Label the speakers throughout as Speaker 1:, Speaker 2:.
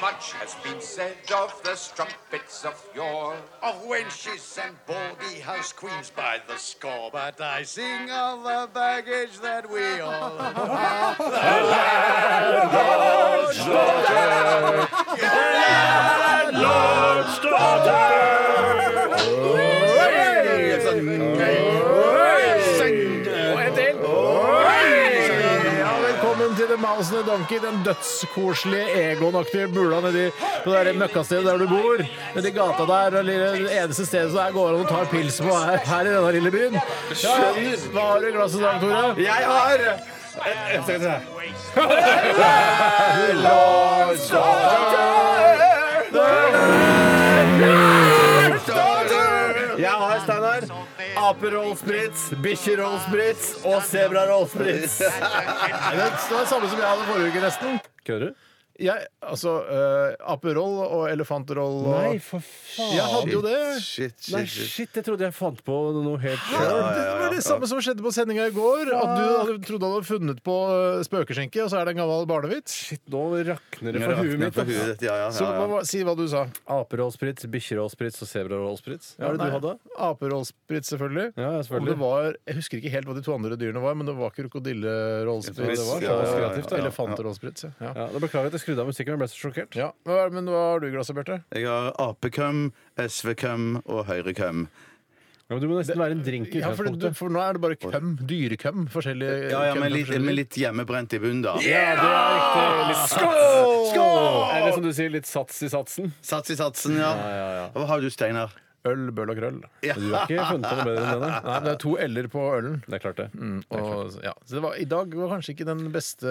Speaker 1: Much has been said of the strumpets of yore, of wenches and baldy house queens by the score. But I sing of the baggage that we all have. The
Speaker 2: Ja, velkommen til The Mousende Donkey, den dødskoselige, egonaktige bula nedi på det der møkkastedet der du bor. Nedi gata der, og lille- det eneste stedet som det går an å ta en pils på her, her i denne lille byen. Ja, hva har du i glasset i dag, Tore? Jeg Det det var det samme som jeg hadde forrige uke, nesten.
Speaker 3: Kødder du?
Speaker 2: Jeg, altså, uh, aperoll og elefantroll og
Speaker 3: Nei, for faen.
Speaker 2: Jeg hadde jo det.
Speaker 4: Shit, shit,
Speaker 3: Nei,
Speaker 4: shit.
Speaker 3: shit, jeg trodde jeg fant på noe helt
Speaker 2: Ja,
Speaker 3: sjøl.
Speaker 2: Det var det samme som skjedde på sendinga i går. At du hadde, trodde du hadde funnet på eh, spøkeskjenke, og så er det en gammel barnevits.
Speaker 3: Shit, nå rakner det
Speaker 4: Ja,
Speaker 3: for huet
Speaker 4: det er
Speaker 3: mitt.
Speaker 4: for huet
Speaker 3: ass.
Speaker 4: ditt, ja, ja,
Speaker 2: Så
Speaker 4: ja, ja.
Speaker 2: hva- si hva du sa.
Speaker 3: Aperollsprits, bikkjerollsprits og sebrarollsprits. Hva er det
Speaker 2: Nei,
Speaker 3: du hadde?
Speaker 2: Aperollsprits, selvfølgelig.
Speaker 3: Ja, ja,
Speaker 2: Om det
Speaker 3: selvfølgelig.
Speaker 2: var, jeg husker ikke helt hva de to andre dyrene var, men det var krokodillerollsprits.
Speaker 4: Elefant-
Speaker 2: Det var.
Speaker 4: ja, ja, ja, ja.
Speaker 2: Kreativt, da. Elefantrollsprits, ja. ja.
Speaker 3: Ja, da Beklager at jeg skrudde av musikken, men jeg ble så sjokkert.
Speaker 2: ja. Hva er- Men hva har du i glasset, Bjarte?
Speaker 4: Jeg har apekøm, SV-køm og høyrekøm.
Speaker 3: Ja, men du må nesten være en drink i
Speaker 2: Ja, for, det,
Speaker 3: utgangspunktet.
Speaker 2: du, for nå er det bare køm. Dyrekøm. Forskjellige
Speaker 4: Ja, ja,
Speaker 2: køm
Speaker 4: men
Speaker 2: fra
Speaker 4: litt,
Speaker 2: forskjellige
Speaker 4: men litt hjemmebrent i bunnen, da.
Speaker 3: Ja, det er riktig. Litt Skål! Eller som du sier, litt sats i satsen.
Speaker 4: Sats i satsen, ja. Hva har du, Steinar?
Speaker 2: Øl, bøl og krøll.
Speaker 4: Ja.
Speaker 3: Du har ikke funnet på noe bedre enn det? nei.
Speaker 2: Nei, men det er to L-er på ølen.
Speaker 3: Det er klart, det.
Speaker 2: Og, ja. Så det var, I dag var kanskje ikke den beste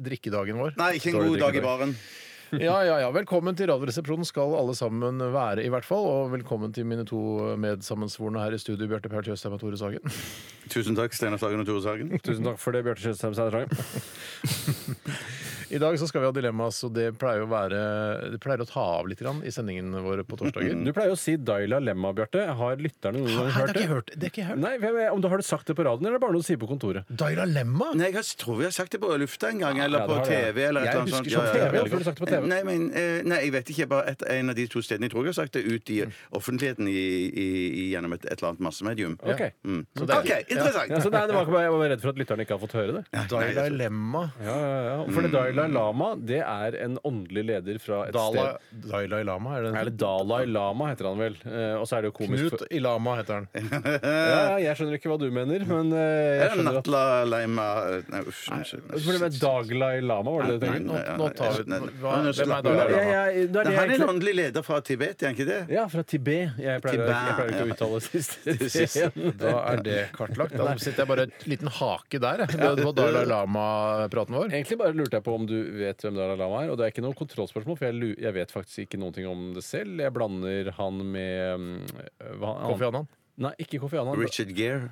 Speaker 2: drikkedagen vår.
Speaker 4: Nei, ikke en
Speaker 3: Dårlig
Speaker 4: god dag i
Speaker 3: drikkedag.
Speaker 4: baren.
Speaker 2: Ja, ja, ja. Velkommen til Radioresepsjonen skal alle sammen være, i hvert fall. Og velkommen til mine to medsammensvorne her i studio, Bjarte Paul Tjøstheim og Tore Sagen.
Speaker 4: Tusen takk, Steinar Sagen og Tore Sagen.
Speaker 3: Tusen takk for det, Bjarte Kjøstheim Sæterheim.
Speaker 2: I dag så skal vi ha dilemmas, og det pleier å være Det pleier å ta av litt grann i sendingene våre på torsdager.
Speaker 3: Du pleier å si Daila Lemma, Bjarte. Har lytterne noen
Speaker 2: Nei,
Speaker 3: gang hørt
Speaker 2: det har jeg
Speaker 3: Mm. det?
Speaker 2: ikke hørt. Det har ikke jeg hørt.
Speaker 3: Nei, hvem er- om du Har du sagt det på radioen, eller er det bare noe du sier på kontoret?
Speaker 2: Daira Lemma?
Speaker 4: Nei, jeg tror vi har sagt det på lufta en gang, eller
Speaker 3: Ja, det
Speaker 4: på
Speaker 3: har det, ja.
Speaker 4: TV. Eller et
Speaker 2: Jeg
Speaker 4: eller annet
Speaker 2: husker
Speaker 4: sånt.
Speaker 2: ikke på TV,
Speaker 3: jeg tror du har sagt det på TV.
Speaker 4: Nei, men, eh, nei, jeg vet ikke. Bare et, en av de to stedene. Jeg tror jeg har sagt det ut i offentligheten i, i, i, gjennom et, et eller annet massemedium.
Speaker 3: Ok.
Speaker 4: Mm.
Speaker 2: det er-
Speaker 4: OK, interessant!
Speaker 3: Ja, så nei, det var ikke bare, jeg var redd for at lytterne ikke har fått høre det.
Speaker 2: Daira Lemma.
Speaker 3: Ja, ja, ja. For det Dalai Lama det er en åndelig leder fra et
Speaker 2: Dala,
Speaker 3: sted.
Speaker 2: Dalai Lama, er det
Speaker 3: Eller Dalai Lama heter han vel. Eh, Og så er det jo komisk
Speaker 2: Knut Ilama heter han.
Speaker 3: ja, Jeg skjønner ikke hva du mener, men eh, jeg
Speaker 4: Eller
Speaker 3: skjønner at
Speaker 4: Natla Leima eh, Nei, uff. unnskyld.
Speaker 3: For det var Daglai Lama, var det det du tenkte?
Speaker 2: nå- nå tar vi-
Speaker 4: nei, nei.
Speaker 2: hva-
Speaker 4: Nei, nå
Speaker 2: hvem er
Speaker 4: slapper vi av.
Speaker 2: Dalai Lama?
Speaker 3: Ja, ja, da er
Speaker 4: Nei,
Speaker 3: det
Speaker 4: Han er
Speaker 3: egentlig-
Speaker 4: en åndelig leder fra Tibet, er han ikke det?
Speaker 3: Ja, fra Tibet. Jeg pleier,
Speaker 4: Tibet,
Speaker 3: jeg pleier ikke å
Speaker 4: ja.
Speaker 3: uttale siste.
Speaker 2: Da er det kartlagt. Da setter jeg bare en liten hake der. jeg. Det var Dalai Lama-praten vår.
Speaker 3: Egentlig bare lurte jeg på om du vet hvem Dalai Lama er. Og det er ikke noe kontrollspørsmål, for jeg, lu- jeg vet faktisk ikke noen ting om det selv. Jeg blander han med mm, hva, han,
Speaker 2: Kofi Annan.
Speaker 3: Nei, ikke Kofi Annan.
Speaker 4: Richard Gere.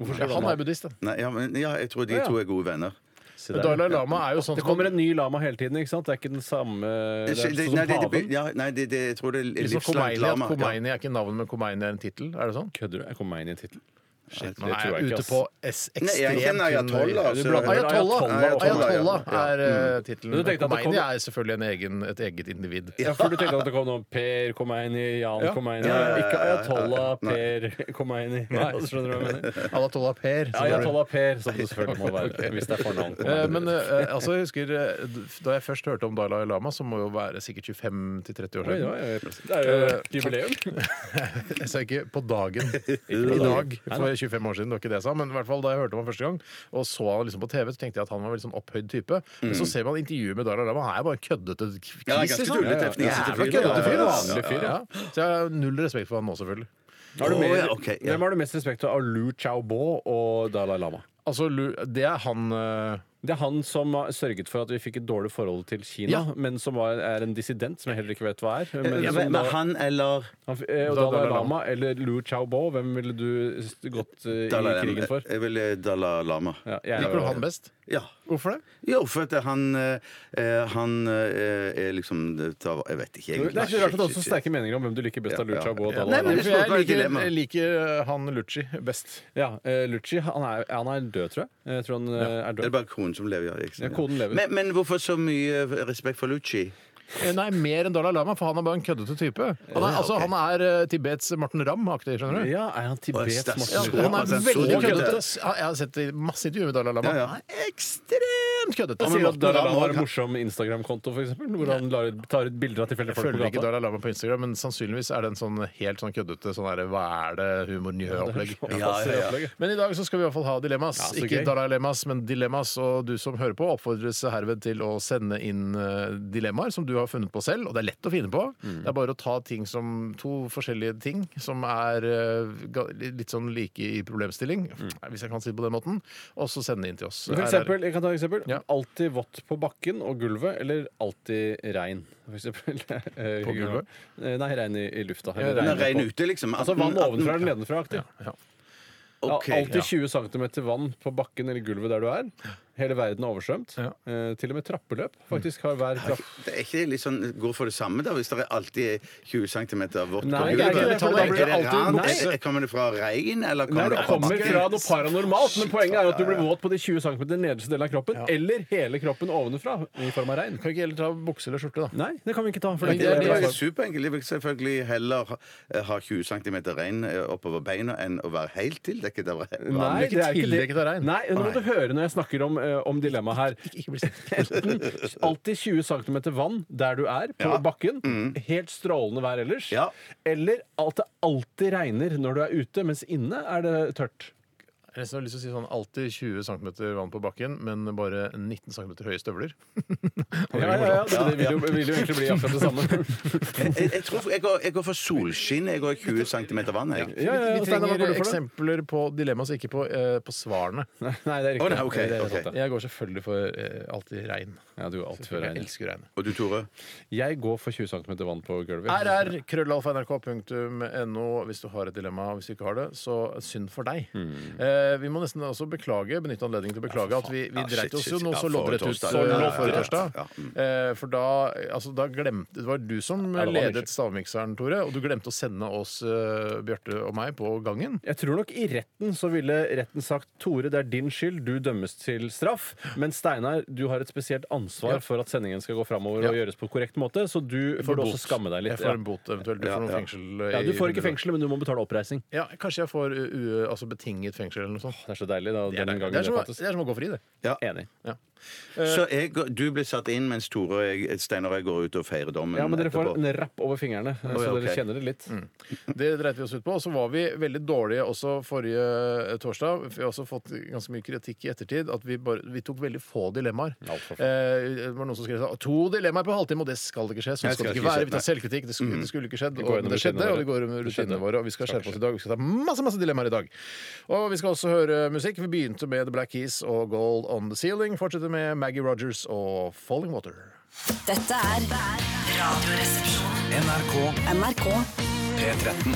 Speaker 3: Hvorfor
Speaker 2: Ja,
Speaker 3: skal
Speaker 2: han er buddhist, da.
Speaker 4: Nei, ja, men, ja, jeg tror de
Speaker 3: Ja.
Speaker 4: to er gode venner.
Speaker 3: Se der.
Speaker 2: Dalai Lama er jo sånn
Speaker 3: Det kommer en ny lama hele tiden, ikke sant? Det er ikke den samme Det
Speaker 4: Nei,
Speaker 3: er sånn
Speaker 4: det,
Speaker 3: som
Speaker 4: nei, det, det,
Speaker 3: paven.
Speaker 4: ja, nei det, det, jeg tror det er
Speaker 2: Liksom
Speaker 4: livslangt
Speaker 2: Khomeini, at
Speaker 4: lama.
Speaker 2: Khomeini er ikke navnet, men Khomeini er en tittel? Er det sånn?
Speaker 3: Kødder du? Jeg kom meg inn i en tittel. Shit,
Speaker 2: Man
Speaker 3: det tror
Speaker 2: er
Speaker 3: jeg ikke,
Speaker 2: ute
Speaker 3: ass.
Speaker 2: på S
Speaker 4: Nei, jeg kjenner
Speaker 2: ekstremt tynn-
Speaker 4: Ayatollah.
Speaker 3: Du
Speaker 4: altså.
Speaker 3: blander
Speaker 4: Ayatollah.
Speaker 2: Ayatollah
Speaker 4: Ayatollah, ja. Mm.
Speaker 2: Ayatollah er eh, tittelen.
Speaker 3: Men du tenkte at det
Speaker 2: Khomeini
Speaker 3: kom-
Speaker 2: er selvfølgelig en egen, et eget individ.
Speaker 3: Ja, for du tenkte at det kom noen Per Khomeini, Jan Khomeini Ikke Ayatollah Per Khomeini. Nei. Skjønner du hva jeg mener?
Speaker 2: Ayatollah Per. som det blir.
Speaker 3: Ayatollah Per, som det selvfølgelig må være. Hvis det er fornavn. på
Speaker 2: Eh,
Speaker 3: meg.
Speaker 2: Men eh, altså, jeg husker eh, da jeg først hørte om Dalai Lama, som må jo være sikkert 25-30 år
Speaker 3: Oi, det
Speaker 2: siden
Speaker 3: var jo- det er jo et eh, jubileum.
Speaker 2: Jeg sa ikke på dagen.
Speaker 3: på
Speaker 2: I dag.
Speaker 3: dagen.
Speaker 2: For 25 år siden, det var ikke det jeg sa. Men i hvert fall da jeg hørte om ham første gang, og så han liksom på TV, så tenkte jeg at han var en veldig sånn opphøyd type. Men så ser man intervjuet med Dalai Lama, han er bare en køddete kis.
Speaker 4: Mm. Ja, ganske
Speaker 2: liksom.
Speaker 4: tullete,
Speaker 2: Ja, ja.
Speaker 4: fnisete
Speaker 2: Jævla
Speaker 4: fyr, ja.
Speaker 2: køddete fyr. da.
Speaker 4: Ja, ja, ja.
Speaker 2: Vanlig fyr, ja. Så jeg har null respekt for han nå, selvfølgelig.
Speaker 3: Har du
Speaker 4: Å,
Speaker 3: mer-
Speaker 4: ja, ok, ja.
Speaker 3: Hvem har du mest respekt for av Lu Chaubo og Dalai Lama?
Speaker 2: Altså, Lu- det er han eh,
Speaker 3: Det er han som har sørget for at vi fikk et dårlig forhold til Kina,
Speaker 2: Ja.
Speaker 3: men som var, er en dissident, som jeg heller ikke vet hva er. Men
Speaker 4: Ja,
Speaker 3: som
Speaker 4: men,
Speaker 3: da-
Speaker 4: men han eller
Speaker 3: Han, f- eh, og
Speaker 2: Dalai
Speaker 3: Dalai
Speaker 2: Lama.
Speaker 3: Lama eller Lu Chaubo, hvem ville du s- gått eh, i
Speaker 4: Dalai Lama.
Speaker 3: krigen for?
Speaker 4: Jeg vil eh, Dalai Lama.
Speaker 3: Ja, jeg er
Speaker 2: Liker du han best?
Speaker 4: Ja.
Speaker 2: Hvorfor det?
Speaker 4: Jo, for at han eh, eh, Han eh, er liksom det tar- Jeg vet ikke.
Speaker 3: Det
Speaker 4: egentlig.
Speaker 3: er ikke rart at det er så sterke meninger om hvem du liker best av
Speaker 4: Ja, ja.
Speaker 3: Lucha Boa
Speaker 4: Nei, men
Speaker 3: Dalla.
Speaker 4: det
Speaker 2: For
Speaker 4: skal
Speaker 2: jeg
Speaker 4: være et
Speaker 2: liker,
Speaker 4: dilemma.
Speaker 2: jeg liker eh, han Lucci best.
Speaker 3: Ja, eh, Lucci han er, han er død, tror jeg. Jeg tror han eh, er
Speaker 4: Det er
Speaker 3: død.
Speaker 4: bare konen som lever. Ja, ikke sant?
Speaker 3: Ja, konen lever.
Speaker 4: Men, men hvorfor så mye respekt for Lucci?
Speaker 2: Eh, Nei, mer enn Dalai Lama, for han er bare en køddete type. Han er,
Speaker 4: Ja,
Speaker 2: altså,
Speaker 4: ok.
Speaker 2: han er eh, Tibets Morten Ramm-aktig, skjønner du?
Speaker 3: Ja, er han Tibets
Speaker 4: Oi, stas-
Speaker 2: Ja,
Speaker 3: Morten
Speaker 4: så-
Speaker 2: han
Speaker 3: Ramm?
Speaker 2: er
Speaker 4: altså, så
Speaker 2: veldig
Speaker 4: køddete.
Speaker 2: køddete. Ja, Jeg har sett i masse intervjuer med Dalai Lama.
Speaker 4: Ja, ja.
Speaker 2: Han er ekstremt køddete.
Speaker 3: Sier at
Speaker 4: Morten
Speaker 3: Dalai Lama
Speaker 4: Ramm
Speaker 3: har en
Speaker 4: også-
Speaker 3: morsom Instagram-konto, for eksempel, hvor han lar, tar ut bilder av tilfeldige
Speaker 2: Jeg
Speaker 3: folk
Speaker 2: følger
Speaker 3: på
Speaker 2: ikke
Speaker 3: gata.
Speaker 2: Dalai Lama på Instagram, men sannsynligvis er det en sånn helt sånn køddete sånn der, hva er det humor njø-opplegg.
Speaker 4: Ja,
Speaker 3: Ja,
Speaker 4: ja, ja.
Speaker 3: opplegget.
Speaker 2: Men i dag så skal vi i hvert fall ha dilemmas.
Speaker 3: Ja, så
Speaker 2: ikke
Speaker 3: gøy.
Speaker 2: Dalai Lemas, men dilemmas. Og du som hører på, oppfordres herved til å sende inn eh, dilemmaer som du har funnet på selv. Og det er lett å finne på.
Speaker 3: Mm.
Speaker 2: Det er bare å ta ting som to forskjellige ting som er eh, ga- litt sånn like i problemstilling, hvis jeg kan si det på den måten, og så sende det inn til oss.
Speaker 3: Mm. For eksempel, jeg kan ta et eksempel.
Speaker 2: Ja.
Speaker 3: Alltid vått på bakken og gulvet, eller alltid regn? For eksempel.
Speaker 2: På gulvet?
Speaker 3: Eh, Nei, regn i, i lufta. Eller
Speaker 2: Ja,
Speaker 4: Den
Speaker 3: regn
Speaker 4: er ren
Speaker 3: på-
Speaker 4: ute, liksom.
Speaker 3: Altså vann
Speaker 4: 18
Speaker 3: ovenfra eller nedenfra-aktig.
Speaker 2: Ja, ja.
Speaker 3: Ja,
Speaker 4: Ok,
Speaker 3: alltid 20 cm vann på bakken eller gulvet der du er. Hele verden er oversvømt.
Speaker 2: Ja.
Speaker 3: Eh, til og med trappeløp faktisk har hver trapp...
Speaker 4: Det er ikke litt sånn Gå for det samme, da, hvis det er alltid er 20 cm vått
Speaker 3: Nei,
Speaker 4: på
Speaker 3: det er ikke det,
Speaker 4: gulvet?
Speaker 3: for da blir det
Speaker 4: Er det
Speaker 3: alltid-
Speaker 4: rant?
Speaker 3: Nei.
Speaker 4: Er- Kommer det fra regn, eller
Speaker 3: Nei,
Speaker 4: kommer
Speaker 3: det
Speaker 4: det fra
Speaker 3: kommer
Speaker 4: bakken?
Speaker 3: fra noe paranormalt, men poenget er at du blir våt på de 20 cm nederste delen av kroppen, eller hele kroppen ovenfra i form av regn.
Speaker 2: Kan vi ikke heller ta bukse eller skjorte, da?
Speaker 3: Nei, det kan vi ikke ta. For det
Speaker 4: Det
Speaker 3: er
Speaker 4: er
Speaker 3: ikke
Speaker 4: jo superenkelt. Jeg vil selvfølgelig heller ha- eh, ha 20 cm regn eh, oppover beina enn å være helt tildekket av regn.
Speaker 3: Nei, det er ikke det.
Speaker 2: Tillegget av regn.
Speaker 3: Nei, nå må du høre når jeg snakker om, eh, om dilemmaet her. Enten alltid 20 cm vann der du er, på bakken. Helt strålende vær ellers.
Speaker 4: Ja.
Speaker 3: Eller at det alltid regner når du er ute, mens inne er det tørt.
Speaker 2: Jeg nesten har lyst til å si sånn alltid 20 cm vann på bakken, men bare 19 cm høye støvler.
Speaker 3: Ja, ja, ja, det vil jo, vil jo egentlig bli akkurat det samme.
Speaker 4: Jeg, jeg, jeg, tror, jeg, går, jeg går for solskinn. Jeg går 20 cm vann, jeg.
Speaker 3: Ja, ja, ja,
Speaker 2: Vi
Speaker 3: Steinar,
Speaker 2: trenger
Speaker 3: hva går du for da?
Speaker 2: eksempler på dilemmas, ikke på, eh, på svarene.
Speaker 3: Nei, det er
Speaker 4: Å,
Speaker 3: riktig.
Speaker 4: nei, ok,
Speaker 3: det er
Speaker 4: ok.
Speaker 3: sant, det.
Speaker 2: Jeg går selvfølgelig for eh, alltid regn.
Speaker 3: Ja, du er alltid for
Speaker 2: Jeg
Speaker 3: regn.
Speaker 2: elsker regn.
Speaker 4: Og du, Tore?
Speaker 3: Jeg går for 20 cm vann på gulvet.
Speaker 2: rr.krøllalfa.nrk.no hvis du har et dilemma. og Hvis du ikke har det, så synd for deg.
Speaker 3: Hmm.
Speaker 2: Eh, vi må nesten også beklage, benytte anledningen til å beklage at vi, vi
Speaker 4: Ja, shit,
Speaker 2: dreit oss jo
Speaker 4: shit.
Speaker 2: noe
Speaker 4: Ja,
Speaker 2: så
Speaker 4: forrige
Speaker 2: loddrett ut
Speaker 4: torsdag.
Speaker 2: så
Speaker 4: Ja,
Speaker 2: nå
Speaker 4: ja,
Speaker 2: forrige
Speaker 4: ja.
Speaker 2: torsdag.
Speaker 4: Ja, mm.
Speaker 2: Eh, for da, altså, da glemte Det var du som
Speaker 3: hmm.
Speaker 2: eh,
Speaker 3: Ja, det var
Speaker 2: ledet
Speaker 3: meg.
Speaker 2: stavmikseren, Tore, og du glemte å sende oss, eh, Bjarte og meg, på gangen.
Speaker 3: Jeg tror nok i retten så ville retten sagt Tore, det er din skyld, du dømmes til straff. Men Steinar, du har et spesielt ansvar for at sendingen skal gå framover og
Speaker 2: Ja.
Speaker 3: gjøres på korrekt måte, så du
Speaker 2: får
Speaker 3: burde
Speaker 2: bot.
Speaker 3: også skamme deg
Speaker 2: Jeg
Speaker 3: litt.
Speaker 2: får
Speaker 3: Ja.
Speaker 2: en bot, eventuelt. Du får noe
Speaker 4: ja.
Speaker 2: fengsel. eh,
Speaker 3: Ja,
Speaker 2: i
Speaker 3: du får
Speaker 2: 100
Speaker 3: ikke fengsel, men du må betale oppreisning.
Speaker 2: Ja, kanskje jeg får u, u, altså betinget fengsel eller noe sånt.
Speaker 3: Det er så deilig. da,
Speaker 2: Det er,
Speaker 3: den
Speaker 2: det,
Speaker 3: gangen
Speaker 2: er som, å-
Speaker 3: det
Speaker 2: det er som å gå fri, det.
Speaker 4: Ja.
Speaker 3: fattes. Enig.
Speaker 4: Så jeg, går- du blir satt inn, mens Tore og jeg, Steinar og jeg går ut og feirer dommen
Speaker 3: Ja, men dere får
Speaker 4: etterpå.
Speaker 3: en rapp over fingrene, så
Speaker 4: ja,
Speaker 3: dere
Speaker 4: ok.
Speaker 3: kjenner det litt.
Speaker 2: Det dreit vi oss ut på. Og så var vi veldig dårlige også forrige eh, torsdag. Vi har også fått ganske mye kritikk i ettertid at vi, bare, vi tok veldig få dilemmaer.
Speaker 3: Alt for få.
Speaker 2: Eh, det var noen som skrev sånn, to dilemmaer på halvtime, og det skal ikke skje. Sånn
Speaker 4: Nei, skal
Speaker 2: skal det ikke
Speaker 4: ikke
Speaker 2: være. Vi tar
Speaker 4: skje,
Speaker 2: selvkritikk. Det skulle, det skulle ikke skjedd.
Speaker 3: Vi går
Speaker 2: Og,
Speaker 3: gjennom
Speaker 2: men det skjedde,
Speaker 3: rutinene
Speaker 2: og vi går med
Speaker 3: våre. Det
Speaker 2: rutinene
Speaker 3: skjedde.
Speaker 2: våre. Og vi skal skjerpe oss i dag. Vi skal ta masse, masse dilemmaer i dag. Og vi skal også høre musikk. Vi begynte med The Black Keys og Gold On The Ceiling. Fortsetter med Maggie Rogers og Falling Water.
Speaker 5: Dette er Radioresepsjonen.
Speaker 6: NRK
Speaker 5: NRK
Speaker 6: P13.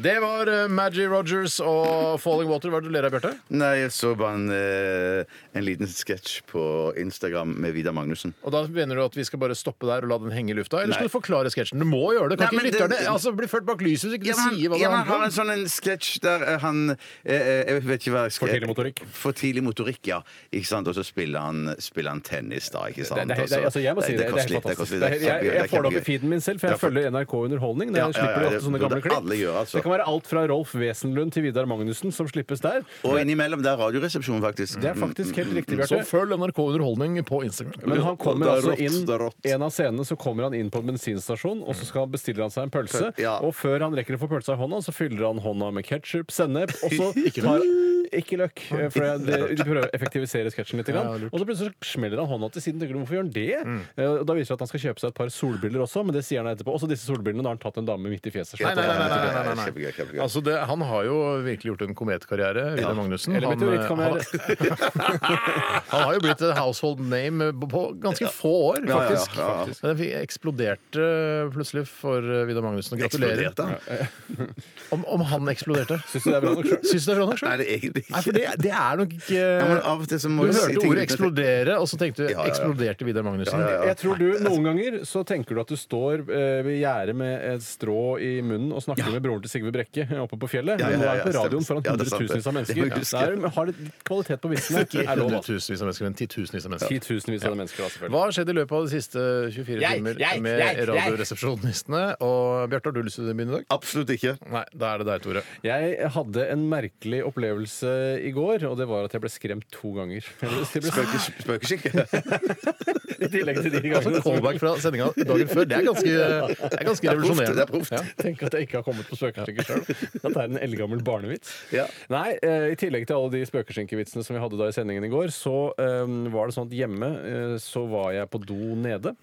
Speaker 2: Det var eh, Maggie Rogers og Falling Water. Hva er det du ler av, Bjarte?
Speaker 4: Nei, jeg så bare en, eh, en liten sketsj på Instagram med Vidar Magnussen.
Speaker 2: Og da mener du at vi skal bare stoppe der og la den henge i lufta? Eller
Speaker 4: Nei.
Speaker 2: skal du forklare sketsjen? Du må gjøre det! Kan
Speaker 4: Nei,
Speaker 2: ikke
Speaker 4: men
Speaker 2: lytterne
Speaker 4: det-
Speaker 2: altså, bli ført bak lyset hvis
Speaker 4: Ja,
Speaker 2: ikke de
Speaker 4: men,
Speaker 2: sier hva
Speaker 4: ja,
Speaker 2: det
Speaker 4: men han har
Speaker 2: handler
Speaker 4: en
Speaker 2: om?
Speaker 4: sånn en sketsj der eh, han eh, eh, Jeg vet ikke hva jeg skal
Speaker 3: For tidlig motorikk.
Speaker 4: For tidlig motorikk, ja. Ikke sant? Og så spiller han, spiller han tennis, da. Ikke sant?
Speaker 3: Det,
Speaker 4: Og
Speaker 3: det,
Speaker 4: så-
Speaker 3: det, altså jeg må si det, det, er
Speaker 4: koster
Speaker 3: helt
Speaker 4: litt, det
Speaker 3: fantastisk.
Speaker 4: koster
Speaker 3: Det
Speaker 4: litt.
Speaker 3: er, jeg, jeg får det opp i
Speaker 4: kjempegøy.
Speaker 3: feeden min selv, for jeg
Speaker 4: Ja, for-
Speaker 3: følger NRK Underholdning. Der
Speaker 4: Ja, ja, ja,
Speaker 3: slipper de
Speaker 4: det
Speaker 3: alltid sånne gamle
Speaker 4: burde alle gjøre,
Speaker 3: klipp.
Speaker 4: altså.
Speaker 3: Det kan være alt fra Rolf Wesenlund til Vidar Magnussen som slippes der.
Speaker 4: Og Mm, innimellom det er Radioresepsjonen, faktisk.
Speaker 3: Det er faktisk helt riktig,
Speaker 2: Så
Speaker 3: Bjarte.
Speaker 2: følg NRK Underholdning på Instagram.
Speaker 3: Men han kommer
Speaker 4: Det er
Speaker 3: altså
Speaker 4: rått,
Speaker 3: inn
Speaker 4: det er rått.
Speaker 3: En av scenene så kommer han inn på en bensinstasjon, og så skal han bestiller han seg en pølse.
Speaker 4: Ja.
Speaker 3: Og før han rekker å få pølsa i hånda, så fyller han hånda med ketsjup, sennep, og så tar Ikke løk, for jeg- de de prøver å effektivisere sketsjen litt. grann. og så plutselig så smeller han hånda til siden. Tenker du, hvorfor gjør han det?
Speaker 4: Mm.
Speaker 3: Eh, og Da viser det at han skal kjøpe seg et par solbriller også, men det sier han etterpå. Også disse solbrillene, da har han tatt en dame midt i fjeset.
Speaker 2: Nei, nei, nei, nei, nei, nei, nei.
Speaker 4: Kjempegøy, kjempegøy.
Speaker 2: Altså det, han har jo virkelig gjort en kometkarriere, Vidar Magnussen.
Speaker 3: Eller
Speaker 2: Han,
Speaker 3: meteoritt kan
Speaker 2: eh,
Speaker 3: være.
Speaker 2: han, han har jo blitt et household name eh, på ganske få år,
Speaker 4: Ja, ja, ja,
Speaker 2: faktisk.
Speaker 4: ja.
Speaker 2: Men Det eksploderte plutselig for eh, Vidar Magnussen. Gratulerer.
Speaker 4: Eksploderte han?
Speaker 2: Om, om han eksploderte.
Speaker 3: Syns du det er bra nok selv?
Speaker 2: Syns du det er bra nok sjøl?
Speaker 4: Nei, det er egentlig det ikke.
Speaker 2: Nei, for det, det er nok ikke
Speaker 4: Ja, men av og til så må
Speaker 2: Du
Speaker 4: jeg si
Speaker 2: hørte
Speaker 4: ting uten
Speaker 2: ordet
Speaker 4: at-
Speaker 2: 'eksplodere', og så tenkte du
Speaker 4: Ja, ja, ja.
Speaker 2: 'eksploderte Vidar
Speaker 4: Ja,
Speaker 2: Magnussen'?
Speaker 4: ja, ja.
Speaker 3: Jeg tror du Noen ganger så tenker du at du står eh, ved gjerdet med et strå i munnen og snakker med broren til Sigve Brekke eh, oppe på fjellet.
Speaker 4: Ja, ja,
Speaker 3: Men nå
Speaker 4: ja,
Speaker 3: er du på
Speaker 4: ja,
Speaker 3: radioen
Speaker 4: stemmer.
Speaker 3: foran
Speaker 4: Ja, det er sant, det.
Speaker 3: hundretusenvis
Speaker 4: Det må
Speaker 3: av mennesker.
Speaker 4: jeg huske.
Speaker 3: Der har det litt kvalitet på vitsene.
Speaker 2: Ikke
Speaker 3: er lov, altså.
Speaker 2: hundretusenvis av mennesker, men titusenvis av mennesker.
Speaker 3: Titusenvis av mennesker, da, selvfølgelig.
Speaker 2: Hva har skjedd i løpet av de siste 24
Speaker 3: Jeg,
Speaker 2: timer
Speaker 3: jeg,
Speaker 2: med
Speaker 3: jeg, jeg.
Speaker 2: Radioresepsjonistene? Og Bjarte, har du lyst til å begynne i dag?
Speaker 4: Absolutt ikke.
Speaker 2: Nei, da er det deg, Tore.
Speaker 3: Jeg hadde en merkelig opplevelse i går, og det var at jeg ble skremt to ganger. Jeg ble- jeg ble
Speaker 4: Spøkes- Spøkelsesskikke.
Speaker 3: skremt I tillegg til de
Speaker 2: Altså
Speaker 3: gangene. som-
Speaker 2: Callback fra sendinga dagen før. Det er ganske, det er ganske
Speaker 4: det er
Speaker 2: revolusjonerende.
Speaker 4: proft.
Speaker 2: Ja.
Speaker 3: Tenk at jeg ikke har kommet på spøkelseskinke sjøl. At det er en eldgammel barnevits.
Speaker 4: Ja.
Speaker 3: Nei, eh, I tillegg til alle de spøkelsesskinkevitsene som vi hadde da i sendingen i går, så eh, var det sånn at hjemme eh, så var jeg på do nede.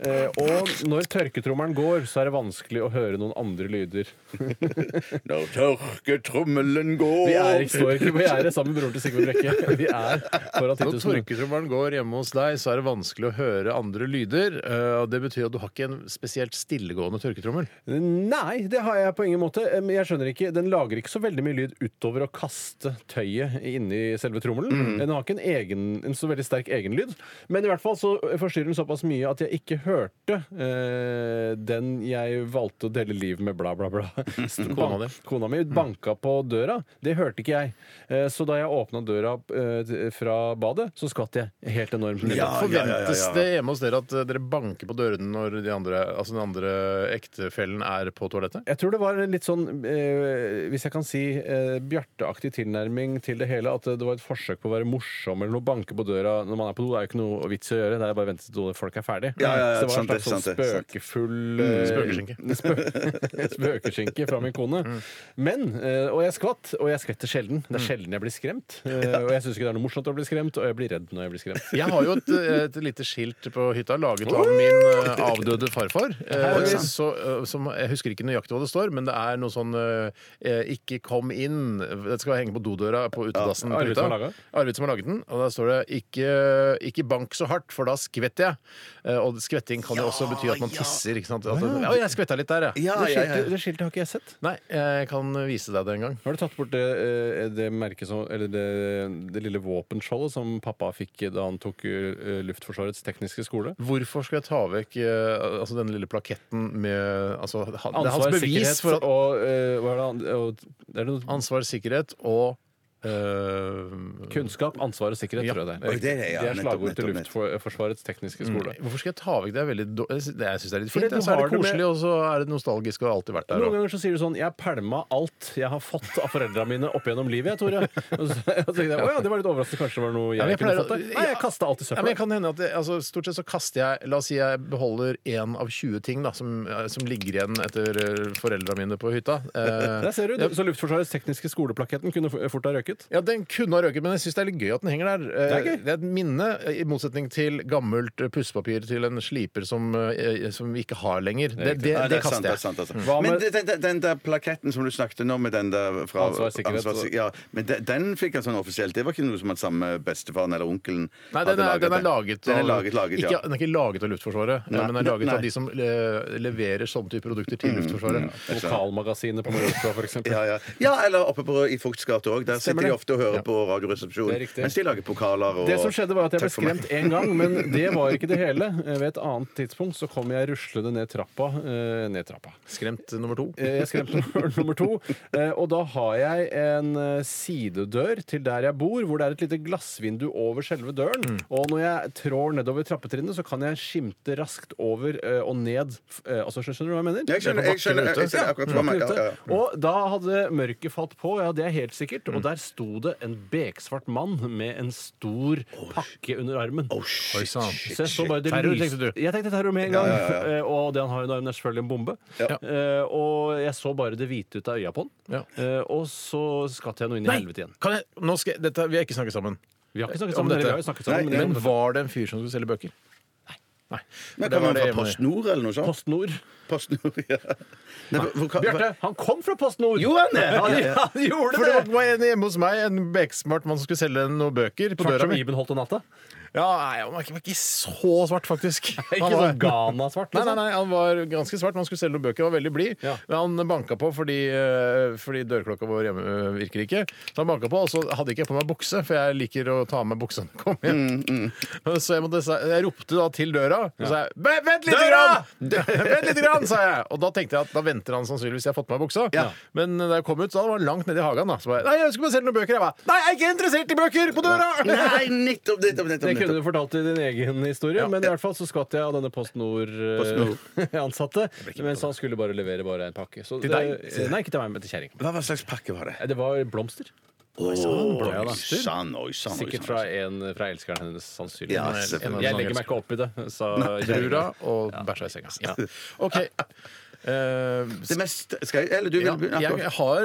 Speaker 3: Eh, og når tørketrommelen går, så er det vanskelig å høre noen andre lyder.
Speaker 4: Når tørketrommelen går
Speaker 3: Vi er ikke, står ikke på gjerdet sammen med broren til Sigve Brekke. Vi er foran
Speaker 2: Når
Speaker 3: 10 000.
Speaker 2: torketrommelen går hjemme hos deg, så er det vanskelig å høre andre lyder. eh, og Det betyr at du har ikke en spesielt stillegående tørketrommel.
Speaker 3: Nei, det har jeg på ingen måte. Eh, Men jeg skjønner ikke, Den lager ikke så veldig mye lyd utover å kaste tøyet inni selve trommelen. Den har ikke en, egen, en så veldig sterk egenlyd. Men i hvert fall så forstyrrer den såpass mye at jeg ikke hørte eh, den jeg valgte å dele liv med, bla, bla, bla. Kona, Kona mi banka på døra. Det hørte ikke jeg. Eh, så da jeg åpna døra eh, fra badet, så skvatt jeg helt enormt.
Speaker 4: Ja, ja, ja,
Speaker 2: Forventes
Speaker 4: ja,
Speaker 2: det
Speaker 4: ja.
Speaker 2: hjemme hos dere at eh, dere banker på dørene når de andre, altså den andre ektefellen er på toalettet?
Speaker 3: Jeg tror det var en litt sånn, eh, hvis jeg kan si, eh, Bjarte-aktig tilnærming til det hele. At det var et forsøk på å være morsom eller noe banke på døra når man er på do. Det er jo ikke noe vits i å gjøre. Det er bare å vente til folk er ferdig.
Speaker 4: Ja, ja, ja,
Speaker 3: Så det var en
Speaker 4: sant det,
Speaker 3: slags sånn
Speaker 4: sant det, Mm. sant.
Speaker 3: spøkefull
Speaker 2: Spøkeskinke.
Speaker 3: eh, spø- Spøkeskinke fra min kone. Men, eh, og jeg skvatt, og jeg skvetter sjelden. Det er sjelden jeg blir skremt. Eh, Og jeg syns ikke det er noe morsomt å bli skremt, og jeg blir redd når jeg blir skremt.
Speaker 2: Jeg har jo et, eh, et lite skilt på hytta laget av min eh, avdøde farfar. eh, Så, eh, som, jeg husker ikke nøyaktig hva det står, men det er noe sånn eh, 'ikke kom inn'. Det skal henge på dodøra på utedassen. på
Speaker 3: Arvid
Speaker 2: hytta.
Speaker 3: som har laget?
Speaker 2: Arvid som har laget den. Og der står det ikke, 'ikke bank så hardt, for da skvetter jeg'. Eh, Og skvetting kan jo også bety at man tisser. ikke sant? At, ja, jeg skvetta litt der, jeg.
Speaker 4: Ja,
Speaker 3: Det
Speaker 4: ja, ja.
Speaker 3: skiltet, det skiltet har ikke jeg sett.
Speaker 2: Nei, jeg kan vise deg det en gang.
Speaker 3: Har du tatt bort det, eh, det merket som Eller det, det lille våpenskjoldet som pappa fikk da han tok eh, Luftforsvarets tekniske skole?
Speaker 2: Hvorfor skal jeg ta vekk eh, altså denne lille plaketten med altså, han, Det er hans
Speaker 3: Ansvar,
Speaker 2: bevis
Speaker 3: sikkerhet
Speaker 2: for at
Speaker 3: og, eh, hva er det, han- og det er noe
Speaker 2: Ansvar, sikkerhet og eh,
Speaker 3: Kunnskap, ansvar og sikkerhet,
Speaker 2: Ja. Mm.
Speaker 3: tror jeg det
Speaker 4: Oi,
Speaker 3: er.
Speaker 4: det er det, ja.
Speaker 3: Det er slagord
Speaker 4: Nettopp,
Speaker 3: til
Speaker 4: nettopp, nettopp.
Speaker 3: Luftforsvarets tekniske skole.
Speaker 2: Hvorfor skal jeg ta vekk det? er veldig dår- Jeg syns det jeg syns det er litt
Speaker 3: Fordi
Speaker 2: fint.
Speaker 3: du
Speaker 2: ja. Så er
Speaker 3: har
Speaker 2: det
Speaker 3: det med-
Speaker 2: koselig, og så er det nostalgisk og har alltid vært der.
Speaker 3: Noen
Speaker 2: Og.
Speaker 3: ganger så sier du sånn 'Jeg pælma alt jeg har fått av foreldra mine opp gjennom livet', jeg, Tore. Og så jeg tenkte jeg, Å ja, det var litt overraskende. Kanskje det var noe jeg,
Speaker 2: Ja, men jeg
Speaker 3: kunne
Speaker 2: pleier å-
Speaker 3: fått der. Nei, jeg kasta alt i
Speaker 2: Ja, men jeg
Speaker 3: søpla.
Speaker 2: kan hende at det, altså, Stort sett så kaster jeg La oss si jeg beholder én av 20 ting da, som, eh, som ligger igjen etter eh, foreldra mine på hytta. Eh,
Speaker 3: Der ser du. Så Luftforsvarets tekniske skoleplaketten kunne f- fort ha røket.
Speaker 2: Ja, Den kunne ha røket, men jeg syns det er litt gøy at den henger der. Eh,
Speaker 3: Det er gøy.
Speaker 2: Det er et minne, eh, i motsetning til gammelt eh, pussepapir til en sliper som, eh, som vi ikke har lenger. Det, det, det,
Speaker 4: Nei, er sant, det
Speaker 2: kaster jeg. Mm.
Speaker 4: er sant, altså.
Speaker 3: Hva
Speaker 4: Men
Speaker 3: med-
Speaker 4: det- den, den, den der plaketten som du snakket om med den der fra
Speaker 3: Ansvar, sikkerhet.
Speaker 4: ansvar- ja, men den, den fikk han sånn offisielt. Det var ikke noe som at samme bestefaren eller onkelen
Speaker 2: Nei, den er,
Speaker 4: hadde
Speaker 2: den er laget
Speaker 4: Den er laget, laget
Speaker 2: ikke,
Speaker 4: ja.
Speaker 2: Den er ikke laget av Luftforsvaret, eh,
Speaker 4: Nei.
Speaker 2: men den er laget
Speaker 4: Nei.
Speaker 2: av de som eh, leverer sånne type produkter til Luftforsvaret.
Speaker 4: Jeg skjønner.
Speaker 3: Lokalmagasinet på Mallorca, f.eks.
Speaker 4: Ja, ja. ja, eller oppe på, i Fugts gate òg. Der sitter
Speaker 3: Stemmer
Speaker 4: de
Speaker 3: det.
Speaker 4: ofte og hører
Speaker 3: Ja.
Speaker 4: på
Speaker 3: Det er
Speaker 4: Radioresepsjonen
Speaker 3: riktig.
Speaker 4: mens de lager pokaler og
Speaker 3: Det som skjedde var at jeg ble
Speaker 4: Takk for meg.
Speaker 3: skremt én gang, men det var ikke det hele. Ved et annet tidspunkt så kom jeg ruslende ned trappa. eh, Ned trappa.
Speaker 2: Skremt nummer to.
Speaker 3: Eh, Jeg skremte nummer- nummer to. Eh, Og da har jeg en eh, sidedør til der jeg bor, hvor det er et lite glassvindu over selve døren. Og når jeg trår nedover trappetrinnet, så kan jeg skimte raskt over eh, og ned. f- eh, Altså, skjønner du hva jeg mener?
Speaker 4: Jeg skjønner, jeg skjønner, jeg, jeg ser akkurat for meg. Ja, ja, ja.
Speaker 3: Mm. Og da hadde mørket falt på, ja, det er helt sikkert.
Speaker 4: Mm.
Speaker 3: Og der sto det en beksvart mann med en stor pakke under armen.
Speaker 2: Oi sann.
Speaker 3: Så jeg så bare det
Speaker 2: Terror,
Speaker 3: lyste-
Speaker 2: tenkte du?
Speaker 3: Jeg tenkte terror med en gang. Eh, Og det han har under armen, er selvfølgelig en bombe. Eh, Og jeg så bare det hvite ut av øya på
Speaker 2: Ja.
Speaker 3: han. Eh, Og så skvatt jeg nå inn i
Speaker 2: Nei!
Speaker 3: helvete igjen.
Speaker 2: Kan jeg, nå skal, jeg- dette, vi har ikke snakket sammen.
Speaker 3: Vi har ikke snakket
Speaker 2: Om
Speaker 3: sammen,
Speaker 2: dette.
Speaker 3: eller vi har jo snakket sammen,
Speaker 4: Nei,
Speaker 3: men
Speaker 2: Men
Speaker 3: det-
Speaker 2: var det en fyr som skulle selge bøker? Nei. Nei.
Speaker 4: Men
Speaker 2: Det var
Speaker 4: Kommer
Speaker 2: det
Speaker 4: han
Speaker 2: jeg
Speaker 4: fra
Speaker 2: må-
Speaker 4: Post Nord eller noe sånt?
Speaker 3: PostNord.
Speaker 4: Post Nord, ja. Nei, hvor- hvor-
Speaker 3: Bjarte, han kom fra PostNord!
Speaker 4: Jo, han er! Han er.
Speaker 3: Ja, han gjorde
Speaker 2: For det
Speaker 3: det!
Speaker 2: var en hjemme hos meg, en beksmart mann som skulle selge noen bøker på
Speaker 3: Svart
Speaker 2: døra
Speaker 3: som
Speaker 2: mi.
Speaker 3: Iben Holt og Natta.
Speaker 2: Ja, nei, han var ikke, var ikke så svart, faktisk.
Speaker 3: Ikke
Speaker 2: Han var-
Speaker 3: sånn Ghana-svart.
Speaker 2: Nei, nei,
Speaker 3: Liksom.
Speaker 2: nei, han var ganske svart. men Han skulle selge noen bøker, han var veldig blid.
Speaker 3: Ja.
Speaker 2: Men han banka på fordi, eh, fordi dørklokka vår hjemme eh, virker ikke. Så han banka på, og så hadde ikke jeg på meg bukse, for jeg liker å ta av meg buksa når jeg kommer hjem.
Speaker 3: Mm,
Speaker 2: Så jeg, måtte, sa- jeg ropte da til døra, og så sa jeg «Vent- Vent lite
Speaker 3: Døra!
Speaker 2: grann! Vent lite grann, sa jeg. Og da tenkte jeg at da venter han sannsynligvis jeg har fått på meg buksa. Men da jeg kom ut, så var han langt nede i hagen. Da. Så bare, nei, jeg ønsker meg å selge noen bøker. Jeg bare, nei, jeg er ikke interessert i bøker på døra!
Speaker 4: Nei, nettopp, nettopp, nettopp.
Speaker 3: Det kunne
Speaker 4: nettopp.
Speaker 3: du fortalt i din egen historie, men i hvert fall så skvatt jeg av denne Post
Speaker 4: PostNord.
Speaker 3: Nord-ansatte. mens han skulle bare levere bare en pakke. Så til
Speaker 2: deg?
Speaker 3: Nei, ikke til meg, men til kjerringa. Eh,
Speaker 4: Hva, hva slags pakke var det?
Speaker 3: Det var blomster.
Speaker 4: Oi
Speaker 3: blomster.
Speaker 4: sann, oi sann. oi,
Speaker 7: sånn
Speaker 4: sann.
Speaker 3: Sikkert fra en fra elskeren hennes,
Speaker 4: Ja,
Speaker 3: sannsynligvis.
Speaker 4: selvfølgelig.
Speaker 3: jeg legger meg ikke opp i det, sa
Speaker 2: Brura
Speaker 3: kjerringa.
Speaker 2: og bæsja i senga. Ja. OK. Eh,
Speaker 4: Det mest Skal jeg Eller du
Speaker 2: ja,
Speaker 4: vil begynne?
Speaker 2: jeg, har,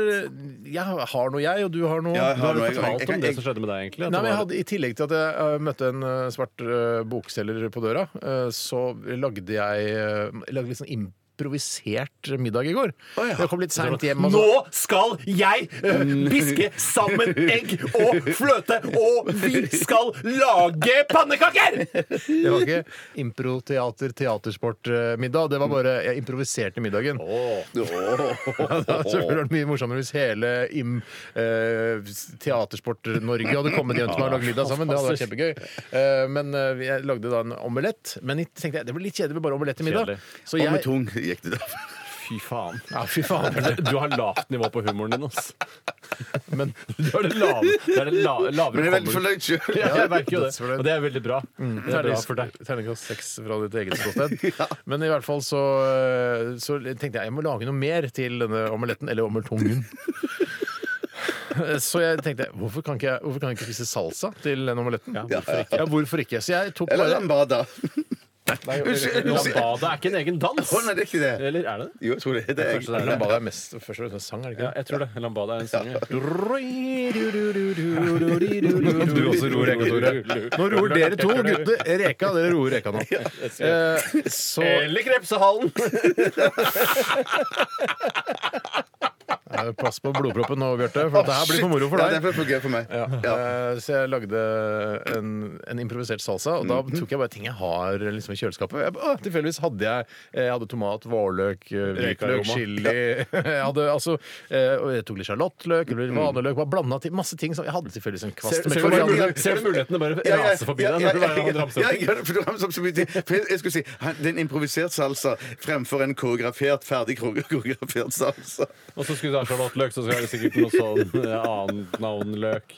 Speaker 2: jeg har noe, jeg, og du har noe.
Speaker 4: Ja, jeg
Speaker 3: Du har
Speaker 4: noe
Speaker 3: jo
Speaker 4: jeg- jeg-
Speaker 3: fortalt om
Speaker 4: jeg-
Speaker 3: det
Speaker 4: jeg-
Speaker 3: som skjedde med deg, egentlig. at
Speaker 2: Nei, men jeg
Speaker 3: det var-
Speaker 2: hadde, I tillegg til at jeg eh, møtte en eh, svart eh, bokselger på døra, eh, så lagde jeg eh, lagde litt sånn improvisert middag i går.
Speaker 4: Å, ja.
Speaker 2: Jeg kom litt seint hjem. altså. og så-
Speaker 7: Nå skal jeg eh, piske sammen egg og fløte, og vi skal lage pannekaker!
Speaker 2: Det var ikke impro-teater-teatersport-middag. Det var bare jeg improviserte middagen. Ja, det hadde selvfølgelig vært mye morsommere hvis hele im, eh, Teatersport-Norge hadde kommet hjem til meg og lagd middag sammen. Det hadde vært kjempegøy. Eh, men eh, jeg lagde da en omelett. Men jeg tenkte jeg, det blir litt kjedelig med bare omelett til middag.
Speaker 3: Kjedelig.
Speaker 2: Så
Speaker 4: Og med
Speaker 2: jeg,
Speaker 4: tung gikk det da.
Speaker 3: Fy faen.
Speaker 2: ja, fy faen.
Speaker 3: Du har lavt nivå på humoren din, ass.
Speaker 2: Men
Speaker 3: Du har det lave, det er det la, lavere
Speaker 4: Men jeg er veldig
Speaker 3: humoren.
Speaker 4: fornøyd sjøl.
Speaker 3: Ja, jeg merker jo det.
Speaker 2: Dødsfornøyd.
Speaker 3: Og det er veldig bra. Det er bra for deg.
Speaker 2: Terningkast seks fra ditt eget ståsted. Men i hvert fall så, så tenkte jeg jeg må lage noe mer til denne omeletten, eller ommeltungen. Så jeg tenkte hvorfor kan ikke jeg, hvorfor kan jeg ikke spise salsa til den omeletten? Ja, hvorfor ikke? Så jeg tok
Speaker 4: Eller
Speaker 2: bare
Speaker 4: lambada.
Speaker 2: Nei,
Speaker 4: Unnskyld, unnskyld.
Speaker 3: Lambada er ikke en egen
Speaker 4: Å,
Speaker 3: dans.
Speaker 4: nei, det er ikke det.
Speaker 3: Eller er det det?
Speaker 4: Jo, jeg tror det er det.
Speaker 3: Kanskje det er det.
Speaker 2: Lambada er mest først og fremst en sang, er det
Speaker 3: Ja,
Speaker 2: ikke? det?
Speaker 3: jeg tror det. Lambada er en sang. Ja.
Speaker 2: Du også ror reka, Tore. Nå ror dere to gutter reka. Dere ror reka nå. Eh, Så
Speaker 3: Eller Krepsehallen!
Speaker 2: Ja, Pass på blodproppen nå, Bjarte, for dette her blir for moro for
Speaker 4: Ja, det
Speaker 2: deg.
Speaker 4: er for gøy for meg. Ja.
Speaker 2: Eh, Så jeg lagde en, en improvisert salsa, og da tok jeg bare ting jeg har liksom, i kjøleskapet. Jeg, å, tilfeldigvis hadde jeg, eh, jeg hadde tomat, vårløk, eh, hvitløk,
Speaker 3: Rekaroma.
Speaker 2: chili Jeg hadde altså eh, Og jeg tok litt sjalottløk, litt vaneløk, bare blanda til masse ting. Som, jeg hadde tilfeldigvis en kvast med
Speaker 3: Ser du
Speaker 2: koriander.
Speaker 3: mulighet- ser du mulighetene bare
Speaker 4: Ja, ja,
Speaker 3: rase forbi
Speaker 4: ja,
Speaker 3: deg?
Speaker 4: ja,
Speaker 3: når du
Speaker 4: ja,
Speaker 3: bare
Speaker 4: ja,
Speaker 3: ramser opp?
Speaker 4: ja, jeg gjør det, for du ramser opp så mye ting. For jeg- jeg skulle si han- det er en improvisert salsa fremfor en koreografert, ferdig kore- koreografert salsa.
Speaker 3: Og så skulle du ha sjalottløk, så skal det sikkert noe sånn eh, annet navnløk.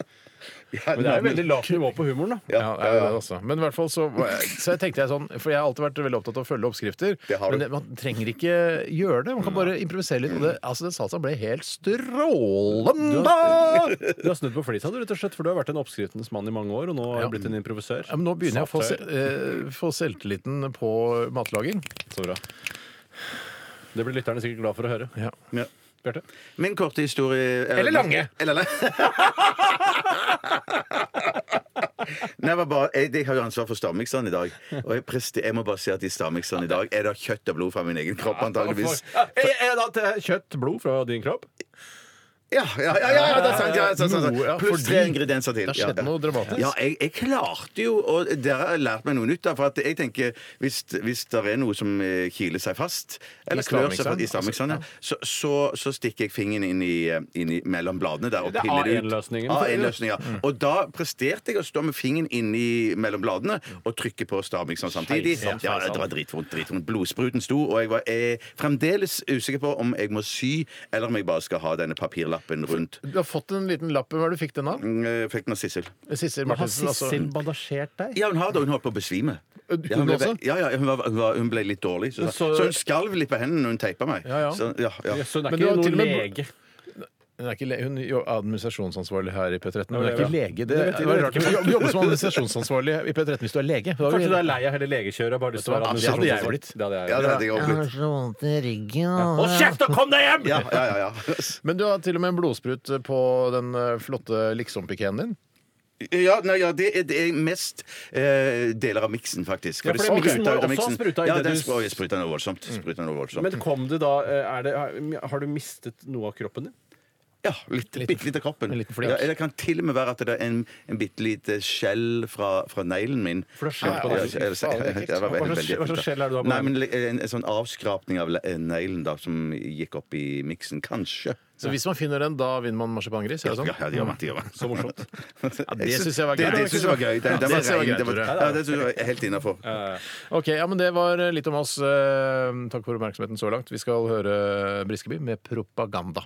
Speaker 4: Ja,
Speaker 3: Men det er jo
Speaker 4: men-
Speaker 3: veldig lavt nivå på humoren, da.
Speaker 2: Ja, det er det også. Men i hvert fall så, var jeg- så jeg tenkte jeg sånn, for jeg har alltid vært veldig opptatt av å følge oppskrifter.
Speaker 4: Det har du.
Speaker 2: men det, man trenger ikke gjøre det. Man kan bare improvisere litt. Og det, altså, den salsaen ble helt strålende!
Speaker 3: Du har snudd på flisa, du, rett og slett, for du har vært en oppskriftens mann i mange år, og nå har du blitt en improvisør.
Speaker 2: Ja, men nå begynner jeg å få, se, eh, få selvtilliten på matlaging.
Speaker 3: Så bra. Det blir lytterne sikkert glad for å høre.
Speaker 2: Ja.
Speaker 4: Ja.
Speaker 3: Bjarte?
Speaker 4: Min korte historie er-
Speaker 2: Eller lange.
Speaker 4: Eller lang- Nei, jeg, var bare, jeg, jeg har jo ansvar for stavmikseren i dag. Og jeg, prester, jeg må bare si at i stavmikseren i dag er det kjøtt og blod fra min egen kropp, antageligvis.
Speaker 3: Kjøtt, blod fra din kropp?
Speaker 4: Ja, ja, ja, ja, ja, det er sant. Ja, sant, sant,
Speaker 2: Noe, ja,
Speaker 4: sant. Pluss
Speaker 2: fordi
Speaker 4: tre ingredienser til.
Speaker 2: det har skjedd
Speaker 4: Ja, ja.
Speaker 2: noe dramatisk.
Speaker 4: Ja, jeg, jeg klarte jo Og dere har lært meg noe nytt. da, For at jeg tenker, hvis, hvis det er noe som eh, kiler seg fast, eller klør seg fast i stavmikseren,
Speaker 2: altså.
Speaker 4: ja, så, så, så stikker jeg fingeren inn i, eh, inn i mellom bladene der og
Speaker 3: Det er
Speaker 4: piller det ut.
Speaker 3: A1-løsningen. Mm.
Speaker 4: A1-løsningen, ja. Og da presterte jeg å stå med fingeren inni mellom bladene og trykke på stavmikseren samtidig.
Speaker 3: Skeisan,
Speaker 4: Ja,
Speaker 3: skeisan.
Speaker 4: det var dritvondt. dritvondt. Blodspruten sto, og jeg var eh, fremdeles usikker på om jeg må sy, eller om jeg bare skal ha denne papirlappen rundt.
Speaker 2: Du har fått en liten lapp. Hva er det du fikk den av?
Speaker 4: Mm, eh, Fikk den av Sissel.
Speaker 2: Sissel Martinsen. Altså.
Speaker 3: bandasjert deg?
Speaker 4: Ja, hun har det. Hun holdt på å besvime.
Speaker 3: Eh,
Speaker 2: Hun
Speaker 4: hun, ble,
Speaker 2: også?
Speaker 4: ja, ja, hun, var, hun, var, hun ble litt dårlig. Så, så,
Speaker 3: Så-
Speaker 4: hun skalv litt på hendene når hun teipa meg.
Speaker 2: Ja, ja.
Speaker 4: Så, ja, ja.
Speaker 3: Så hun er
Speaker 2: Men du
Speaker 3: ikke
Speaker 2: har til og
Speaker 3: noen
Speaker 2: med-
Speaker 3: lege?
Speaker 2: Hun er ikke le hun er jo administrasjonsansvarlig her i P13. men Hun er
Speaker 3: Ja,
Speaker 2: ikke lege. Det,
Speaker 3: vet jeg-
Speaker 2: det var
Speaker 3: det
Speaker 2: rart
Speaker 3: vet jeg
Speaker 2: å
Speaker 3: ikke.
Speaker 2: jobbe- jobbe som administrasjonsansvarlig i P13 hvis du er lege. Da
Speaker 3: Kanskje
Speaker 2: vil-
Speaker 3: du er lei av hele legekjøret? og Bare lyst til å være
Speaker 2: Det hadde jeg blitt.
Speaker 3: Det hadde jeg
Speaker 4: ja, det hadde jeg også blitt.
Speaker 2: så vondt i ryggen.
Speaker 3: Hold kjeft og kom deg hjem!
Speaker 4: Ja, ja, ja, ja.
Speaker 2: Men du har til og med en blodsprut på den eh, flotte liksom-pikeen din.
Speaker 4: ja, nei, ja det, er, det er mest eh, deler av miksen, faktisk.
Speaker 3: Ja, for det miksen må
Speaker 4: ut av
Speaker 3: også ha
Speaker 4: miksen.
Speaker 3: spruta i
Speaker 4: Ja,
Speaker 3: det
Speaker 4: den
Speaker 3: du-
Speaker 4: spr- oi, spruta noe voldsomt. Spruta noe voldsomt.
Speaker 3: Men kom du da eh, er det, Har du mistet noe av kroppen din?
Speaker 4: Ja, litt, bitte litt av kroppen.
Speaker 8: En liten flekk.
Speaker 4: Ja, det kan til og med være at det er en, en bitte lite skjell fra, fra neglen min.
Speaker 8: For det er skjell på
Speaker 4: Ja,
Speaker 8: neglen.
Speaker 4: ja, det er-
Speaker 8: Faen, det er ekkelt.
Speaker 4: det var
Speaker 8: Hva
Speaker 4: veldig,
Speaker 8: slags- hva slags
Speaker 4: veldig ekkelt, da.
Speaker 8: skjell er det du har på
Speaker 4: Nei,
Speaker 8: neglen?
Speaker 4: men en, en sånn avskrapning av le- eh, neglen da, som gikk opp i miksen, kanskje.
Speaker 2: Så hvis man finner den, da vinner man marsipangris? er
Speaker 4: Ja,
Speaker 2: det sånn?
Speaker 4: ja, det gjør man. Det gjør man.
Speaker 2: Så morsomt.
Speaker 4: Jeg
Speaker 2: det synes jeg var
Speaker 4: det-
Speaker 2: gøy.
Speaker 4: Det, synes jeg var gøy. Det,
Speaker 2: Ja,
Speaker 4: det, var
Speaker 2: det synes jeg var
Speaker 4: rein,
Speaker 2: gøy,
Speaker 4: det var,
Speaker 2: Tore.
Speaker 4: ja, det synes jeg var helt innafor.
Speaker 2: Ok, ja, men Det var litt om oss. Eh, Takk for oppmerksomheten så langt. Vi skal høre eh, Briskeby med propaganda.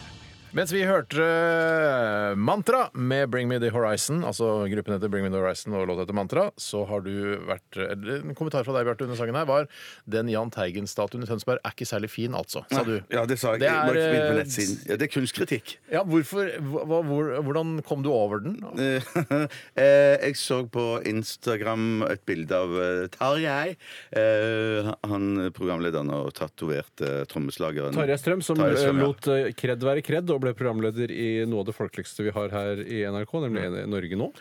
Speaker 2: Mens vi hørte eh, Mantra med Bring Me The Horizon, altså gruppen heter Bring Me The Horizon og låta heter Mantra, så har du vært eh, eller, En kommentar fra deg, Bjarte, under sangen her var den Jahn Teigen-statuen i Tønsberg er ikke særlig fin, altså, sa du.
Speaker 4: Ja, det sa jeg.
Speaker 2: Det
Speaker 4: Det er,
Speaker 2: er,
Speaker 4: på
Speaker 2: eh,
Speaker 4: nettsiden. Ja, det er kunstkritikk.
Speaker 2: Ja, hvorfor, hva, hvor, Hvordan kom du over den?
Speaker 4: Eh, jeg så på Instagram et bilde av eh, Tarjei. Eh, han programlederen og tatoverte trommeslageren.
Speaker 3: Tarjei Strøm, som
Speaker 4: Mm. Tarjei
Speaker 3: eh,
Speaker 4: Strøm, ja.
Speaker 3: lot eh, kred være kred og ble programleder i noe av det folkeligste vi har her i NRK, nemlig
Speaker 4: Mm.
Speaker 3: N- Norge nå.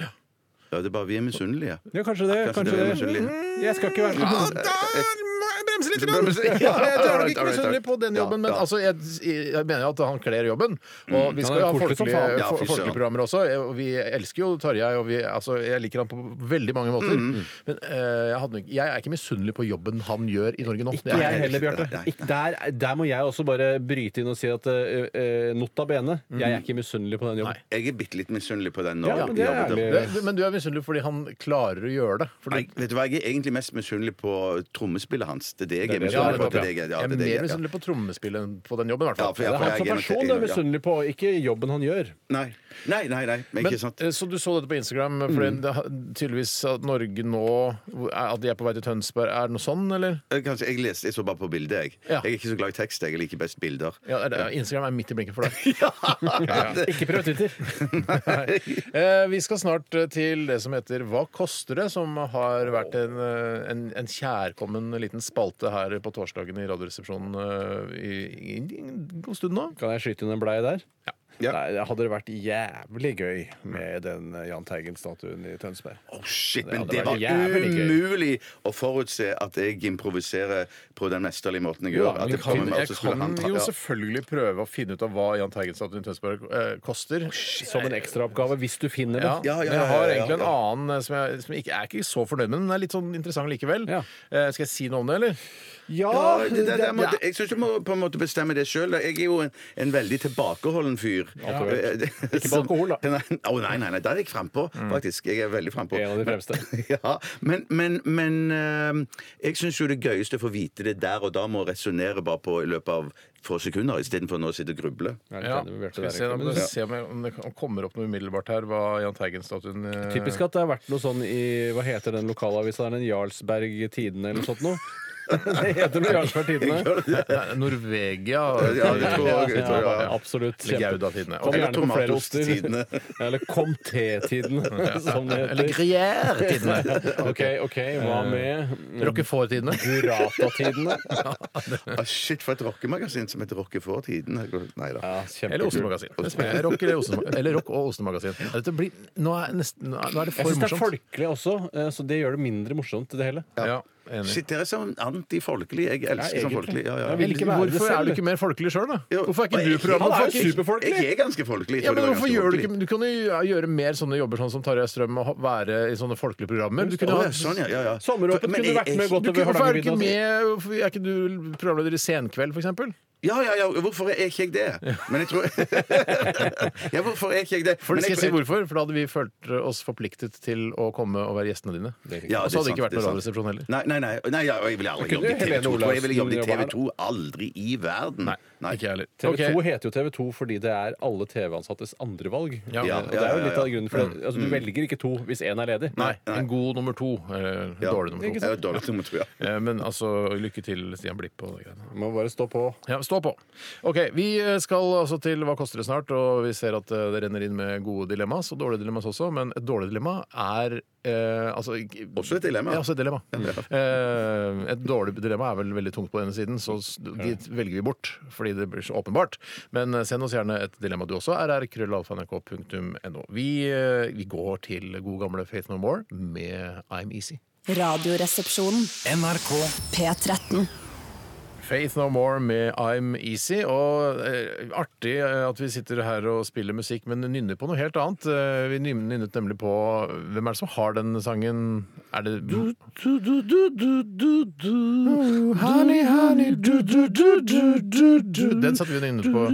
Speaker 4: Ja, det er bare vi er misunnelige.
Speaker 3: Ja, kanskje det.
Speaker 4: Kanskje
Speaker 3: Kanskje
Speaker 4: det er
Speaker 3: det.
Speaker 4: misunnelige.
Speaker 3: Jeg skal ikke være
Speaker 4: Ah,
Speaker 2: eh, Bremse litt!
Speaker 4: grann. Bremse litt, ja.
Speaker 2: Ja, jeg er nok
Speaker 4: Alright,
Speaker 2: ikke
Speaker 4: alright,
Speaker 2: misunnelig på den
Speaker 4: ja,
Speaker 2: jobben, men
Speaker 4: ja. Mm,
Speaker 2: altså, jeg, jeg mener jo at han kler jobben. Og vi
Speaker 3: Han
Speaker 2: skal
Speaker 3: er
Speaker 2: jo ha
Speaker 3: folkelig som
Speaker 2: folkelige,
Speaker 3: faen.
Speaker 4: Ja, fy
Speaker 2: fol-
Speaker 4: søren.
Speaker 2: folkelige programmer også. Jeg- og Vi elsker jo Tarjei, og vi, altså, jeg liker han på veldig mange måter.
Speaker 4: Mm,
Speaker 2: Men eh, jeg, hadde, nok- jeg er ikke misunnelig på jobben han gjør i Norge nå. Det er
Speaker 3: Jeg
Speaker 2: jeg
Speaker 3: heller,
Speaker 4: Nei,
Speaker 3: Bjarte.
Speaker 4: nei.
Speaker 3: Ikke- Der, der må jeg også bare bryte inn og si at eh, eh, nota bene,
Speaker 2: Mm.
Speaker 3: jeg er ikke misunnelig på den jobben.
Speaker 4: Jeg er bitte litt misunnelig på den. nå.
Speaker 3: Ja, men det er
Speaker 4: Jobben-
Speaker 3: ærlig.
Speaker 2: helt- Det- Men du er misunnelig fordi han klarer å gjøre det. Fordi
Speaker 4: Nei, vet du hva, Jeg er egentlig mest misunnelig på trommespillet hans. Det er det jeg er
Speaker 3: det-
Speaker 2: Ja,
Speaker 4: misunnelig på.
Speaker 2: nettopp,
Speaker 4: Det er
Speaker 2: ja.
Speaker 4: det
Speaker 2: Jeg
Speaker 4: jeg- ja, det
Speaker 2: er
Speaker 4: er det
Speaker 2: mer
Speaker 4: jeg- ja.
Speaker 2: misunnelig på trommespillet enn på den jobben, i hvert
Speaker 4: Ja,
Speaker 2: fall.
Speaker 4: for jeg-
Speaker 3: Det er
Speaker 4: for jeg
Speaker 3: han som
Speaker 4: er
Speaker 3: person
Speaker 4: helt
Speaker 3: du er
Speaker 4: enig, ja.
Speaker 3: misunnelig på, ikke jobben han gjør.
Speaker 4: Nei, nei, nei. nei. Men,
Speaker 2: Men,
Speaker 4: ikke sant?
Speaker 2: eh, så du så dette på Instagram,
Speaker 3: Mm.
Speaker 2: for det har- tydeligvis at Norge nå At de er på vei til Tønsberg, er det noe sånn, eller?
Speaker 4: Eh, Kanskje, jeg, leste, jeg så bare på bildet, jeg.
Speaker 2: Ja.
Speaker 4: Jeg er ikke så glad i tekst. Jeg liker best bilder.
Speaker 2: Ja, er det, Instagram er midt i blinken for deg.
Speaker 3: Ikke prøv Twitter.
Speaker 2: Eh, Vi skal snart eh, til det som heter Hva koster det?, som har vært en, eh, en, en kjærkommen liten spalte her på torsdagen i Radioresepsjonen eh, i, i en god stund nå.
Speaker 3: Kan jeg skyte inn en blei der?
Speaker 4: Ja.
Speaker 3: Nei, det hadde det vært jævlig gøy med den eh, Jahn Teigen-statuen i Tønsberg.
Speaker 4: Oh, shit, men
Speaker 3: det
Speaker 4: det
Speaker 3: var
Speaker 4: var
Speaker 3: jævlig gøy.
Speaker 4: umulig å forutse at jeg improviserer på den mesterlige måten jeg gjør.
Speaker 3: Ja,
Speaker 4: At
Speaker 3: men
Speaker 4: jeg
Speaker 3: jeg
Speaker 4: kommer med,
Speaker 2: Jeg
Speaker 4: og så skulle
Speaker 2: kan
Speaker 4: han ta
Speaker 2: jo
Speaker 4: ja.
Speaker 2: selvfølgelig prøve å finne ut av hva Jahn Teigen-statuen i Tønsberg eh, koster.
Speaker 3: Oh, Som en ekstraoppgave, hvis du finner
Speaker 2: Ja,
Speaker 3: den.
Speaker 4: Ja, ja,
Speaker 2: men jeg
Speaker 4: ja, ja,
Speaker 2: har
Speaker 4: ja,
Speaker 2: egentlig en
Speaker 4: ja.
Speaker 2: annen eh, som jeg, som jeg ikke, jeg er ikke så fornøyd med, men den er litt sånn interessant likevel.
Speaker 3: Ja.
Speaker 2: Eh, skal jeg si noe om det, eller?
Speaker 3: Ja,
Speaker 4: Ja, det, det, det, må, jeg syns du må på en måte bestemme det sjøl. Jeg er jo en, en veldig tilbakeholden fyr.
Speaker 3: Ikke på alkohol, da. Mm.
Speaker 4: Nei, å, nei, nei, nei, der er jeg frampå, faktisk. Jeg er veldig frampå.
Speaker 3: En av de fremste.
Speaker 4: Ja, men, men, men eh, jeg syns jo det gøyeste er å få vite det der og da, må resonnere bare på i løpet av få sekunder, istedenfor nå å sitte og gruble.
Speaker 3: Jeg er litt
Speaker 2: Ja.
Speaker 3: enig med Bjarte
Speaker 2: Skal vi se,
Speaker 3: der, egentlig,
Speaker 2: om
Speaker 3: men-
Speaker 2: det, se om, jeg, om det kommer opp noe umiddelbart her, hva Jahn Teigen-statuen eh,
Speaker 3: Typisk at det har vært noe sånn i Hva heter den lokalavisa? Er det en Jarlsberg Tidende eller noe sånt noe? Det heter noe Jarlsberg Tidende.
Speaker 2: Nei, Norvegia
Speaker 4: Ja, det tror jeg, jeg tror,
Speaker 3: Ja,
Speaker 4: ja.
Speaker 3: absolutt.
Speaker 2: Eller
Speaker 3: Kjempe-
Speaker 2: Gouda-tidene.
Speaker 3: Kom
Speaker 4: Eller
Speaker 3: gjerne på flere oster.
Speaker 4: Tomatosttidene.
Speaker 3: Eller Comté-tidene, som det
Speaker 2: Eller
Speaker 3: heter.
Speaker 2: Gruyère-tidene.
Speaker 3: OK, ok, hva med
Speaker 2: Roquefort-tidene.
Speaker 3: Burata-tidene?
Speaker 4: Ah, shit, for et rockemagasin som heter Rocke for tiden. Nei da.
Speaker 3: Ja,
Speaker 2: Eller
Speaker 3: kjempekult.
Speaker 2: Osemagasin. Det spiller jeg. Rock, eller Osen- eller rock og Osemagasin. Ja, dette blir- Nå, er nesten- nå er nå er det
Speaker 3: Jeg
Speaker 2: for
Speaker 3: syns det er
Speaker 2: morsomt.
Speaker 3: folkelig også, eh, så det gjør det mindre morsomt, det hele.
Speaker 2: Ja, enig.
Speaker 4: Shit, dere er sånn antifolkelig. Jeg elsker sånn
Speaker 3: egentlig.
Speaker 4: folkelig. Ja, ja.
Speaker 3: Jeg vil ikke være det
Speaker 2: Hvorfor er du
Speaker 3: selv.
Speaker 2: ikke mer folkelig sjøl, da?
Speaker 4: Jo,
Speaker 2: Hvorfor er ikke du
Speaker 4: jeg-
Speaker 2: programmet?
Speaker 3: Han er jo
Speaker 2: Hvorfor ikke-
Speaker 3: superfolkelig.
Speaker 4: Jeg er ganske folkelig.
Speaker 2: Ja, men hvorfor gjør du ikke Du kan jo gjøre mer sånne jobber sånn som Tarjei Strøm og ha- være i sånne folkelige programmer. Du kunne
Speaker 4: ja,
Speaker 2: ha
Speaker 4: sånn, ja, ja, ja.
Speaker 3: Sommeråpent
Speaker 4: For- men
Speaker 3: kunne
Speaker 4: jeg-
Speaker 3: vært med
Speaker 4: jeg-
Speaker 3: godt
Speaker 2: du,
Speaker 3: over
Speaker 2: kunne- Hvorfor er du ikke
Speaker 3: Hardangervidda.
Speaker 2: med hvorfor- Er ikke du programleder i Senkveld, for eksempel?
Speaker 4: Ja, ja, ja, hvorfor er ikke jeg det? Men jeg tror Ja, hvorfor er ikke jeg det?
Speaker 2: For
Speaker 4: Men jeg
Speaker 2: det skal jeg si
Speaker 4: tror-
Speaker 2: hvorfor, for da hadde vi følt oss forpliktet til å komme og være gjestene dine.
Speaker 4: Ja,
Speaker 2: og så hadde
Speaker 4: er sant,
Speaker 2: det ikke vært
Speaker 4: er
Speaker 2: noen
Speaker 4: sant.
Speaker 2: radioresepsjon heller.
Speaker 4: Nei, nei, nei, nei ja, og jeg ville aldri
Speaker 3: kunne
Speaker 4: jobbet i
Speaker 3: jo Helene
Speaker 4: TV 2. Jeg ville jobbet i
Speaker 3: Olaussen
Speaker 4: TV 2 aldri i verden. Nei.
Speaker 2: Ikke jeg heller.
Speaker 3: TV 2
Speaker 2: Ok.
Speaker 3: heter jo TV 2 fordi det er alle TV-ansattes andrevalg.
Speaker 2: Ja.
Speaker 3: Eh, og det er jo litt av grunnen for det. Altså, du velger ikke to hvis én er ledig.
Speaker 2: Nei, en god nummer to. Eller
Speaker 4: Ja.
Speaker 2: dårlig nummer
Speaker 4: Jeg
Speaker 2: to.
Speaker 4: er et dårlig nummer to, ja.
Speaker 2: Eh, Men altså, lykke til, Stian Blipp og de greiene.
Speaker 3: Må bare stå på.
Speaker 2: Ja, stå på. OK, vi skal altså til Hva koster det snart, og vi ser at eh, det renner inn med gode dilemmas og dårlige dilemmas også, men et dårlig dilemma er eh, altså, ikke-
Speaker 4: Også et dilemma.
Speaker 2: Ja,
Speaker 3: altså,
Speaker 2: også et dilemma. Eh, et dårlig dilemma er vel veldig tungt på den ene siden, så s- de velger vi bort fordi det blir så åpenbart. Men eh, send oss gjerne et dilemma du også, rrkrøllalfa.nrk.no. Vi, eh, vi går til gode gamle Faith No More med I'm Easy.
Speaker 5: Radioresepsjonen.
Speaker 9: NRK
Speaker 5: P13.
Speaker 2: Faith No More med I'm Easy. Og eh, artig eh, at vi sitter her og spiller musikk, men nynner på noe helt annet. Eh, vi nyn- nynnet nemlig på Hvem er det som har den sangen? Er det du, Honey, honey, du, du, du, du, du, du. Den satte vi og nynnet på.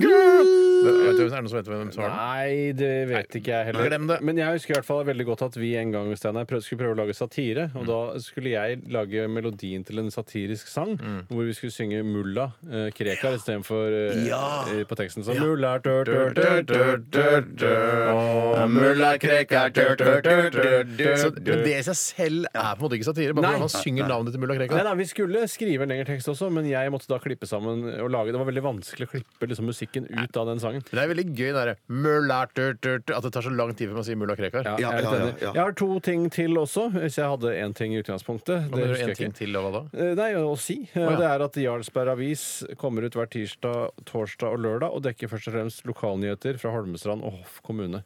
Speaker 2: Vet du, er det noen som vet hvem som har den?
Speaker 3: Nei, det vet ikke jeg heller.
Speaker 2: glem det.
Speaker 3: Men jeg husker i hvert fall veldig godt at vi en gang Steinar, prøv- skulle prøve å lage satire.
Speaker 2: Mm.
Speaker 3: Og da skulle jeg lage melodien til en satirisk sang
Speaker 2: Mm.
Speaker 3: hvor vi skulle synge mulla eh, Krekar istedenfor eh, eh, på teksten. Så mulla er dør, dør, dør, dør, dør, dør.
Speaker 2: Mulla Krekar Så Det i seg selv er på en måte ikke satire, bare
Speaker 3: Nei.
Speaker 2: hvordan man synger navnet til mulla
Speaker 3: Nei,
Speaker 2: Krekar.
Speaker 3: nei, Vi skulle skrive en lengre tekst også, men jeg måtte da klippe sammen og lage Det var veldig vanskelig å klippe liksom, musikken ut av den sangen.
Speaker 2: Men Det er veldig gøy det der, mulla, tur, tur, tur, at det tar så lang tid før man sier mulla Krekar.
Speaker 3: Ja, jeg, er
Speaker 4: ja,
Speaker 3: litt
Speaker 4: ja,
Speaker 3: enig.
Speaker 4: ja.
Speaker 3: jeg har to ting til også, hvis jeg hadde én ting i utgangspunktet.
Speaker 2: Hva mener du,
Speaker 3: husker
Speaker 2: en
Speaker 3: jeg ikke.
Speaker 2: ting til, og hva da?
Speaker 3: Eh, Nei, å si. Eh,
Speaker 2: Å, ja.
Speaker 3: Det er at Jarlsberg Avis kommer ut hver tirsdag, torsdag og lørdag og dekker først og fremst lokalnyheter fra Holmestrand og Hoff kommune.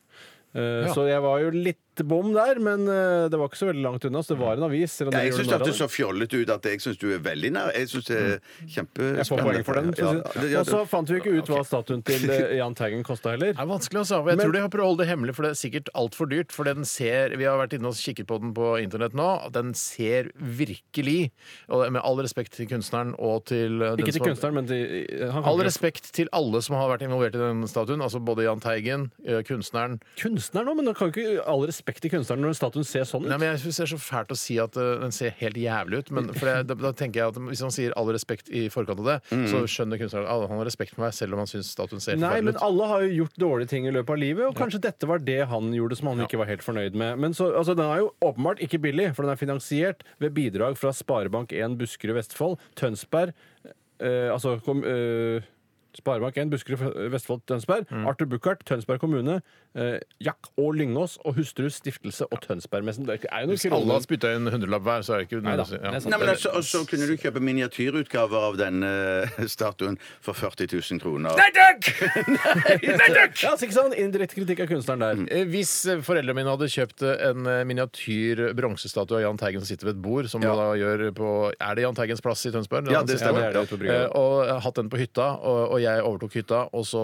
Speaker 3: Eh,
Speaker 2: Ja.
Speaker 3: Så jeg var jo litt bom der, men eh, det var ikke så veldig langt unna. Så det var en avis. selv om
Speaker 4: Ja,
Speaker 3: dere
Speaker 4: jeg
Speaker 3: gjorde
Speaker 4: syns
Speaker 3: narr av
Speaker 4: det
Speaker 3: det.
Speaker 4: så fjollete ut at jeg syns du er veldig nær. Jeg syns det er kjempespennende.
Speaker 3: jeg Mm. får poeng for den.
Speaker 4: Ja,
Speaker 3: for å si det.
Speaker 4: det- ja,
Speaker 3: Og så
Speaker 4: det-
Speaker 3: fant vi jo ikke ut hva statuen til eh, Jahn Teigen kosta heller.
Speaker 2: Det er vanskelig å Jeg tror de har prøvd å holde det hemmelig, for det er sikkert altfor dyrt. For den ser, Vi har vært inne og kikket på den på internett nå. at Den ser virkelig og Med all respekt til kunstneren og til eh, den
Speaker 3: Ikke til
Speaker 2: som har-
Speaker 3: kunstneren, men til han kan
Speaker 2: All
Speaker 3: ikke-
Speaker 2: respekt til alle som har vært involvert i den statuen. Altså både Jahn Teigen, eh, kunstneren
Speaker 3: Kunstneren òg, men det kan jo ikke all respekt til kunstneren når statuen ser sånn ut.
Speaker 2: Nei, men Jeg syns det er så fælt å si at eh, den ser helt jævlig ut.
Speaker 3: Mm.
Speaker 2: Men for det, da, da tenker jeg at Hvis man sier all respekt i forkant av det, så skjønner kunstneren at han har respekt for meg, selv om han syns statuen ser
Speaker 3: Mm. Nei,
Speaker 2: forferdelig
Speaker 3: men
Speaker 2: ut.
Speaker 3: alle har jo gjort dårlige ting i løpet av livet, og kanskje dette var det han gjorde som han ikke var helt fornøyd med. Men så, altså, den er jo åpenbart ikke billig, for den er finansiert ved bidrag fra Sparebank1 Buskerud Vestfold, Tønsberg eh, Altså kom, eh, Sparebank1 Buskerud Vestfold Tønsberg,
Speaker 2: Mm.
Speaker 3: Arthur Buchardt, Tønsberg kommune, eh, Jack og Lyngås og Hustru Stiftelse og Tønsbergmessen. Det er jo noen
Speaker 2: Hvis alle
Speaker 3: kroner.
Speaker 2: har spytta inn en hundrelapp hver, så er det ikke
Speaker 3: Nei da,
Speaker 2: noe å si.
Speaker 3: det er sant.
Speaker 4: Nei, men altså, og så kunne du kjøpe miniatyrutgaver av denne eh, statuen for 40 000 kroner. Nei,
Speaker 3: Ja, altså, ikke sånn indirekte kritikk av kunstneren der.
Speaker 2: Eh, Hvis eh, foreldrene mine hadde kjøpt eh, en eh, miniatyr bronsestatue av Jahn Teigen som sitter ved et bord, som man da gjør på Er det Jahn Teigens plass i Tønsberg?
Speaker 4: Ja,
Speaker 2: Han
Speaker 4: det
Speaker 2: sitter
Speaker 4: stemmer.
Speaker 2: der.
Speaker 3: Ja, det er det ute på brygga.
Speaker 2: Eh, Og eh, hatt den på hytta, og, og jeg overtok hytta, og så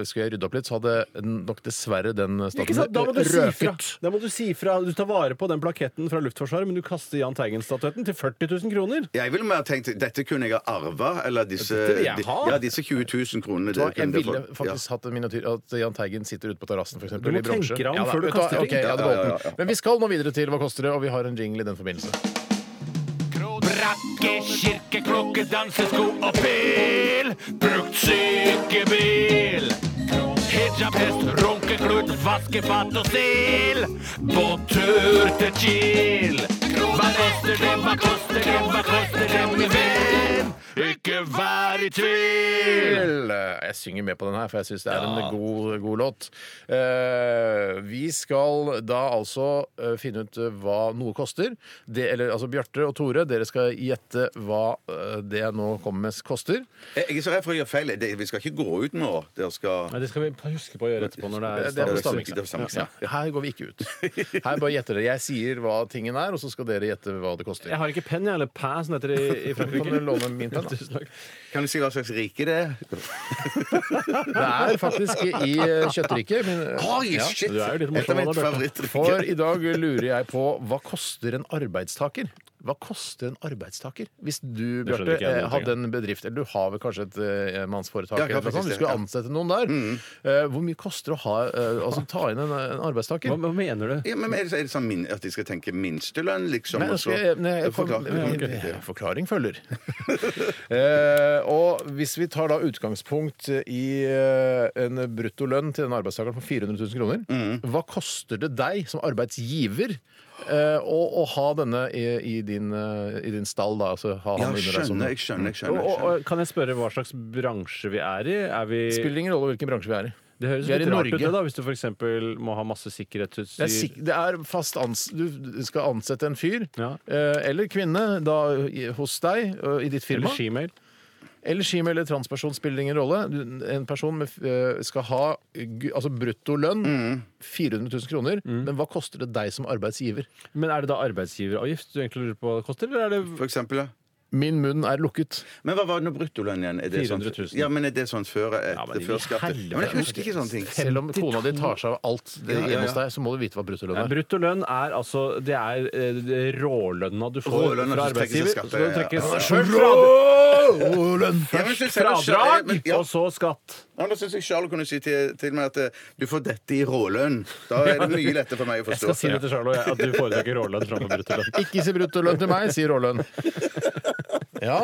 Speaker 2: eh, skulle jeg rydde opp litt, så hadde n- nok dessverre den
Speaker 3: Ikke
Speaker 2: statuen
Speaker 3: sant? Da må du si fra.
Speaker 2: røket.
Speaker 3: Da må du si fra. Du tar vare på den plaketten fra Luftforsvaret, men du kaster Jahn Teigen-statuetten til 40 000 kroner.
Speaker 4: Jeg ville mer tenkt dette kunne jeg ha arva, eller disse,
Speaker 3: Dette vil jeg
Speaker 4: de-
Speaker 3: ha.
Speaker 4: ja, disse 20 000 kronene.
Speaker 2: Så
Speaker 4: det
Speaker 2: jeg
Speaker 4: kunne det
Speaker 2: ville
Speaker 4: fått-
Speaker 2: faktisk hatt en miniatyr At Jahn Teigen sitter ute på terrassen, f.eks.
Speaker 3: Du må tenke deg om før du kaster ting.
Speaker 2: Men vi skal nå videre til Hva koster det? Og vi har en jingle i den forbindelse.
Speaker 10: Brakke, kirkeklokke, dansesko og pil. Brukt sykebil. Hijabhest, runkeklut, vaskefat og stil. På tur til Kiel. Hva koster det, hva koster det, hva koster det, min venn? Ikke vær i tvil.
Speaker 2: Vel, eh, Jeg synger med på den her, for jeg syns det er en god, god låt. Eh, vi skal da altså eh, finne ut eh, hva noe koster. Det, eller, altså Bjarte og Tore, dere skal gjette hva eh, det jeg nå kommer med, koster.
Speaker 4: Jeg jeg er så redd for å gjøre feil. Det- Vi skal ikke gå ut nå. Dere skal
Speaker 3: Nei, det skal vi huske på å gjøre etterpå når det
Speaker 2: Eh, Det
Speaker 3: er
Speaker 2: er på
Speaker 4: det er-
Speaker 2: stammiksa.
Speaker 4: det er på stammiksa.
Speaker 2: Ja. Her går vi ikke ut. Her bare gjetter dere. Jeg sier hva tingen er, og så skal dere gjette hva det koster.
Speaker 3: Jeg har ikke penn, jeg, eller pæ, som det heter i, i
Speaker 2: Kan
Speaker 3: Frankrike.
Speaker 2: du låne min penn, da?
Speaker 3: Tusen takk.
Speaker 4: Kan du si hva slags rike det er?
Speaker 2: Det er faktisk i eh, kjøttriket. men, eh,
Speaker 4: Oi,
Speaker 2: ja.
Speaker 4: shit!
Speaker 3: du er jo
Speaker 4: Et
Speaker 3: litt
Speaker 4: av
Speaker 3: morsom,
Speaker 4: mitt
Speaker 3: da, Bjarte.
Speaker 2: For
Speaker 4: favorittriker.
Speaker 2: i dag lurer jeg på hva koster en arbeidstaker? Hva koster en arbeidstaker? Hvis du Bjarte,
Speaker 3: ikke jeg
Speaker 2: eh,
Speaker 3: noe,
Speaker 2: hadde en bedrift, eller du har vel kanskje et eh, mannsforetak,
Speaker 4: Ja, jeg har
Speaker 2: eller noe
Speaker 4: faktisk
Speaker 2: sånt, du
Speaker 4: det,
Speaker 2: skulle
Speaker 4: ja. Mm.
Speaker 2: ansette noen der. Eh, Hvor mye koster det å ha, eh, altså, ta inn en, en arbeidstaker?
Speaker 3: Hva, hva mener du?
Speaker 4: Ja, men er det, er det sånn min, at de skal tenke minstelønn, liksom?
Speaker 2: Nei,
Speaker 4: og så-
Speaker 2: altså, nå skal jeg, nei, jeg kom,
Speaker 4: Forklar.
Speaker 2: eh, forklaring følger. eh, og hvis vi tar da utgangspunkt i eh, en bruttolønn til denne arbeidstakeren på 400 000 kroner, hva koster det deg som arbeidsgiver eh, å, å ha denne i, i, din, eh, i din stall? Da, altså, ha
Speaker 4: Ja,
Speaker 2: han under deg som-
Speaker 4: skjønner, jeg skjønner. jeg
Speaker 3: Og,
Speaker 4: skjønner, jeg
Speaker 3: og,
Speaker 4: skjønner.
Speaker 3: og, kan jeg spørre hva slags bransje vi er i? Er vi
Speaker 2: Spiller ingen rolle hvilken bransje vi er i.
Speaker 3: Det høres
Speaker 2: vi er
Speaker 3: litt
Speaker 2: i
Speaker 3: rart ut,
Speaker 2: Norge.
Speaker 3: det, da, hvis du f.eks. må ha masse
Speaker 2: Det er, sik
Speaker 3: sikkerhetsutstyr.
Speaker 2: det er fast ans Du skal ansette en fyr
Speaker 3: Ja.
Speaker 2: eh, eller kvinne da, i, hos deg eh, i ditt firma.
Speaker 3: Eller skimail.
Speaker 2: Eller skime eller transperson spiller ingen rolle. Du- En person med, f- eh, skal ha gu- altså bruttolønn,
Speaker 4: Mm.
Speaker 2: 400 000 kroner, men hva koster det deg som arbeidsgiver?
Speaker 3: Men er det da arbeidsgiveravgift du egentlig lurer på hva det koster, eller er det
Speaker 4: For eksempel, ja.
Speaker 2: Min munn er lukket.
Speaker 4: Men hva var det nå bruttolønn igjen? Er det
Speaker 3: 400 000.
Speaker 4: Sånn, ja, men er det sånn før etter
Speaker 3: men i
Speaker 4: før skatt? Ja,
Speaker 3: helvete.
Speaker 4: men jeg husker ikke sånne ting.
Speaker 2: Selv om kona di tar seg av alt det
Speaker 4: Ja, ja,
Speaker 2: hjemme hos
Speaker 4: ja.
Speaker 2: deg, så må du vite hva bruttolønn
Speaker 3: Nei,
Speaker 2: er.
Speaker 3: brutto lønn er altså Det er eh, det rålønna du får
Speaker 4: Rålønna
Speaker 3: fra
Speaker 4: som trekkes i
Speaker 3: arbeidsgiver.
Speaker 4: skatt,
Speaker 3: Så skal det
Speaker 4: ja, ja.
Speaker 3: trekkes
Speaker 4: Ja,
Speaker 3: først fra-
Speaker 4: Ja, men jeg synes- jeg-
Speaker 3: fradrag,
Speaker 4: men- ja.
Speaker 3: og så skatt.
Speaker 4: Ja, men Da syns jeg Charlo kunne si til, til meg at eh, du får dette i rålønn. Da er det mye lettere for meg å
Speaker 3: Jeg skal
Speaker 4: forstå.
Speaker 3: si det til Charlo, jeg, at du foretrekker rålønn framfor bruttolønn.
Speaker 2: Ikke si bruttolønn til meg, si rålønn. Ja,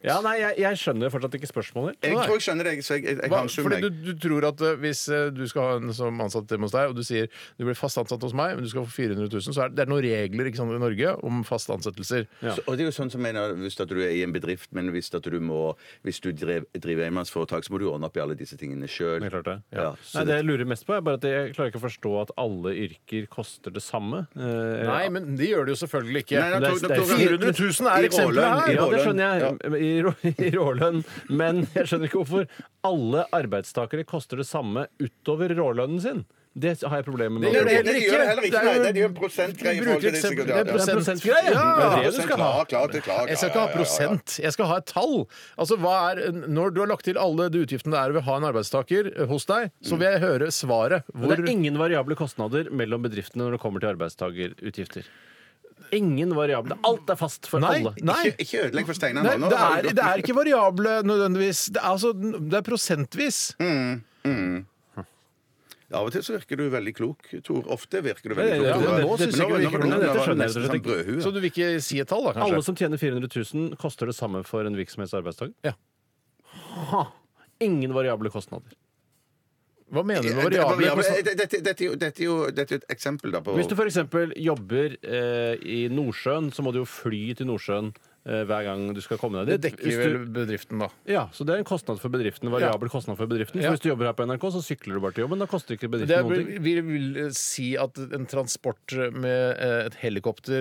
Speaker 3: Ja, nei, jeg, jeg skjønner fortsatt ikke spørsmålet.
Speaker 4: Jeg tror jeg skjønner deg, så jeg, jeg, jeg
Speaker 2: hva,
Speaker 4: har en sum,
Speaker 2: fordi du,
Speaker 4: jeg.
Speaker 2: du tror at eh, hvis eh, du skal ha en som ansatt hjemme hos deg, og du sier du blir fast ansatt hos meg, men du skal få 400 000, så er det, det er noen regler ikke sant, i Norge om fast ansettelser.
Speaker 4: Så- Og det er jo sånn som jeg mener, Hvis at du er i en bedrift, men hvis, at du, må, hvis du drev, driver enmannsforetak, så må du ordne opp i alle disse tingene sjøl.
Speaker 3: Det er klart det.
Speaker 4: Ja. så
Speaker 3: Nei, det jeg lurer mest på, er bare at jeg klarer ikke å forstå at alle yrker koster det samme. Eh,
Speaker 2: Nei, men det gjør det jo selvfølgelig ikke.
Speaker 4: Nei, nei,
Speaker 3: det er-
Speaker 4: tok-
Speaker 3: det er
Speaker 4: tok-
Speaker 2: 400 000 er
Speaker 4: i
Speaker 2: eksempelet
Speaker 4: rålønn,
Speaker 2: her.
Speaker 4: i
Speaker 3: Ja, det
Speaker 4: rålønn.
Speaker 3: skjønner
Speaker 4: Ja.
Speaker 3: jeg. I, rå, I rålønn. Men jeg skjønner ikke hvorfor alle arbeidstakere koster det samme utover rålønnen sin. Det har jeg problemer med.
Speaker 4: Nei,
Speaker 2: det
Speaker 4: det,
Speaker 2: heller
Speaker 4: det,
Speaker 2: ikke.
Speaker 4: gjør det heller
Speaker 2: Det
Speaker 4: ikke.
Speaker 2: er jo-
Speaker 4: Nei, det er jo en prosentgreie. i
Speaker 2: Du
Speaker 4: forhold
Speaker 2: bruker
Speaker 4: til det, sikkert,
Speaker 2: eksempel, det
Speaker 4: ja, ja.
Speaker 2: er
Speaker 3: Det er
Speaker 2: prosent.
Speaker 3: prosentgreie. Det er det du
Speaker 4: Prosent,
Speaker 3: skal ha.
Speaker 4: klart, klart, det er klart.
Speaker 2: Jeg skal
Speaker 4: Ja,
Speaker 2: ikke
Speaker 4: ja,
Speaker 2: ha
Speaker 4: ja, ja, ja.
Speaker 2: prosent, jeg skal ha et tall. Altså, hva er, Når du har lagt til alle de utgiftene det er ved å ha en arbeidstaker eh, hos deg, så vil jeg høre svaret.
Speaker 3: Og
Speaker 2: Hvor,
Speaker 3: det er ingen variable kostnader mellom bedriftene når det kommer til arbeidstagerutgifter. Ingen variable. Alt er fast for
Speaker 2: Nei,
Speaker 3: alle.
Speaker 2: nei.
Speaker 4: Ikke, ikke ødelegg for Steinar
Speaker 2: Nei,
Speaker 4: nå.
Speaker 2: det, er, det er ikke variable nødvendigvis. Det er, altså, det er prosentvis.
Speaker 4: Av og til så virker du veldig klok, Tor. Ofte virker du veldig
Speaker 3: Ja,
Speaker 4: klok.
Speaker 3: ja,
Speaker 4: Tor.
Speaker 3: men nå synes jeg
Speaker 4: nå-
Speaker 3: ikke du virker
Speaker 4: nå-
Speaker 3: klok.
Speaker 4: nå- nå-
Speaker 3: Dette
Speaker 4: nå-
Speaker 3: skjønner jeg
Speaker 4: nesten
Speaker 3: rett og slett
Speaker 4: sånn brødhue.
Speaker 2: Så du vil ikke si et tall, da,
Speaker 3: Alle
Speaker 2: kanskje?
Speaker 3: som tjener 400 000, koster det samme for en virksomhetsarbeidstaker?
Speaker 2: Ja.
Speaker 3: Ha. Ingen variable kostnader.
Speaker 2: Hva mener du med
Speaker 4: Det-
Speaker 2: variable?
Speaker 4: variable-
Speaker 2: kostnader?
Speaker 4: Dette dette- dette er jo- dette er jo dette er et eksempel da på
Speaker 3: Hvis du f.eks. jobber eh, i Nordsjøen, så må du jo fly til Nordsjøen eh, hver gang du skal komme
Speaker 2: Det
Speaker 3: deg dit.
Speaker 2: dekker
Speaker 3: Hvis
Speaker 2: vel
Speaker 3: du,
Speaker 2: bedriften, da.
Speaker 3: ja, så det er en kostnad for bedriften. En variabel kostnad for bedriften.
Speaker 2: Ja.
Speaker 3: Så hvis du jobber her på NRK, så sykler du bare til jobben. Da koster
Speaker 2: Det
Speaker 3: ikke bedriften noen ting.
Speaker 2: vil, vil, vil eh, si at en transport med eh, et helikopter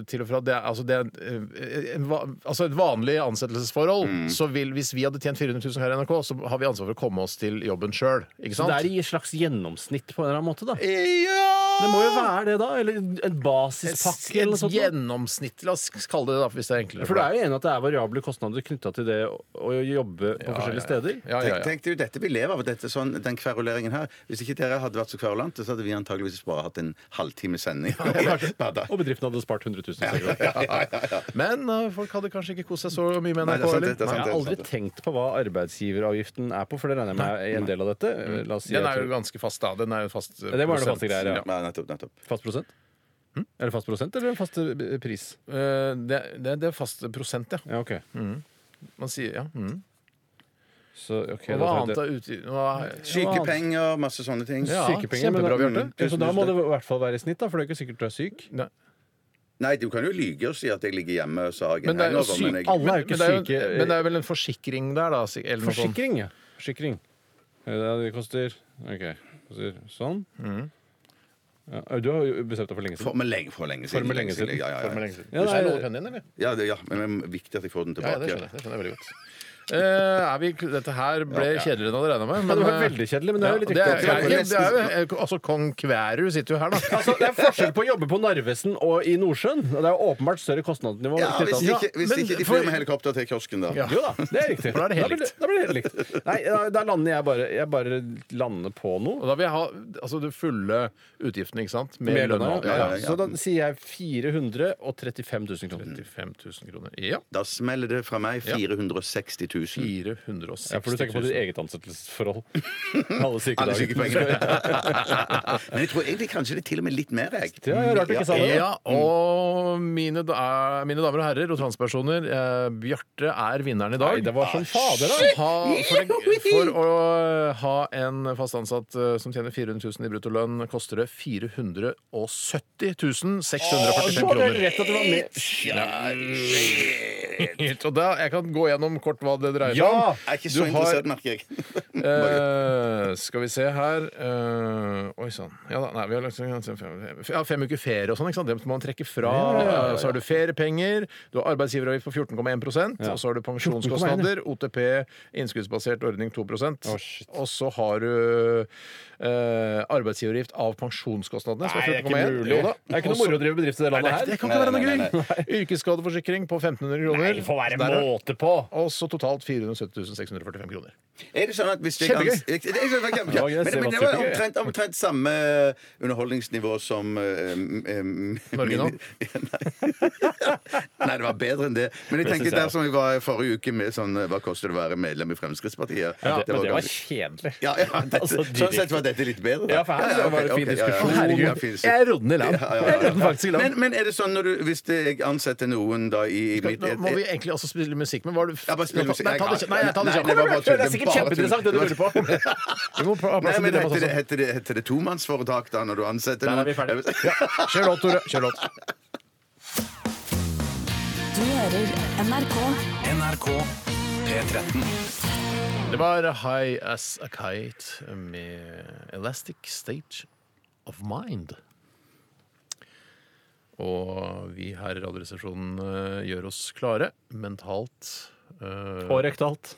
Speaker 2: eh, til og fra Det er, altså, det er eh, en, va- altså et vanlig ansettelsesforhold.
Speaker 3: Mm.
Speaker 2: Så vil, hvis vi hadde tjent 400 000 her i NRK, så har vi ansvar for å komme oss til jobben sjøl. Ikke
Speaker 3: Så det
Speaker 2: sant?
Speaker 3: er i et slags gjennomsnitt på en eller annen måte, da.
Speaker 2: ja!
Speaker 3: Det må jo være det, da. Eller en basispakke eller
Speaker 2: Et
Speaker 3: noe sånt. da.
Speaker 2: gjennomsnitt, la oss kalle det det, da, hvis det er enklere.
Speaker 3: For du er jo enig at det er variable kostnader knytta til det å, å jobbe på forskjellige steder.
Speaker 2: ja, ja,
Speaker 4: Tenk,
Speaker 2: ja.
Speaker 4: tenk det er jo dette vi lever av, dette er sånn, den kveruleringen her. Hvis ikke dere hadde vært så kverulante, så hadde vi antageligvis bare hatt en halvtime sending. Per dag.
Speaker 3: Og bedriften hadde spart 100 000 kroner.
Speaker 2: Men eh, folk hadde kanskje ikke kost seg så mye med
Speaker 4: Nei, det er
Speaker 2: NRK,
Speaker 4: sant, det er
Speaker 2: eller?
Speaker 4: sant.
Speaker 3: Jeg har aldri tenkt på hva arbeidsgiveravgiften er på, for det regner jeg med er en del av dette. La oss si
Speaker 2: Den
Speaker 3: at-
Speaker 2: er jo ganske fast, da. Den er jo fast eh,
Speaker 3: Ja, det var det
Speaker 2: prosent.
Speaker 3: faste greier, ja.
Speaker 4: Nei, nettopp, nettopp.
Speaker 3: Fast prosent? Er det fast prosent eller en fast eh, pris?
Speaker 2: Eh, Det, det, det er fast prosent, ja.
Speaker 3: Ja, ok.
Speaker 2: Man sier ja. Mm.
Speaker 3: Så, ok,
Speaker 2: Og
Speaker 3: da
Speaker 2: hva
Speaker 3: tar jeg
Speaker 2: annet
Speaker 3: det.
Speaker 2: er uti... hva-
Speaker 4: Sykepenger, masse sånne ting.
Speaker 2: Ja.
Speaker 3: Sykepenger? men da-
Speaker 2: kjempebra, Bjarte.
Speaker 3: Mm. Ja, Så da må det i hvert fall være i snitt, da, for det er ikke sikkert du er syk.
Speaker 2: Nei.
Speaker 4: Nei, du kan jo lyge og si at jeg ligger hjemme og så har jeg
Speaker 2: Men
Speaker 4: en
Speaker 2: det er jo
Speaker 4: hangover, men
Speaker 2: syk,
Speaker 4: jeg-
Speaker 3: Alle er jo ikke
Speaker 2: men det er jo-
Speaker 3: syke.
Speaker 2: Men det er vel en forsikring der, da? sik- Eller noe sånt.
Speaker 3: Forsikring, ja. Forsikring. Ja, Det koster OK. Koster sånn. Ja, du har jo bestemt deg for lenge
Speaker 4: For,
Speaker 3: siden.
Speaker 4: men lenge, for lenge siden.
Speaker 3: For lenge siden.
Speaker 4: Ja, ja, ja.
Speaker 2: Du
Speaker 3: Ja,
Speaker 2: skal
Speaker 3: nei,
Speaker 2: låne pennen din, eller?
Speaker 4: ja, det, ja, men det er viktig at jeg får den
Speaker 2: Ja,
Speaker 4: tilbake.
Speaker 2: ja, det skjønner jeg. Det skjønner jeg veldig godt. Eh, er vi, dette her ble
Speaker 4: Ja, ja.
Speaker 2: kjedeligere enn jeg hadde regna med.
Speaker 3: Ja, det var
Speaker 2: eh,
Speaker 3: veldig kjedelig, men det er jo litt
Speaker 2: ja, det er,
Speaker 3: riktig.
Speaker 2: det
Speaker 3: oppslag.
Speaker 2: er, det er, jo- altså, Kong Kværu sitter jo her, da.
Speaker 3: Altså, det er forskjell på å jobbe på Narvesen og i Nordsjøen. og Det er jo åpenbart større kostnadsnivå.
Speaker 4: Ja, hvis
Speaker 3: knyttet til-
Speaker 4: ikke, hvis
Speaker 2: men
Speaker 4: ikke de
Speaker 2: for-
Speaker 4: flyr med helikopter til kiosken, da.
Speaker 2: Ja.
Speaker 3: Jo da, det er riktig.
Speaker 2: For da er det helt
Speaker 3: blir
Speaker 2: likt.
Speaker 3: Da blir det helt likt. Nei, da, da lander jeg bare Jeg bare lander på
Speaker 2: Og
Speaker 3: noe.
Speaker 2: da vil jeg ha altså, det fulle utgiftene, ikke sant? Med,
Speaker 3: Med
Speaker 2: lønna.
Speaker 3: lønna. Ja,
Speaker 4: ja,
Speaker 3: ja,
Speaker 4: ja.
Speaker 3: Så da sier jeg 435 000 kroner.
Speaker 2: 35 000 kroner. Ja.
Speaker 4: Da smeller det fra meg 460 000.
Speaker 2: 460 000.
Speaker 3: Ja, for du tenker på ditt eget ansettelsesforhold. Alle
Speaker 4: Alle
Speaker 3: sykedager.
Speaker 4: sykepengene. Men jeg tror egentlig kanskje det er til og med litt mer, jeg.
Speaker 3: Ja, ja, rart du ikke sa det.
Speaker 2: Ja, og mine, da, mine damer og herrer og transpersoner, eh, Bjarte er vinneren i dag. Ah,
Speaker 3: Nei, det var som fader, da.
Speaker 2: ha, for, det, for å eh, ha en fast ansatt eh, som tjener 400 000 i bruttolønn, koster det 470 645
Speaker 3: Så var
Speaker 2: kroner.
Speaker 3: det rett at det var med.
Speaker 4: Ja,
Speaker 2: helt. Og da, jeg kan gå gjennom kort hva det dreier seg
Speaker 8: Ja!
Speaker 2: om.
Speaker 4: Jeg er ikke
Speaker 2: Du
Speaker 4: så
Speaker 2: har-
Speaker 4: interessert, merker jeg.
Speaker 2: Eh, skal vi se her eh, Oi sann. Ja, da, nei, vi har lagt, ja, fem uker ferie og sånn. ikke sant? Det må man trekke fra. Eh, Så har du feriepenger, du har arbeidsgiveravgift på 14,1 og så har du pensjonskostnader, OTP, innskuddsbasert ordning 2 Og så har du eh, arbeidsgiveravgift av pensjonskostnadene. som
Speaker 3: Nei, det er
Speaker 2: 14,1.
Speaker 3: ikke mulig.
Speaker 2: Jo da.
Speaker 3: Det er ikke noe
Speaker 2: Også-
Speaker 3: moro å drive bedrift i det landet
Speaker 2: Nei,
Speaker 3: her.
Speaker 2: det kan ikke være
Speaker 4: Nei, nei, nei,
Speaker 2: noe gøy! Yrkesskadeforsikring på 1500
Speaker 3: Nei,
Speaker 2: kroner.
Speaker 3: det får være
Speaker 2: Der er-
Speaker 3: måte på!
Speaker 2: Og så totalt 470 645 kroner.
Speaker 4: Er det sånn at hvis jeg
Speaker 2: Kjempegøy.
Speaker 4: ans- Jeg- jeg- jeg- jeg- jeg-
Speaker 3: Ja, jeg
Speaker 4: Men,
Speaker 3: ser
Speaker 4: men
Speaker 3: hva
Speaker 4: det var
Speaker 3: type gøy.
Speaker 4: omtrent, omtrent samme underholdningsnivå som eh, m- m-
Speaker 2: Norge nå?
Speaker 4: min- Ja, nei. nei, det var bedre enn det. Men jeg
Speaker 3: Det synes
Speaker 4: tenker
Speaker 3: jeg
Speaker 4: der som vi var i forrige uke med sånn eh, Hva koster det å være medlem i Fremskrittspartiet?
Speaker 3: Ja, men det var
Speaker 4: ganske-
Speaker 3: kjedelig.
Speaker 4: ja, ja, dette,
Speaker 3: Altså, de-
Speaker 4: sånn sett var dette litt bedre. da.
Speaker 3: Ja, for her var det
Speaker 4: ok,
Speaker 3: fin
Speaker 4: ok, ja, ja,
Speaker 3: diskusjon.
Speaker 4: ja,
Speaker 3: Herregud,
Speaker 4: ja, fin diskusjon.
Speaker 2: Jeg rodde den i land.
Speaker 4: Ja, ja, ja.
Speaker 2: Jeg rodde den faktisk i land.
Speaker 4: Men, men er det sånn når du, hvis det, jeg ansetter noen da i, i mitt Eh,
Speaker 2: Nå må vi egentlig også spille musikk, men hva er det
Speaker 4: Ja, bare spille musikk.
Speaker 2: Nei, ta det kjapt. Nei, jeg tar det
Speaker 4: Nei,
Speaker 2: kjapt.
Speaker 4: nei, bare- bare tull.
Speaker 3: Det er sikkert kjempeinteressant, det du lurer på.
Speaker 2: Vi må
Speaker 4: Nei,
Speaker 2: ha plass
Speaker 4: men
Speaker 2: til
Speaker 4: heter det,
Speaker 2: det.
Speaker 4: heter, det, heter det tomannsforetak da, når du ansetter
Speaker 3: Der
Speaker 4: noen?
Speaker 3: er vi ferdige.
Speaker 2: Kjør låt, Tore. Kjør låt.
Speaker 5: Du hører NRK.
Speaker 9: NRK P13.
Speaker 2: Det var High As A Kite med Elastic Stage of Mind. Og vi her i Radioresepsjonen eh, gjør oss klare mentalt. eh,
Speaker 3: Og rektalt.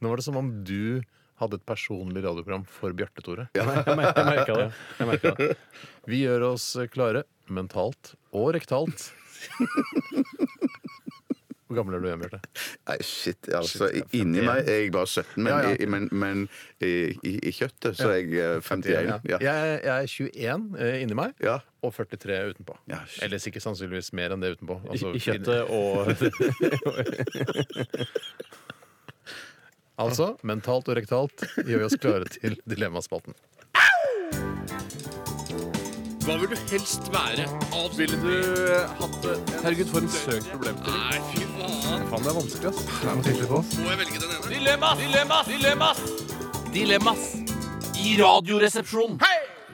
Speaker 2: Nå var det som om du hadde et personlig radioprogram for Bjarte, Tore.
Speaker 3: Jeg mer- jeg merka det. Jeg merket det.
Speaker 2: Vi gjør oss eh, klare mentalt og rektalt. Hvor gammel er du igjen, Bjarte?
Speaker 4: Nei, shit, altså Inni meg er jeg bare 17, men,
Speaker 2: Ja, ja.
Speaker 4: I, men, men i, i, i kjøttet så er jeg eh, 51. Ja.
Speaker 2: Jeg, jeg er 21 eh, inni meg
Speaker 4: Ja.
Speaker 2: og 43 utenpå.
Speaker 4: Ja, shit.
Speaker 2: Eller sikkert sannsynligvis mer enn det utenpå. Altså,
Speaker 3: I kjøttet og
Speaker 2: Altså, mentalt og rektalt gjør vi oss klare til Dilemmaspalten.
Speaker 10: Hva vil du helst være? Ville du hatt det? Herregud, for en søk problemstilling. Nei, fy faen. Faen, det er vanskelig, ass. Det er noe sikkert på oss. Må jeg velge den ene? Dilemmas! Dilemmas! Dilemmas! Dilemmas! I radioresepsjonen.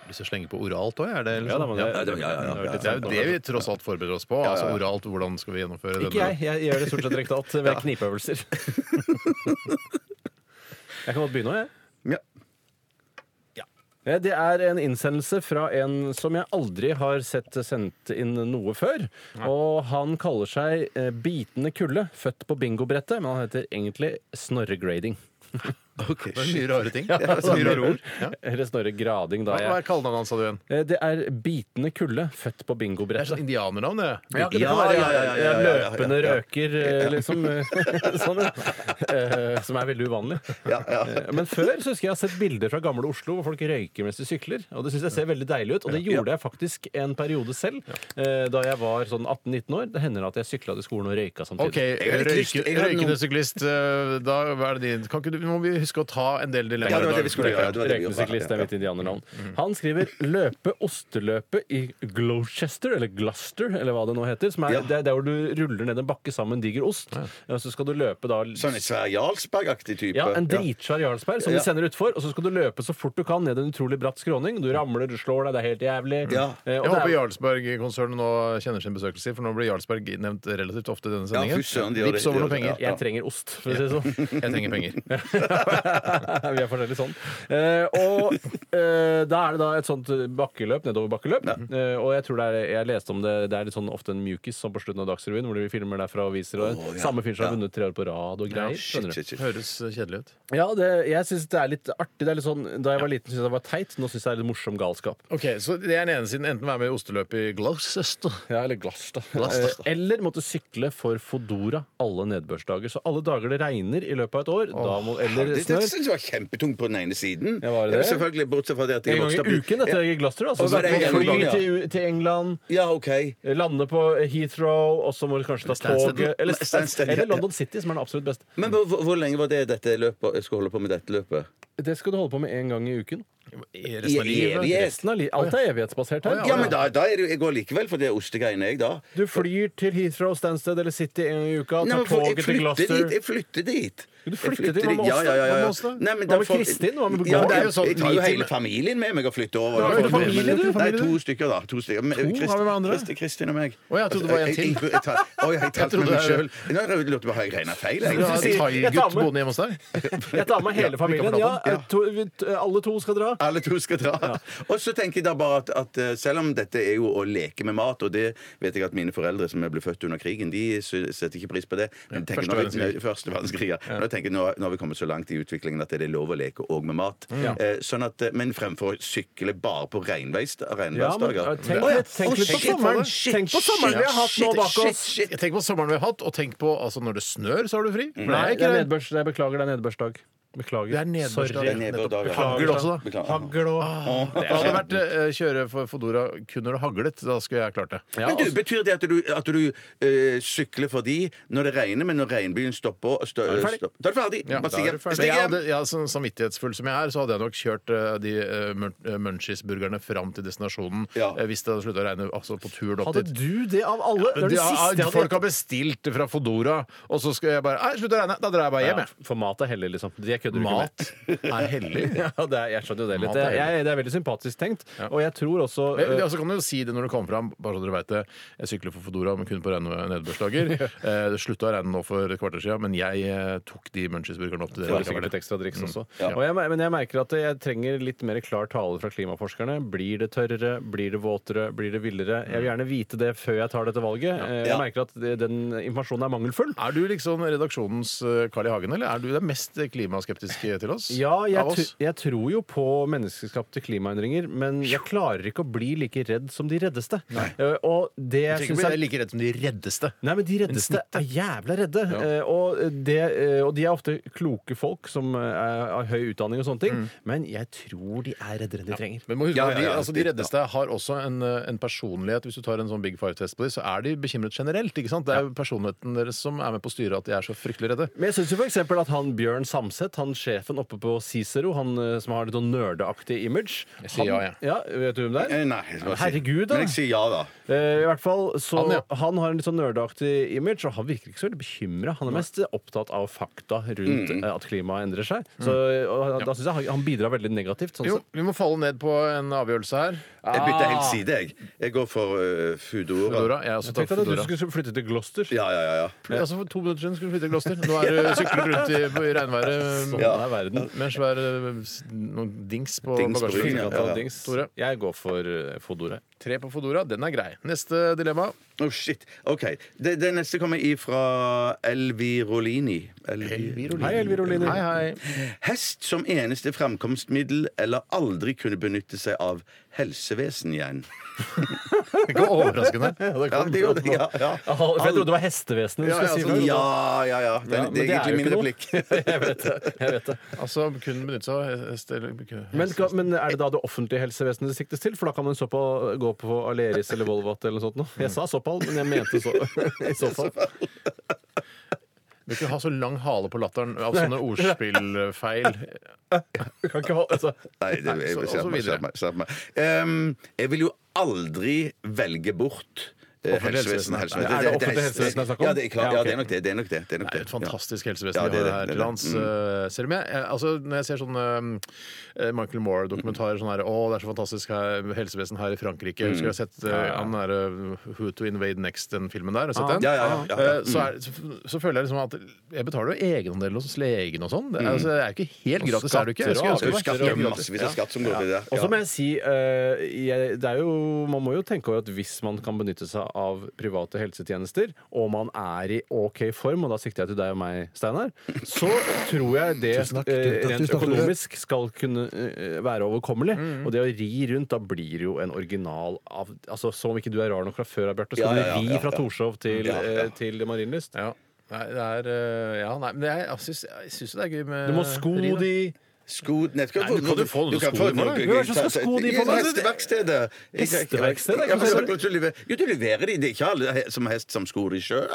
Speaker 2: Lyst til å slenge på oralt òg, er det? Eller
Speaker 3: Ja, da,
Speaker 2: sånn?
Speaker 3: men det- det- ja, ja, ja.
Speaker 2: Det er jo det vi tross alt forbereder oss på. Altså oralt, hvordan skal vi gjennomføre
Speaker 3: Ikke jeg. Jeg gjør det stort sett rektalt ved knipeøvelser. Jeg kan godt begynne, jeg.
Speaker 4: Ja.
Speaker 3: Ja, Eh, Det er en innsendelse fra en som jeg aldri har sett sendt inn noe før. Og han kaller seg eh, Bitende kulde, født på bingobrettet, men han heter egentlig Snorregrading.
Speaker 4: Ok,
Speaker 2: Det er mye
Speaker 4: shit.
Speaker 2: rare ting. Det er mye rare ord. Ja.
Speaker 3: Eller Snorregrading, da.
Speaker 2: Hva hva er
Speaker 3: Jeg.
Speaker 2: kallenavnet hans, sa du igjen?
Speaker 3: Eh, Det er Bitende kulde, født
Speaker 2: Det
Speaker 3: på
Speaker 2: er
Speaker 3: bingobrettet.
Speaker 2: sånn indianernavn, det.
Speaker 3: Ja,
Speaker 4: ja, ja, ja, ja, ja, ja, ja.
Speaker 3: Løpende røker, eh, liksom. eh, sånn, eh, som er veldig uvanlig. Eh, Men før så husker jeg jeg har sett bilder fra gamle Oslo hvor folk røyker mens de sykler. Og det syns jeg ser veldig deilig ut. Og det gjorde jeg faktisk en periode selv. eh, Da jeg var sånn 18-19 år. Det hender at jeg sykla til skolen og røyka samtidig.
Speaker 2: OK, røyke, røykende syklist. eh, Da hva er det din Kan ikke du, Må vi huske å ta en del
Speaker 4: Ja, det
Speaker 2: dilemmaer
Speaker 4: var
Speaker 2: i
Speaker 4: det vi
Speaker 2: dag?
Speaker 4: skulle gjøre. Det var det vi
Speaker 3: Røykende
Speaker 4: gjorde.
Speaker 3: syklist det er mitt indianernavn.
Speaker 4: Mm,
Speaker 3: Han skriver 'løpe osteløpet i Gloucester', eller Gloucester, eller hva det nå heter. Som er,
Speaker 4: Ja.
Speaker 3: Det er der hvor du ruller ned en bakke sammen diger ost. Og så skal du løpe da
Speaker 4: Sånn en svær Jarlsberg-aktig type.
Speaker 3: Ja, En dritsvær Jarlsberg som
Speaker 4: Ja.
Speaker 3: de sender utfor, og så skal du løpe så fort du kan ned en utrolig bratt skråning. Du ramler, du slår deg, det er helt jævlig.
Speaker 4: Ja.
Speaker 3: Eh,
Speaker 2: Jeg
Speaker 3: og det er-
Speaker 2: håper Jarlsberg-konsernet nå kjenner sin besøkelse, for nå blir Jarlsberg nevnt relativt ofte i denne
Speaker 4: Ja,
Speaker 2: sendingen.
Speaker 4: fy søren, de gjør det.
Speaker 2: Vips over noen
Speaker 4: De gjør
Speaker 2: penger.
Speaker 4: det, ja.
Speaker 3: Jeg trenger ost, for å si det sånn.
Speaker 2: Jeg trenger penger.
Speaker 3: Vi er forskjellig sånn. Eh, og eh, da er det da et sånt bakkeløp, nedoverbakkeløp. Eh, og jeg tror det er, jeg leste om det, det er litt sånn ofte en mjukis som på slutten av Dagsrevyen, hvor de filmer derfra og viser. Og
Speaker 4: Å, ja.
Speaker 3: Samme fyr som har
Speaker 4: Ja.
Speaker 3: vunnet tre år på rad og greier.
Speaker 4: Shit,
Speaker 3: skjønner du.
Speaker 4: shit, shit.
Speaker 2: Høres kjedelig ut.
Speaker 3: Ja, det, jeg syns det er litt artig. Det er litt sånn, da jeg var liten, syntes jeg det var teit. Nå syns jeg det er litt morsom galskap.
Speaker 2: Ok, Så det er den ene siden. Enten være med i osteløpet i Gloucester
Speaker 3: Ja, eller glass, da.
Speaker 2: Glass, da.
Speaker 3: Eh, Eller måtte sykle for Fodora alle nedbørsdager. Så alle dager det regner i løpet av et år, da må, eller
Speaker 4: Det, det
Speaker 3: snør
Speaker 4: synes jeg var kjempetungt på den ene siden.
Speaker 3: Ja, var det det?
Speaker 4: Selvfølgelig, Bortsett fra det at jeg
Speaker 3: En gang
Speaker 4: vokste opp
Speaker 3: i uken dette er i Gloucester. Altså,
Speaker 4: Og hver
Speaker 3: så
Speaker 4: eneste
Speaker 3: fly
Speaker 4: gang, ja.
Speaker 3: til, til England,
Speaker 4: Ja, OK.
Speaker 3: lande på Heathrow, og så må du kanskje ta
Speaker 2: Stansted.
Speaker 3: toget. Eller,
Speaker 4: Stansted, ja.
Speaker 3: eller London City, som er den absolutt beste.
Speaker 4: Men hvor, hvor- hvor lenge var det dette løpet jeg skulle holde på med dette løpet?
Speaker 3: Det skal du holde på med én gang i uken.
Speaker 2: I resten av livet?
Speaker 4: I- i- i-
Speaker 3: Resten av livet. Alt er evighetsbasert her.
Speaker 4: Ja, men da, da er det, jeg går likevel for det ostegreiene, jeg, da.
Speaker 3: Du flyr til Heathrow, Stansted eller City en gang i uka,
Speaker 4: Nei,
Speaker 3: tar
Speaker 4: men for- jeg
Speaker 3: toget til
Speaker 4: flytter dit!
Speaker 3: Gloucester
Speaker 4: Jeg flytter dit!
Speaker 3: Du
Speaker 4: Jeg
Speaker 3: flytter dit, hva med
Speaker 4: Ja,
Speaker 3: oss da?
Speaker 4: ja, ja,
Speaker 3: Hva med
Speaker 4: ja.
Speaker 3: oss da?
Speaker 4: Nei, men
Speaker 3: Hva
Speaker 4: da
Speaker 3: med
Speaker 4: får-
Speaker 3: Kristin? Hva med-
Speaker 4: ja,
Speaker 3: Hva-
Speaker 4: jeg,
Speaker 2: det er jo sånn
Speaker 4: jeg tar jo
Speaker 2: ni
Speaker 4: hele
Speaker 2: timer.
Speaker 4: familien med meg og flytter over.
Speaker 2: har du familie,
Speaker 4: Men-
Speaker 2: du?
Speaker 4: Nei, to stykker, da. To stykker. Men, Kristin-
Speaker 2: har vi med andre?
Speaker 4: Kristin- Kristin og meg.
Speaker 2: Å, jeg trodde det var en til.
Speaker 4: Jeg, jeg, jeg, tar- Å, jeg,
Speaker 2: Jeg
Speaker 4: talte med
Speaker 2: trodde
Speaker 4: meg
Speaker 2: det var-
Speaker 4: sjøl. Nå jeg lurte på, har jeg regna feil?
Speaker 2: Du har
Speaker 4: Jeg.
Speaker 2: en
Speaker 3: Jeg tar
Speaker 2: thaigutt
Speaker 3: med-
Speaker 2: boende hjemme hos deg?
Speaker 3: Jeg tar med hele familien. Ja, to, vi, alle to skal dra.
Speaker 4: Alle to skal dra. Og så tenker jeg da bare at, at eh, selv om dette er jo å leke med mat, og det vet jeg at mine foreldre som ble født under krigen, de sy- setter ikke pris på det. Men tenker,
Speaker 2: første
Speaker 4: nå,
Speaker 2: verdenskrig.
Speaker 4: nei, første verdenskrig. Ja. Nå tenker jeg, nå, nå har vi kommet så langt i utviklingen at det er lov å leke òg med mat. Eh, sånn at, eh, men fremfor å sykle bare på regnveis-
Speaker 3: Ja, men,
Speaker 4: regnværsdager.
Speaker 3: ja, tenk
Speaker 4: Å, ja.
Speaker 3: litt- tenk
Speaker 4: Å,
Speaker 3: litt på
Speaker 4: shit,
Speaker 3: sommeren.
Speaker 4: shit,
Speaker 3: Tenk på
Speaker 4: shit,
Speaker 3: sommeren vi har hatt
Speaker 4: shit,
Speaker 3: nå bak
Speaker 4: shit,
Speaker 3: oss.
Speaker 4: shit. Mm.
Speaker 2: Tenk på sommeren vi har hatt, og tenk på altså, når det snør, så har du fri. For det
Speaker 3: Nei,
Speaker 2: er
Speaker 3: det
Speaker 2: ikke
Speaker 3: er
Speaker 2: det.
Speaker 3: nedbørs, jeg beklager, det er nedbørsdag. Beklager.
Speaker 2: Det er nedbørsdag.
Speaker 4: Det
Speaker 3: Sorry.
Speaker 4: er nedbørdag, ja.
Speaker 2: Hagl også, da.
Speaker 4: Beklager.
Speaker 2: Hagl og Det hadde vært eh, kjøre for Fodora kun når det haglet. Da skulle jeg klart det.
Speaker 3: Ja,
Speaker 4: Men du, Betyr det at du, at du eh, sykler forbi når det regner, men når regnbyen stopper stø,
Speaker 3: er du ferdig.
Speaker 4: stopp- Da er du ferdig.
Speaker 2: Ja,
Speaker 4: Bare
Speaker 2: da er
Speaker 4: stiger.
Speaker 2: du ferdig.
Speaker 4: Stiger.
Speaker 2: Jeg hadde, ja, sånn samvittighetsfull som jeg er, så hadde jeg nok kjørt eh, de eh, mun- eh, munchies-burgerne fram til destinasjonen
Speaker 4: Ja.
Speaker 2: eh, hvis det hadde slutta å regne. Altså på turen opp
Speaker 3: Hadde
Speaker 2: dit.
Speaker 3: du det av alle? Det er det
Speaker 2: Ja,
Speaker 3: siste jeg
Speaker 2: folk
Speaker 3: hadde
Speaker 2: har bestilt fra Fodora, og så skal jeg bare Nei, slutt å regne! Da drar jeg bare hjem,
Speaker 3: ja,
Speaker 2: jeg.
Speaker 3: For mat er hellig, liksom. Det kødder du ikke med.
Speaker 2: Mat er hellig.
Speaker 3: Ja, det er, jeg skjønner jo det litt.
Speaker 2: Mat er
Speaker 3: Jeg, jeg, det er veldig sympatisk tenkt. Og jeg tror også
Speaker 2: Men,
Speaker 3: eh,
Speaker 2: ja, så kan du jo si det når du kommer fram. Bare så dere vet det. Jeg sykler for Fodora, men kun på rene nedbørsdager. Eh, det slutta å regne nå for et kvarter siden, men jeg eh, tok de munchies-burgerne opp til
Speaker 3: Det Mm.
Speaker 2: dere.
Speaker 3: var sikkert
Speaker 2: likevel.
Speaker 3: litt ekstra driks også. Og jeg, men jeg merker at jeg trenger litt mer klar tale fra klimaforskerne. Blir det tørrere? Blir det våtere? Blir det villere? Jeg vil gjerne vite det før jeg tar dette valget. Eh, Jeg
Speaker 4: Ja.
Speaker 3: merker at det, den informasjonen er mangelfull.
Speaker 2: Er du liksom redaksjonens eh, Carl I. Hagen, eller er du den mest klimaskeptiske til oss?
Speaker 3: Ja,
Speaker 2: Av
Speaker 3: jeg,
Speaker 2: oss?
Speaker 3: tr- jeg tror jo på menneskeskapte klimaendringer, men jeg klarer ikke å bli like redd som de reddeste. Eh, Og det
Speaker 2: Jeg
Speaker 3: jeg
Speaker 2: synes
Speaker 3: syns
Speaker 2: jeg
Speaker 3: er
Speaker 2: er like redd som de reddeste.
Speaker 3: Nei, men De reddeste er jævla redde. Eh, og, det, eh, og de er ofte kloke folk som eh, er- har høy utdanning og sånne ting.
Speaker 2: Mm.
Speaker 3: Men jeg tror de er reddere enn de trenger.
Speaker 2: Men må huske,
Speaker 4: Ja,
Speaker 2: at
Speaker 4: ja, ja.
Speaker 2: De, altså, de reddeste har også en, eh, en personlighet. Hvis du tar en sånn Big Five-test på dem, så er de bekymret generelt. ikke sant? Det er jo personligheten deres som er med på å styre at de er så fryktelig redde.
Speaker 3: Men jeg syns f.eks. at han Bjørn Samset, han sjefen oppe på Cicero, han eh, som har litt sånn nerdeaktig image
Speaker 2: Jeg sier ja, jeg.
Speaker 3: Vet du hvem det
Speaker 4: Eh,
Speaker 3: er?
Speaker 4: Nei, jeg skal bare si-
Speaker 3: Herregud, da.
Speaker 4: Men jeg sier ja, da.
Speaker 3: Eh, I hvert fall, så
Speaker 2: Han,
Speaker 3: han,
Speaker 2: ja.
Speaker 3: har en litt sånn nerdeaktig image, og han virker ikke så veldig bekymra. Han er mest opptatt av fakta rundt eh, at klimaet endrer seg. Så og, da syns jeg han- han bidrar veldig negativt. Sånn
Speaker 2: Jo,
Speaker 3: sett.
Speaker 2: vi må falle ned på en avgjørelse her.
Speaker 4: Jeg bytter helt side, jeg. Jeg går for eh, Foodora.
Speaker 2: Foodora. altså. Jeg også
Speaker 3: Tenk
Speaker 2: tar
Speaker 3: deg at du
Speaker 2: Foodora.
Speaker 3: skulle flytte til Gloucester.
Speaker 4: Ja, ja, ja. ja.
Speaker 2: Altså, for to minutter siden skulle du flytte til Gloster. Nå er du sykler rundt i, i regnværet um,
Speaker 3: Sånn
Speaker 4: Ja.
Speaker 3: er verden.
Speaker 2: med en svær eh, s- noen dings på
Speaker 4: Dings på ryggen,
Speaker 2: bagasjerommet.
Speaker 4: ja, ja.
Speaker 3: Dings.
Speaker 2: Tore.
Speaker 3: Jeg går for eh, Fodora.
Speaker 2: Tre på Foodora, den er grei. Neste dilemma.
Speaker 4: Oh, shit. OK. Det, det neste kommer ifra Elvirolini. Elvirolini.
Speaker 3: Hei, Elvirolini.
Speaker 2: Hei, hei.
Speaker 4: Hest som eneste framkomstmiddel eller aldri kunne benytte seg av helsevesen igjen.
Speaker 2: Ikke overraskende.
Speaker 4: Ja, det gjorde det. Ja, ja.
Speaker 3: Ah, for jeg trodde det var hestevesenet du
Speaker 4: Ja, ja,
Speaker 3: skulle si.
Speaker 4: altså,
Speaker 3: først.
Speaker 4: ja, ja, ja. Det,
Speaker 3: Ja,
Speaker 4: det
Speaker 3: men
Speaker 4: er
Speaker 3: det er jo
Speaker 4: egentlig min
Speaker 3: ikke noe.
Speaker 4: replikk.
Speaker 3: jeg vet det. Jeg vet det.
Speaker 2: Altså, kun benytte seg av hest eh, eller kunne-
Speaker 3: Men, skal, men er det da det offentlige helsevesenet det siktes til? For da kan man så på, gå på Aleris eller Volvat eller noe sånt. noe. Jeg sa såpall, men jeg mente så, i så fall.
Speaker 2: Du kan ikke ha så lang hale på latteren av sånne ordspillfeil.
Speaker 3: Du kan ikke ha, altså.
Speaker 4: Nei, det, jeg,
Speaker 2: så-
Speaker 4: jeg,
Speaker 2: og så
Speaker 4: skjerp meg,
Speaker 2: videre.
Speaker 4: skjerp meg, skjerp meg. Ehm, jeg vil jo aldri velge bort eh,
Speaker 2: Offentlig helsevesen.
Speaker 4: helsevesenet. helsevesenet.
Speaker 3: Er det offentlig helsevesen det er snakk om?
Speaker 4: Ja, det er, klart,
Speaker 3: Ja,
Speaker 4: ja,
Speaker 3: ok.
Speaker 4: det er nok det. det, er nok det, det, er nok
Speaker 2: Det er
Speaker 4: det.
Speaker 2: et fantastisk helsevesen
Speaker 4: Ja, det
Speaker 2: vi
Speaker 4: er
Speaker 2: har
Speaker 4: det, det
Speaker 2: her
Speaker 4: Mm. er
Speaker 2: til lands. eh, Selv om jeg, eh, altså, når jeg ser sånne eh, Michael Moore-dokumentarer sånn her Å, det er så fantastisk her, helsevesen her i Frankrike. Jeg husker jeg har sett
Speaker 4: Mm.
Speaker 2: eh, han der eh, Who to Invade Next, den filmen der. Har du sett
Speaker 4: Ah.
Speaker 2: den?
Speaker 4: Ja, ja, ja, ja, Mm. ja.
Speaker 2: Eh, Så, er, så, så føler jeg liksom at jeg betaler jo egenandel hos legen og sånn. Det, er- altså, det er ikke helt gratis, er det ikke? Jeg skulle
Speaker 4: Ja,
Speaker 2: ønske
Speaker 4: du
Speaker 2: det var helt
Speaker 4: skatter jo
Speaker 2: gratis.
Speaker 4: massevis av Mm. skatt som går til det.
Speaker 3: Og så må jeg si eh, jeg, det er jo, Man må jo tenke over at hvis man kan benytte seg av private helsetjenester, og man er i OK form, og da sikter jeg til deg og meg, Steinar, så tror jeg det eh, rent økonomisk skal kunne eh, være overkommelig.
Speaker 2: Mm,
Speaker 3: Og det å ri rundt, da blir jo en original av altså Som om ikke du er rar nok fra før, Bjarte, så
Speaker 4: Ja,
Speaker 3: kan
Speaker 4: ja, ja,
Speaker 3: du
Speaker 4: ja,
Speaker 3: ri fra
Speaker 4: ja.
Speaker 3: Torshov til,
Speaker 4: Ja, ja.
Speaker 3: eh, til Marienlyst.
Speaker 2: Ja. Nei, det er eh, Ja, nei, men jeg, jeg syns det er gøy med
Speaker 3: Du må sko
Speaker 2: ri, da.
Speaker 3: de
Speaker 4: Sko Nei, skal-
Speaker 2: Nei, du kan jo få noen
Speaker 4: kan
Speaker 2: sko
Speaker 4: få
Speaker 2: for
Speaker 4: noen-
Speaker 2: deg.
Speaker 3: Hvem er det som skal sko de for deg?
Speaker 4: Hesteverkstedet.
Speaker 3: Hesteverkstedet?
Speaker 4: Ja, men så- du lever- Jo, du leverer de. Det er ikke alle he- som hest som skor de sjøl.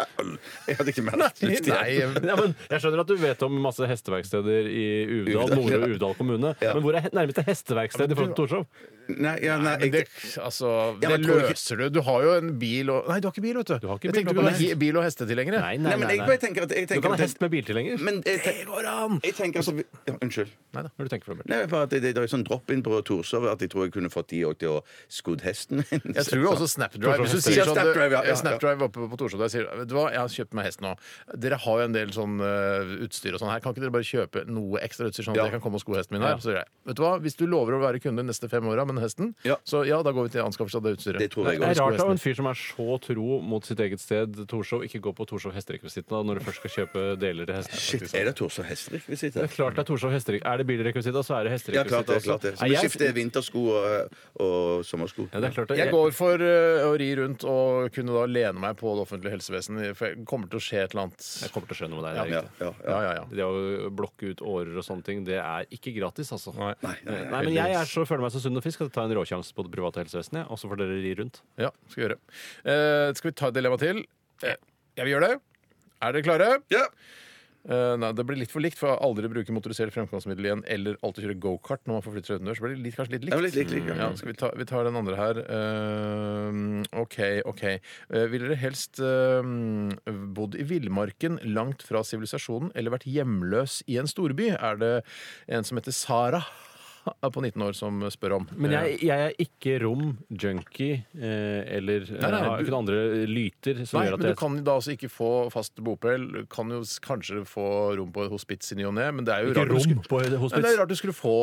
Speaker 4: Jeg hadde ikke merket det.
Speaker 2: Nei,
Speaker 3: Ja, men jeg skjønner at du vet om masse hesteverksteder i Uvdal,
Speaker 4: Uvdal,
Speaker 3: Nord- og
Speaker 4: ja.
Speaker 3: Uvdal kommune.
Speaker 4: Ja.
Speaker 3: Men hvor er he- nærmeste hesteverksted i forhold til Torshov?
Speaker 4: Nei, ja, nei,
Speaker 2: Men det,
Speaker 4: jeg,
Speaker 2: altså,
Speaker 4: Ja,
Speaker 2: det
Speaker 4: men tror du ikke-
Speaker 2: løser du. Du har jo en bil og Nei, du har ikke bil, vet du.
Speaker 3: Du har ikke
Speaker 2: jeg
Speaker 3: bil,
Speaker 2: tenkte du
Speaker 3: pappa.
Speaker 2: kunne ha he- bil- og hestetilhengere.
Speaker 4: nei,
Speaker 3: Nei, nei,
Speaker 4: men
Speaker 3: nei.
Speaker 4: jeg
Speaker 3: nei.
Speaker 4: bare tenker at jeg
Speaker 3: Du
Speaker 4: tenker
Speaker 3: kan ha
Speaker 4: at
Speaker 3: hest med biltilhenger.
Speaker 4: Men jeg,
Speaker 2: Det går an!
Speaker 4: jeg tenker altså ja, Unnskyld.
Speaker 3: Nei da, hva er det du tenker for meg?
Speaker 4: Nei, bare at det, det er sånn drop-in på Torshov at jeg tror jeg kunne fått de òg til å skodd hesten min.
Speaker 2: Jeg tror jo også Snapdrive.
Speaker 4: Torshov
Speaker 2: Hvis du sier
Speaker 4: hester.
Speaker 2: sånn,
Speaker 4: Ja, Snapdrive, ja, ja,
Speaker 2: ja,
Speaker 4: ja.
Speaker 2: Snapdrive oppe på Torshov der sier Vet du hva, jeg har kjøpt meg hest nå. Dere har jo en del sånn eh, utstyr og sånn her. Kan ikke dere bare kjøpe noe ekstra utstyr, sånn at
Speaker 4: Ja.
Speaker 2: jeg kan komme og sko hesten min her? Så sier jeg, vet du hva, hvis du lover å være kunde de neste fem åra med den hesten,
Speaker 4: Ja.
Speaker 2: så ja, da går vi til anskaffelse av det utstyret.
Speaker 4: Det tror jeg
Speaker 3: Det er
Speaker 4: også.
Speaker 3: rart av en fyr som er så tro mot sitt eget sted, Torshov, ikke gå på Torshov hesterekvisitta når du først skal kjøpe deler til hester.
Speaker 4: Shit, er det Torshov hesterekvisitter?
Speaker 3: Det er klart det er Torshov hesterekvisitta. Er det bilrekvisitta, så er det
Speaker 4: Ja, klart
Speaker 3: hesterekvisitta
Speaker 4: det. klart det. Så
Speaker 3: Nei,
Speaker 4: vi
Speaker 3: jeg-
Speaker 4: skifter vintersko og, og sommersko.
Speaker 3: Ja, det er klart det.
Speaker 2: Jeg går for eh, å ri rundt og kunne da lene meg på det offentlige helsevesenet, for det kommer til å skje et eller annet.
Speaker 3: Jeg kommer til å skjønne med deg.
Speaker 4: Ja,
Speaker 3: Det er
Speaker 4: ja,
Speaker 3: riktig.
Speaker 4: ja.
Speaker 2: Ja, ja, ja.
Speaker 3: Det å blokke ut årer og sånne ting, det er ikke gratis, altså. Nei,
Speaker 4: nei,
Speaker 3: men jeg er så, føler meg så sunn og frisk at jeg tar en råsjanse på det private helsevesenet, og så får dere ri rundt.
Speaker 2: Ja, skal vi gjøre. Eh, skal vi ta et dilemma til? Eh, jeg vil gjøre det. Er dere klare?
Speaker 4: Ja.
Speaker 2: Eh, nei, det blir litt for likt, for aldri bruke motorisert fremkomstmiddel igjen eller alltid kjøre gokart når man forflytter seg utendørs. Så blir det litt, kanskje litt
Speaker 4: Det var
Speaker 2: likt.
Speaker 4: litt likt. likt,
Speaker 2: Ja, skal vi, ta, vi tar den andre her. Eh, OK, OK. Uh, Ville dere helst eh, bodd i villmarken langt fra sivilisasjonen eller vært hjemløs i en storby? Er det en som heter Sara på 19 år som spør om.
Speaker 3: Men jeg, jeg er ikke rom, junkie eh, eller eh,
Speaker 2: Nei, nei, du-
Speaker 3: har ikke noen andre lyter som
Speaker 2: Nei,
Speaker 3: gjør
Speaker 2: men
Speaker 3: at
Speaker 2: du
Speaker 3: jeg
Speaker 2: kan da altså ikke få fast bopel. Kan jo s- kanskje få rom på et hospits i ny og ne, men det er jo
Speaker 3: Ikke
Speaker 2: rart du
Speaker 3: rom
Speaker 2: skulle-
Speaker 3: på et hospits.
Speaker 2: Nei, Det er rart du skulle få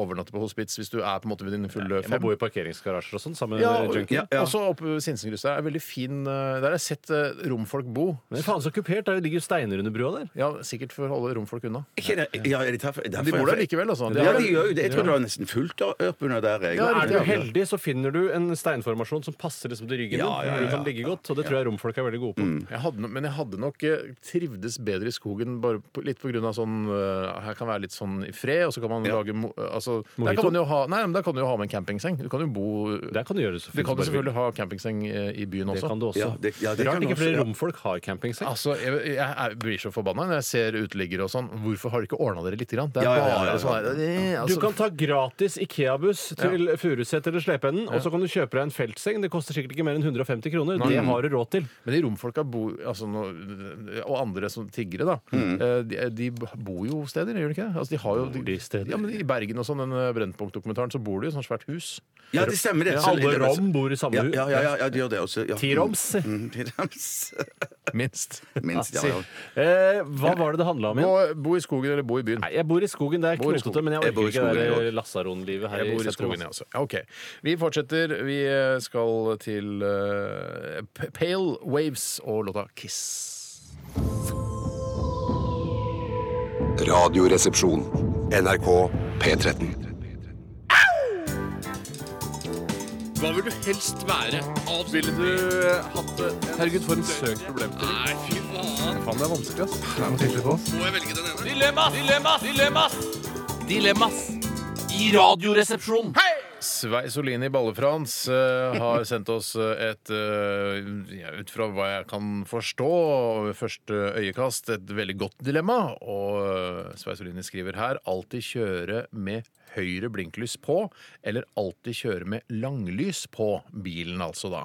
Speaker 2: overnatte på hospits hvis du er på en måte ved din fulle
Speaker 3: Jeg må
Speaker 2: fem.
Speaker 3: bo i parkeringsgarasjer og sånn sammen med
Speaker 2: Ja,
Speaker 3: eh,
Speaker 2: og,
Speaker 3: junkie.
Speaker 2: ja, ja. Også oppe ved Sinsengrus der er veldig fin eh, Der har jeg sett eh, romfolk bo.
Speaker 3: Men faen så kupert, der ligger jo steiner under brua der.
Speaker 2: Ja, Sikkert for å holde romfolk unna.
Speaker 4: Ikke det, ja, er de taff,
Speaker 2: Men de bor der likevel, altså. De
Speaker 4: Ja,
Speaker 2: har-
Speaker 4: de gjør jo det. Jeg tror det var nesten fullt av ørp under der. Jeg.
Speaker 2: Ja,
Speaker 3: Er du
Speaker 2: riktig, ja.
Speaker 3: heldig, så finner du en steinformasjon som passer liksom til ryggen din.
Speaker 4: Ja, ja, ja,
Speaker 3: hvor Du kan ligge godt, og det tror jeg romfolk er veldig gode på.
Speaker 2: Jeg hadde, no- men jeg hadde nok eh, trivdes bedre i skogen, bare på, litt pga. sånn eh, Her kan være litt sånn i fred, og så kan man lage mo, altså, der
Speaker 3: Mojito?
Speaker 2: kan man jo ha, Nei, men der kan du jo ha med en campingseng. Du kan jo bo
Speaker 3: Der kan du gjøre det
Speaker 2: Du kan jo
Speaker 3: bare vil.
Speaker 2: selvfølgelig ha campingseng eh, i byen
Speaker 3: Det
Speaker 2: også.
Speaker 3: kan du også.
Speaker 4: Ja, det- ja, det
Speaker 3: Rart
Speaker 4: kan
Speaker 3: ikke
Speaker 4: også,
Speaker 3: flere
Speaker 4: ja.
Speaker 3: romfolk har campingseng.
Speaker 2: Altså, jeg, jeg er- blir så forbanna når jeg ser uteliggere og sånn. Hvorfor har dere ikke ordna dere litt? Grann? Det er
Speaker 4: Ja, ja, ja, ja,
Speaker 2: bare
Speaker 4: ja.
Speaker 2: sånn her, eh, altså,
Speaker 3: Du kan ta gratis Ikea-buss til Furuset eller Slepeenden, og så kan du kjøpe deg en feltseng. Det koster sikkert ikke mer enn 150 kroner. Det har du råd til.
Speaker 2: Men de romfolka bor altså, nå- Og andre som tiggere, da. eh, De, de bor jo steder, gjør de ikke det? Altså, de har jo,
Speaker 3: Mm. Bor de steder?
Speaker 2: Ja, men I Bergen og sånn, den eh, Brennpunkt-dokumentaren, så bor de i et sånt svært hus.
Speaker 4: Ja, det stemmer det. Så-
Speaker 3: Alle rom bor i samme
Speaker 4: Ja,
Speaker 3: hus.
Speaker 4: ja, ja, ja, ja, de gjør det også. Ja.
Speaker 3: Ti roms.
Speaker 4: Mm, ti roms.
Speaker 2: Minst.
Speaker 4: Minst, ja, ja.
Speaker 3: Eh, hva var det det handla om
Speaker 2: Bo,
Speaker 3: igjen?
Speaker 2: bo i skogen eller bo i byen.
Speaker 3: Nei, jeg bor i skogen. Det er
Speaker 2: Bor i
Speaker 3: knotete,
Speaker 2: skogen.
Speaker 3: men jeg
Speaker 4: Jeg bor i
Speaker 3: orker ikke det
Speaker 4: skogen,
Speaker 3: der lasaronlivet her.
Speaker 2: Jeg bor i
Speaker 3: sentrum,
Speaker 2: skogen, jeg
Speaker 3: altså.
Speaker 2: også. Ja, ok. Vi fortsetter. Vi eh, skal til eh, P- Pale Waves og låta Kiss.
Speaker 6: Radioresepsjon. NRK P13.
Speaker 2: Svei Solini Balle-Frans eh, har sendt oss eh, et eh, ja, Ut fra hva jeg kan forstå ved første øyekast, et veldig godt dilemma. Og eh, Svei Solini skriver her alltid kjøre med høyre blinklys på, eller alltid kjøre med langlys på bilen, altså da.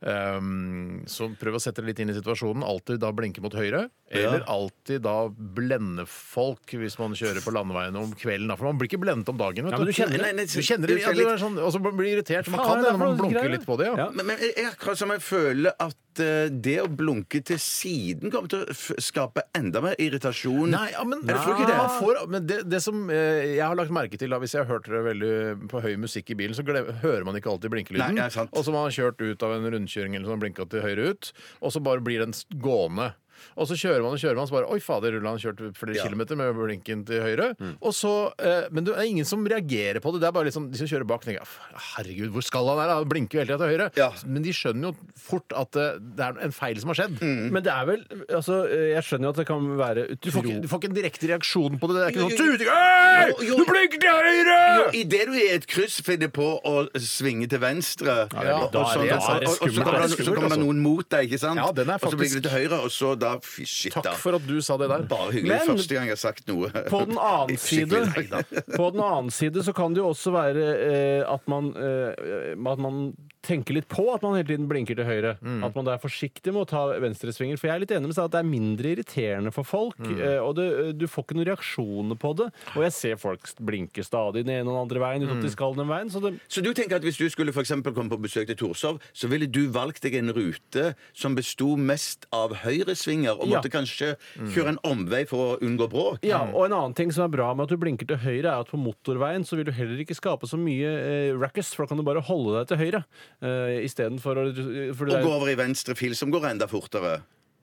Speaker 2: Ehm, så prøv å sette deg litt inn i situasjonen. Alltid da blinke mot høyre, eller alltid da blende folk hvis man kjører på landeveien om kvelden. Da. For man blir ikke blendet om dagen, vet
Speaker 3: men du kjenner
Speaker 4: det.
Speaker 2: Nei, nei, du kjenner det, ja, det er sånn, og så blir du irritert. så Man
Speaker 3: Faen,
Speaker 2: kan
Speaker 3: det er
Speaker 2: det, man
Speaker 3: for noe
Speaker 2: blunker
Speaker 3: greier.
Speaker 2: litt på det. Ja.
Speaker 3: Ja.
Speaker 4: Men, men jeg, jeg, akkurat som jeg føler at eh, det å blunke til siden kommer til å f skape enda mer irritasjon.
Speaker 2: Nei, ja, men,
Speaker 4: Jeg tror ikke det.
Speaker 2: Man får, men det, det som eh, jeg har lagt merke til, da, hvis jeg har hørt det veldig på høy musikk i bilen, så glem, hører man ikke alltid
Speaker 4: Nei,
Speaker 2: blinkelyden.
Speaker 4: det er sant.
Speaker 2: og så man har kjørt ut av en rundkjøring eller sånn, blinka til høyre ut, og så bare blir den s- gående. Og så kjører man og kjører man, så bare Oi, fader, rulla han kjørt flere kilometer med blinken til høyre.
Speaker 4: Mm.
Speaker 2: Og så, eh, Men det er ingen som reagerer på det. Det er bare liksom, De som kjører bak, tenker "Ah, Herregud, hvor skal han være? Han blinker jo hele tida til høyre.
Speaker 4: Ja.
Speaker 2: Men de skjønner jo fort at eh, det er en feil som har skjedd.
Speaker 4: Mm.
Speaker 3: Men det er vel altså, Jeg skjønner jo at det kan være
Speaker 2: Du, får ikke, du får ikke en direkte reaksjon på det. Det er ikke
Speaker 4: Jo,
Speaker 2: noe
Speaker 4: jo, jo.
Speaker 2: «Tut, hei,
Speaker 4: Jo, jo.
Speaker 2: Du blinker til høyre!
Speaker 4: Idet du i et kryss finner på å svinge til venstre
Speaker 2: er litt-
Speaker 4: og- og
Speaker 2: da er
Speaker 4: sånn,
Speaker 2: det-
Speaker 4: og-
Speaker 2: da er
Speaker 4: og- og
Speaker 2: det
Speaker 4: så
Speaker 2: skummelt,
Speaker 4: kommer
Speaker 2: da er det
Speaker 4: det- så
Speaker 2: skummelt,
Speaker 4: kommer det
Speaker 2: altså.
Speaker 4: noen mot deg, ikke sant?
Speaker 2: Ja, den er
Speaker 4: Og så blir det
Speaker 2: faktisk-
Speaker 4: til høyre, og så da Fy shit, da.
Speaker 2: Takk for at du sa det der.
Speaker 4: Bare hyggelig.
Speaker 3: Men-
Speaker 4: Første gang jeg har sagt noe.
Speaker 3: På den annen side,
Speaker 4: Skikkelig lei, da.
Speaker 3: på den annen side så kan det jo også være eh, at, man, eh, at man tenker litt på at man hele tiden blinker til høyre. At man da er forsiktig med å ta venstresvinger. For jeg er litt enig med deg at det er mindre irriterende for folk. eh, og det, du får ikke noen reaksjoner på det. Og jeg ser folk blinke stadig den ene og den andre veien uten at de skal den veien. Så det,
Speaker 4: Så du tenker at hvis du skulle for eksempel komme på besøk til Torshov, så ville du valgt deg en rute som besto mest av høyresvinger, og
Speaker 3: Ja.
Speaker 4: måtte kanskje kjøre en omvei for å unngå bråk?
Speaker 3: Ja, og en annen ting som er bra med at du blinker til høyre, er at på motorveien så vil du heller ikke skape så mye eh, ruckus, for da kan du bare holde deg til høyre eh, istedenfor å eh, for det
Speaker 4: Og
Speaker 3: er-
Speaker 4: gå over i venstre fil, som går enda fortere.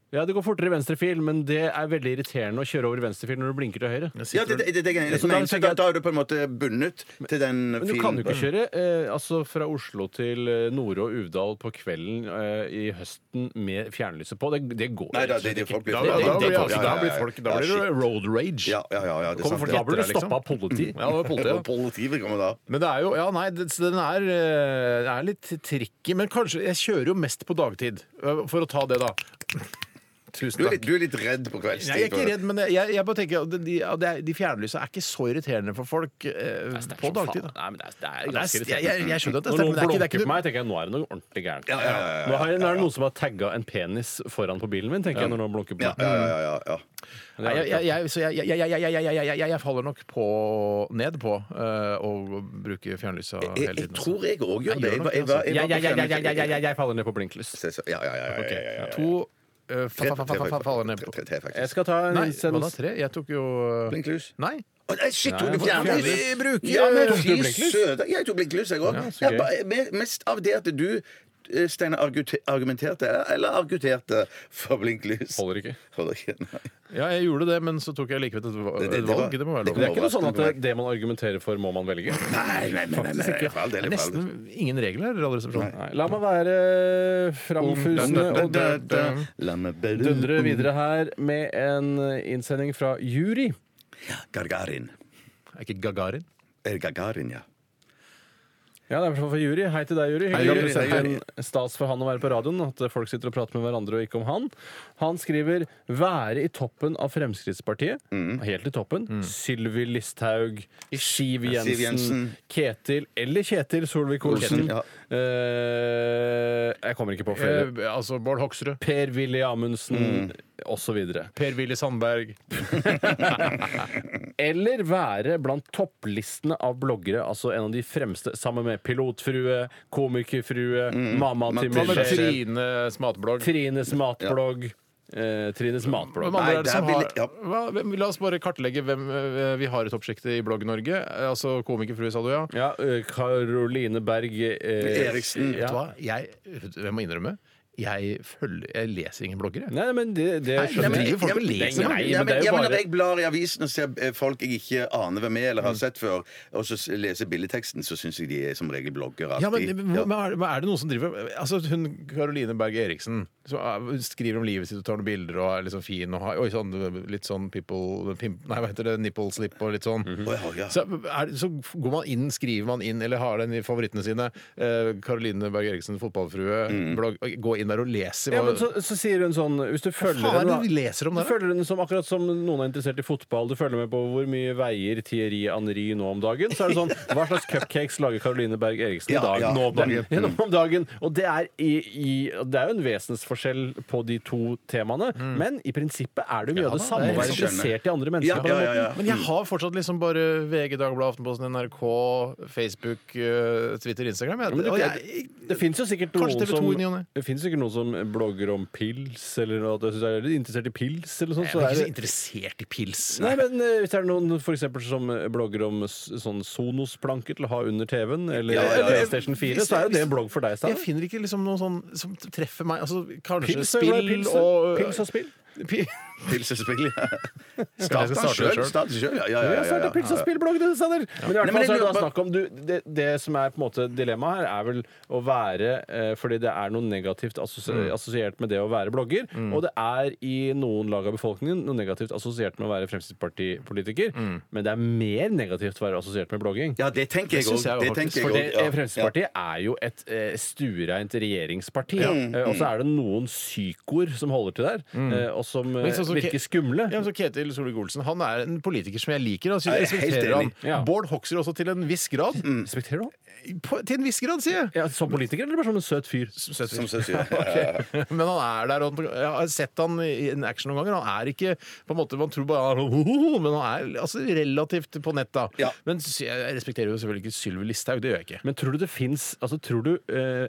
Speaker 3: Ja, det går fortere i venstre fil, men det er veldig irriterende å kjøre over i venstre fil når du blinker til høyre.
Speaker 4: Ja, det, det, det, det,
Speaker 3: Ja, så da
Speaker 4: men, så da,
Speaker 3: tenker jeg-
Speaker 4: da er du på en måte bundet til den
Speaker 3: Men du
Speaker 4: filen.
Speaker 3: kan jo ikke kjøre eh, altså fra Oslo til eh, Nore og Uvdal på kvelden eh, i høsten med fjernlyset på. Det, det går
Speaker 4: Nei,
Speaker 3: rett
Speaker 4: da, det,
Speaker 3: og slett
Speaker 4: det, folk blir
Speaker 2: Da,
Speaker 3: Det-
Speaker 2: da,
Speaker 3: det-
Speaker 2: da,
Speaker 3: det-
Speaker 2: blir, altså,
Speaker 4: ja,
Speaker 2: da
Speaker 4: ja,
Speaker 2: blir
Speaker 4: ja,
Speaker 2: folk
Speaker 4: ja,
Speaker 2: Da blir
Speaker 4: shit.
Speaker 2: det road rage.
Speaker 4: Ja, ja, ja, ja, det er
Speaker 2: Kommer
Speaker 4: sant.
Speaker 2: folk
Speaker 4: det.
Speaker 3: Da blir du
Speaker 2: etter deg, liksom.
Speaker 3: stoppa av
Speaker 2: Ja,
Speaker 3: politi.
Speaker 2: det var politiet, ja.
Speaker 4: Politiet kommer da.
Speaker 2: Men det er jo Ja, nei, det, så den er, eh, den er litt tricky. Men kanskje Jeg kjører jo mest på dagtid. eh, For å ta det, da.
Speaker 4: Du
Speaker 2: Tusen
Speaker 4: er, litt,
Speaker 2: takk.
Speaker 4: du er litt redd på kveldstid.
Speaker 2: Nei, jeg er ikke redd, men jeg, jeg bare tenker at de, at det er- de fjernlysa er ikke så irriterende for folk eh, på dagtid. Da.
Speaker 3: Nei, men det er, det
Speaker 2: Ja,
Speaker 3: er
Speaker 2: det er- Jeg,
Speaker 3: ganske irriterende.
Speaker 2: jeg, jeg skjønner at det
Speaker 3: Når
Speaker 2: stemmer,
Speaker 3: noen
Speaker 2: men det er ikke, det er
Speaker 3: blunker
Speaker 2: ikke
Speaker 3: på meg, tenker jeg nå er det noe ordentlig gærent.
Speaker 4: Ja, ja, ja, ja, ja.
Speaker 3: Nå er det nå er det noen som har tagga en penis foran på bilen min, tenker jeg når noen blunker på
Speaker 4: Ja,
Speaker 3: meg.
Speaker 4: ja, ja, ja, ja.
Speaker 2: Nei, jeg, jeg, jeg, så jeg, jeg, jeg, jeg, jeg, jeg, jeg, jeg, jeg faller nok på, ned på eh, å bruke fjernlysa
Speaker 4: Jeg, jeg,
Speaker 2: hele
Speaker 4: jeg
Speaker 2: tiden. altså.
Speaker 4: tror jeg òg gjør det.
Speaker 2: Jeg gjør nok det, altså.
Speaker 4: var- jeg var-
Speaker 3: Jeg, jeg,
Speaker 4: jeg var
Speaker 3: jeg, jeg, jeg,
Speaker 4: på
Speaker 3: jeg, jeg, jeg faller ned på blinklys.
Speaker 4: fjernsynet. Ja, ja, ja, ja, ja, ja, ja, ja.
Speaker 2: To eh, fa-
Speaker 4: Tre-
Speaker 2: fa- fa- fa- fa- faller ned på
Speaker 4: tre- tre, faktisk.
Speaker 3: Jeg skal ta en
Speaker 2: Nei, hva
Speaker 3: send-
Speaker 2: da? Tre? Jeg tok jo
Speaker 4: Blinklys.
Speaker 2: Nei.
Speaker 4: Å, nei, Shit, tok du
Speaker 3: Nei,
Speaker 4: fjernlys?
Speaker 2: fjernlys. Vi bruker-
Speaker 4: Ja, men
Speaker 2: Tok du
Speaker 4: fy
Speaker 2: blinklys?
Speaker 4: søde. Jeg tok blinklys, jeg
Speaker 2: Ja,
Speaker 4: òg.
Speaker 2: så gøy.
Speaker 4: mest av det at du eh, Steinar argute- argumenterte eller arguterte for blinklys.
Speaker 3: Holder ikke.
Speaker 4: Holder ikke, nei.
Speaker 2: Ja, jeg gjorde det, men så tok jeg likevel et va-
Speaker 4: Det- det- det
Speaker 2: et
Speaker 4: var-
Speaker 2: valg. Det må være
Speaker 4: det
Speaker 2: lov.
Speaker 3: Det er ikke noe sånn at det, det man argumenterer for, må man velge.
Speaker 4: Nei, nei, nei, nei, nei, nei. For all
Speaker 2: Det
Speaker 4: del,
Speaker 2: er
Speaker 4: for all del.
Speaker 2: nesten ingen regler her i Radioresepsjonen.
Speaker 3: Nei, la meg være eh, framfusende
Speaker 4: Da,
Speaker 3: og
Speaker 4: da,
Speaker 3: dø-
Speaker 4: da, da. La meg bare-
Speaker 3: dundre videre her med en eh, innsending fra jury.
Speaker 4: Gargarin.
Speaker 2: Er ikke Gagarin?
Speaker 4: Eh, Gagarin, ja.
Speaker 3: Ja, det er i hvert fall fra jury. Hei til deg, jury.
Speaker 2: Hei,
Speaker 3: Hyggelig
Speaker 2: Jury.
Speaker 3: at du
Speaker 2: Hei,
Speaker 3: sendte en stas for han å være på radioen, at folk sitter og prater med hverandre og ikke om han. Han skriver 'være i toppen av Fremskrittspartiet'.
Speaker 4: Mm.
Speaker 3: Helt i toppen. Sylvi Listhaug, Siv Jensen,
Speaker 4: Siv Jensen.
Speaker 3: Ketil eller Kjetil Solvik-Olsen.
Speaker 4: Olsen, ja.
Speaker 3: Eh, jeg kommer ikke på flere.
Speaker 2: Eh, altså Bård Hoksrud.
Speaker 3: Per-Willy Amundsen
Speaker 4: Mm.
Speaker 3: og så videre
Speaker 2: Per-Willy Sandberg.
Speaker 3: Eller være blant topplistene av bloggere, altså en av de fremste, sammen med Pilotfrue, Komikerfrue,
Speaker 2: Mm.
Speaker 3: Mamma til
Speaker 4: Mamma til
Speaker 3: Michelle.
Speaker 2: Trines matblogg.
Speaker 3: Trines matblogg. Eh, Trines
Speaker 2: Hvem
Speaker 3: matblogg.
Speaker 2: andre
Speaker 4: Nei,
Speaker 2: er det som
Speaker 4: der vil
Speaker 2: har,
Speaker 4: jeg- ja.
Speaker 2: hva, hvem, la oss bare kartlegge hvem eh, vi har i toppsjiktet i Blogg-Norge. Eh, Altså Komikerfrue, sa du, ja.
Speaker 3: Ja, eh, Karoline Berg eh,
Speaker 4: Eriksen.
Speaker 2: Vet du hva? Jeg, jeg må innrømme, jeg, følger, jeg leser ingen bloggere.
Speaker 3: Nei, men det, det
Speaker 2: Nei,
Speaker 3: skjønner
Speaker 2: men-
Speaker 3: jeg.
Speaker 2: driver folk og leser, da?
Speaker 3: Nei, men
Speaker 4: Ja,
Speaker 3: det
Speaker 4: men,
Speaker 3: er jo
Speaker 4: ja, men
Speaker 3: bare-
Speaker 4: når jeg blar i avisen og ser eh, folk jeg ikke aner hvem er eller har sett før, og så s- leser bildeteksten, så syns jeg de er som regel bloggere.
Speaker 2: Ja, men,
Speaker 4: alltid.
Speaker 2: men, men er, men er det noen som driver Altså hun Karoline Berg Eriksen som er- skriver om livet sitt og tar noen bilder og er liksom fin og har oi, sånn, litt sånn people pimp, Nei, hva heter det? Nipple slip og litt sånn.
Speaker 4: Å, ja, ja.
Speaker 2: Så, er, så går man inn, skriver man inn, eller har den i favorittene sine. Eh, Karoline Berg Eriksen, fotballfrue. Blogg, gå inn der og leser.
Speaker 3: Ja,
Speaker 2: hva-
Speaker 3: men så, så sier hun sånn Hvis du følger
Speaker 2: faen er
Speaker 3: henne,
Speaker 2: det vi leser om
Speaker 3: du
Speaker 2: der, da?
Speaker 3: følger henne som akkurat som noen er interessert i fotball, du følger med på hvor mye veier Thierry Henry nå om dagen, så er det sånn Hva slags cupcakes lager Caroline Berg Eriksen i
Speaker 4: Ja,
Speaker 3: dag?
Speaker 4: ja,
Speaker 3: nå om dagen.
Speaker 4: det er-
Speaker 3: Nå om dagen. Og det er, i, i, det er jo en vesensforskjell på de to temaene, men i prinsippet er det jo mye av det
Speaker 2: Mm. da,
Speaker 3: samme
Speaker 2: det
Speaker 3: å
Speaker 2: er
Speaker 3: være
Speaker 4: helt sant.
Speaker 3: interessert i andre mennesker
Speaker 4: Ja,
Speaker 3: på
Speaker 4: ja,
Speaker 3: den
Speaker 4: ja, ja.
Speaker 2: Men jeg har fortsatt liksom bare VG, Dagbladet, Aftenposten, NRK, Facebook, eh, Twitter, Instagram. Jeg,
Speaker 3: men det-
Speaker 2: og jeg,
Speaker 3: Det fins jo sikkert noen
Speaker 2: Kanskje TV2
Speaker 3: som
Speaker 2: i ny og ne.
Speaker 3: Det finnes sikkert noen som blogger om pils, eller at de er litt interessert i pils, eller sånt,
Speaker 2: jeg
Speaker 3: så
Speaker 2: er
Speaker 3: er
Speaker 2: ikke
Speaker 3: det
Speaker 2: så interessert i pils.
Speaker 3: Nei, men eh, Hvis det er noen for eksempel, som eh, blogger om s- sånn Sonos-planke til å ha under TV-en, eller
Speaker 4: Ja, ja, ja.
Speaker 3: PlayStation 4, så er jo det en blogg for deg.
Speaker 2: Jeg
Speaker 3: Steinar.
Speaker 2: finner ikke liksom noe sånn som treffer meg. Altså, kanskje
Speaker 3: Pils, er du glad i
Speaker 2: spill
Speaker 3: pils,
Speaker 2: og
Speaker 3: Pils og spill.
Speaker 4: Pilsespill.
Speaker 2: Skal jeg starte det selv?
Speaker 4: Start sjøl, ja. ja, ja,
Speaker 3: Vi
Speaker 4: ja,
Speaker 3: har
Speaker 4: ja,
Speaker 3: starta pils- og
Speaker 4: ja.
Speaker 3: spillblogg, denne Sander. Men i
Speaker 4: Nei,
Speaker 3: hvert
Speaker 4: men
Speaker 3: fall
Speaker 4: jeg
Speaker 3: så er det
Speaker 4: lurer
Speaker 3: da
Speaker 4: på-
Speaker 3: snakk om du, det, det som er på en måte dilemmaet her, er vel å være eh, Fordi det er noe negativt assosi-
Speaker 4: Mm.
Speaker 3: assosiert med det å være blogger, og det er i noen lag av befolkningen noe negativt assosiert med å være Fremskrittspartipolitiker,
Speaker 4: Mm.
Speaker 3: men det er mer negativt å være assosiert med blogging.
Speaker 4: Ja, det tenker jeg
Speaker 2: Det synes jeg
Speaker 4: òg.
Speaker 2: jo
Speaker 4: Det
Speaker 2: faktisk,
Speaker 4: tenker
Speaker 3: For
Speaker 4: jeg
Speaker 3: det,
Speaker 4: også, ja.
Speaker 3: eh, Fremskrittspartiet er jo et eh, stuereint regjeringsparti. Eh, og så er det noen psykoer som holder til der, eh, og som eh,
Speaker 2: Mm. Men sånn som Ke-
Speaker 3: virker skumle.
Speaker 2: Ja, men så Ketil Solvik-Olsen han er en politiker som jeg liker. Altså,
Speaker 4: Jeg
Speaker 2: jeg
Speaker 4: er helt
Speaker 2: respekterer ham.
Speaker 4: enig.
Speaker 3: Ja. Mm.
Speaker 2: Bård Hoksrud også til en viss grad.
Speaker 4: Mm.
Speaker 3: Respekterer du ham?
Speaker 2: På, til en viss grad, sier jeg.
Speaker 3: Ja, som politiker eller bare som en søt fyr?
Speaker 4: Som søs, ja. Ja, ja, ja.
Speaker 2: Men han er der. Og han, jeg har sett han i en action noen ganger. Han er ikke på en måte, Man tror bare han er sånn, «Hohoho», Men han er altså relativt på nett, da.
Speaker 4: Ja.
Speaker 2: Men s- jeg respekterer jo selvfølgelig ikke Sylvi Listhaug. Det gjør jeg ikke.
Speaker 3: Men tror du det fins altså, Tror du eh,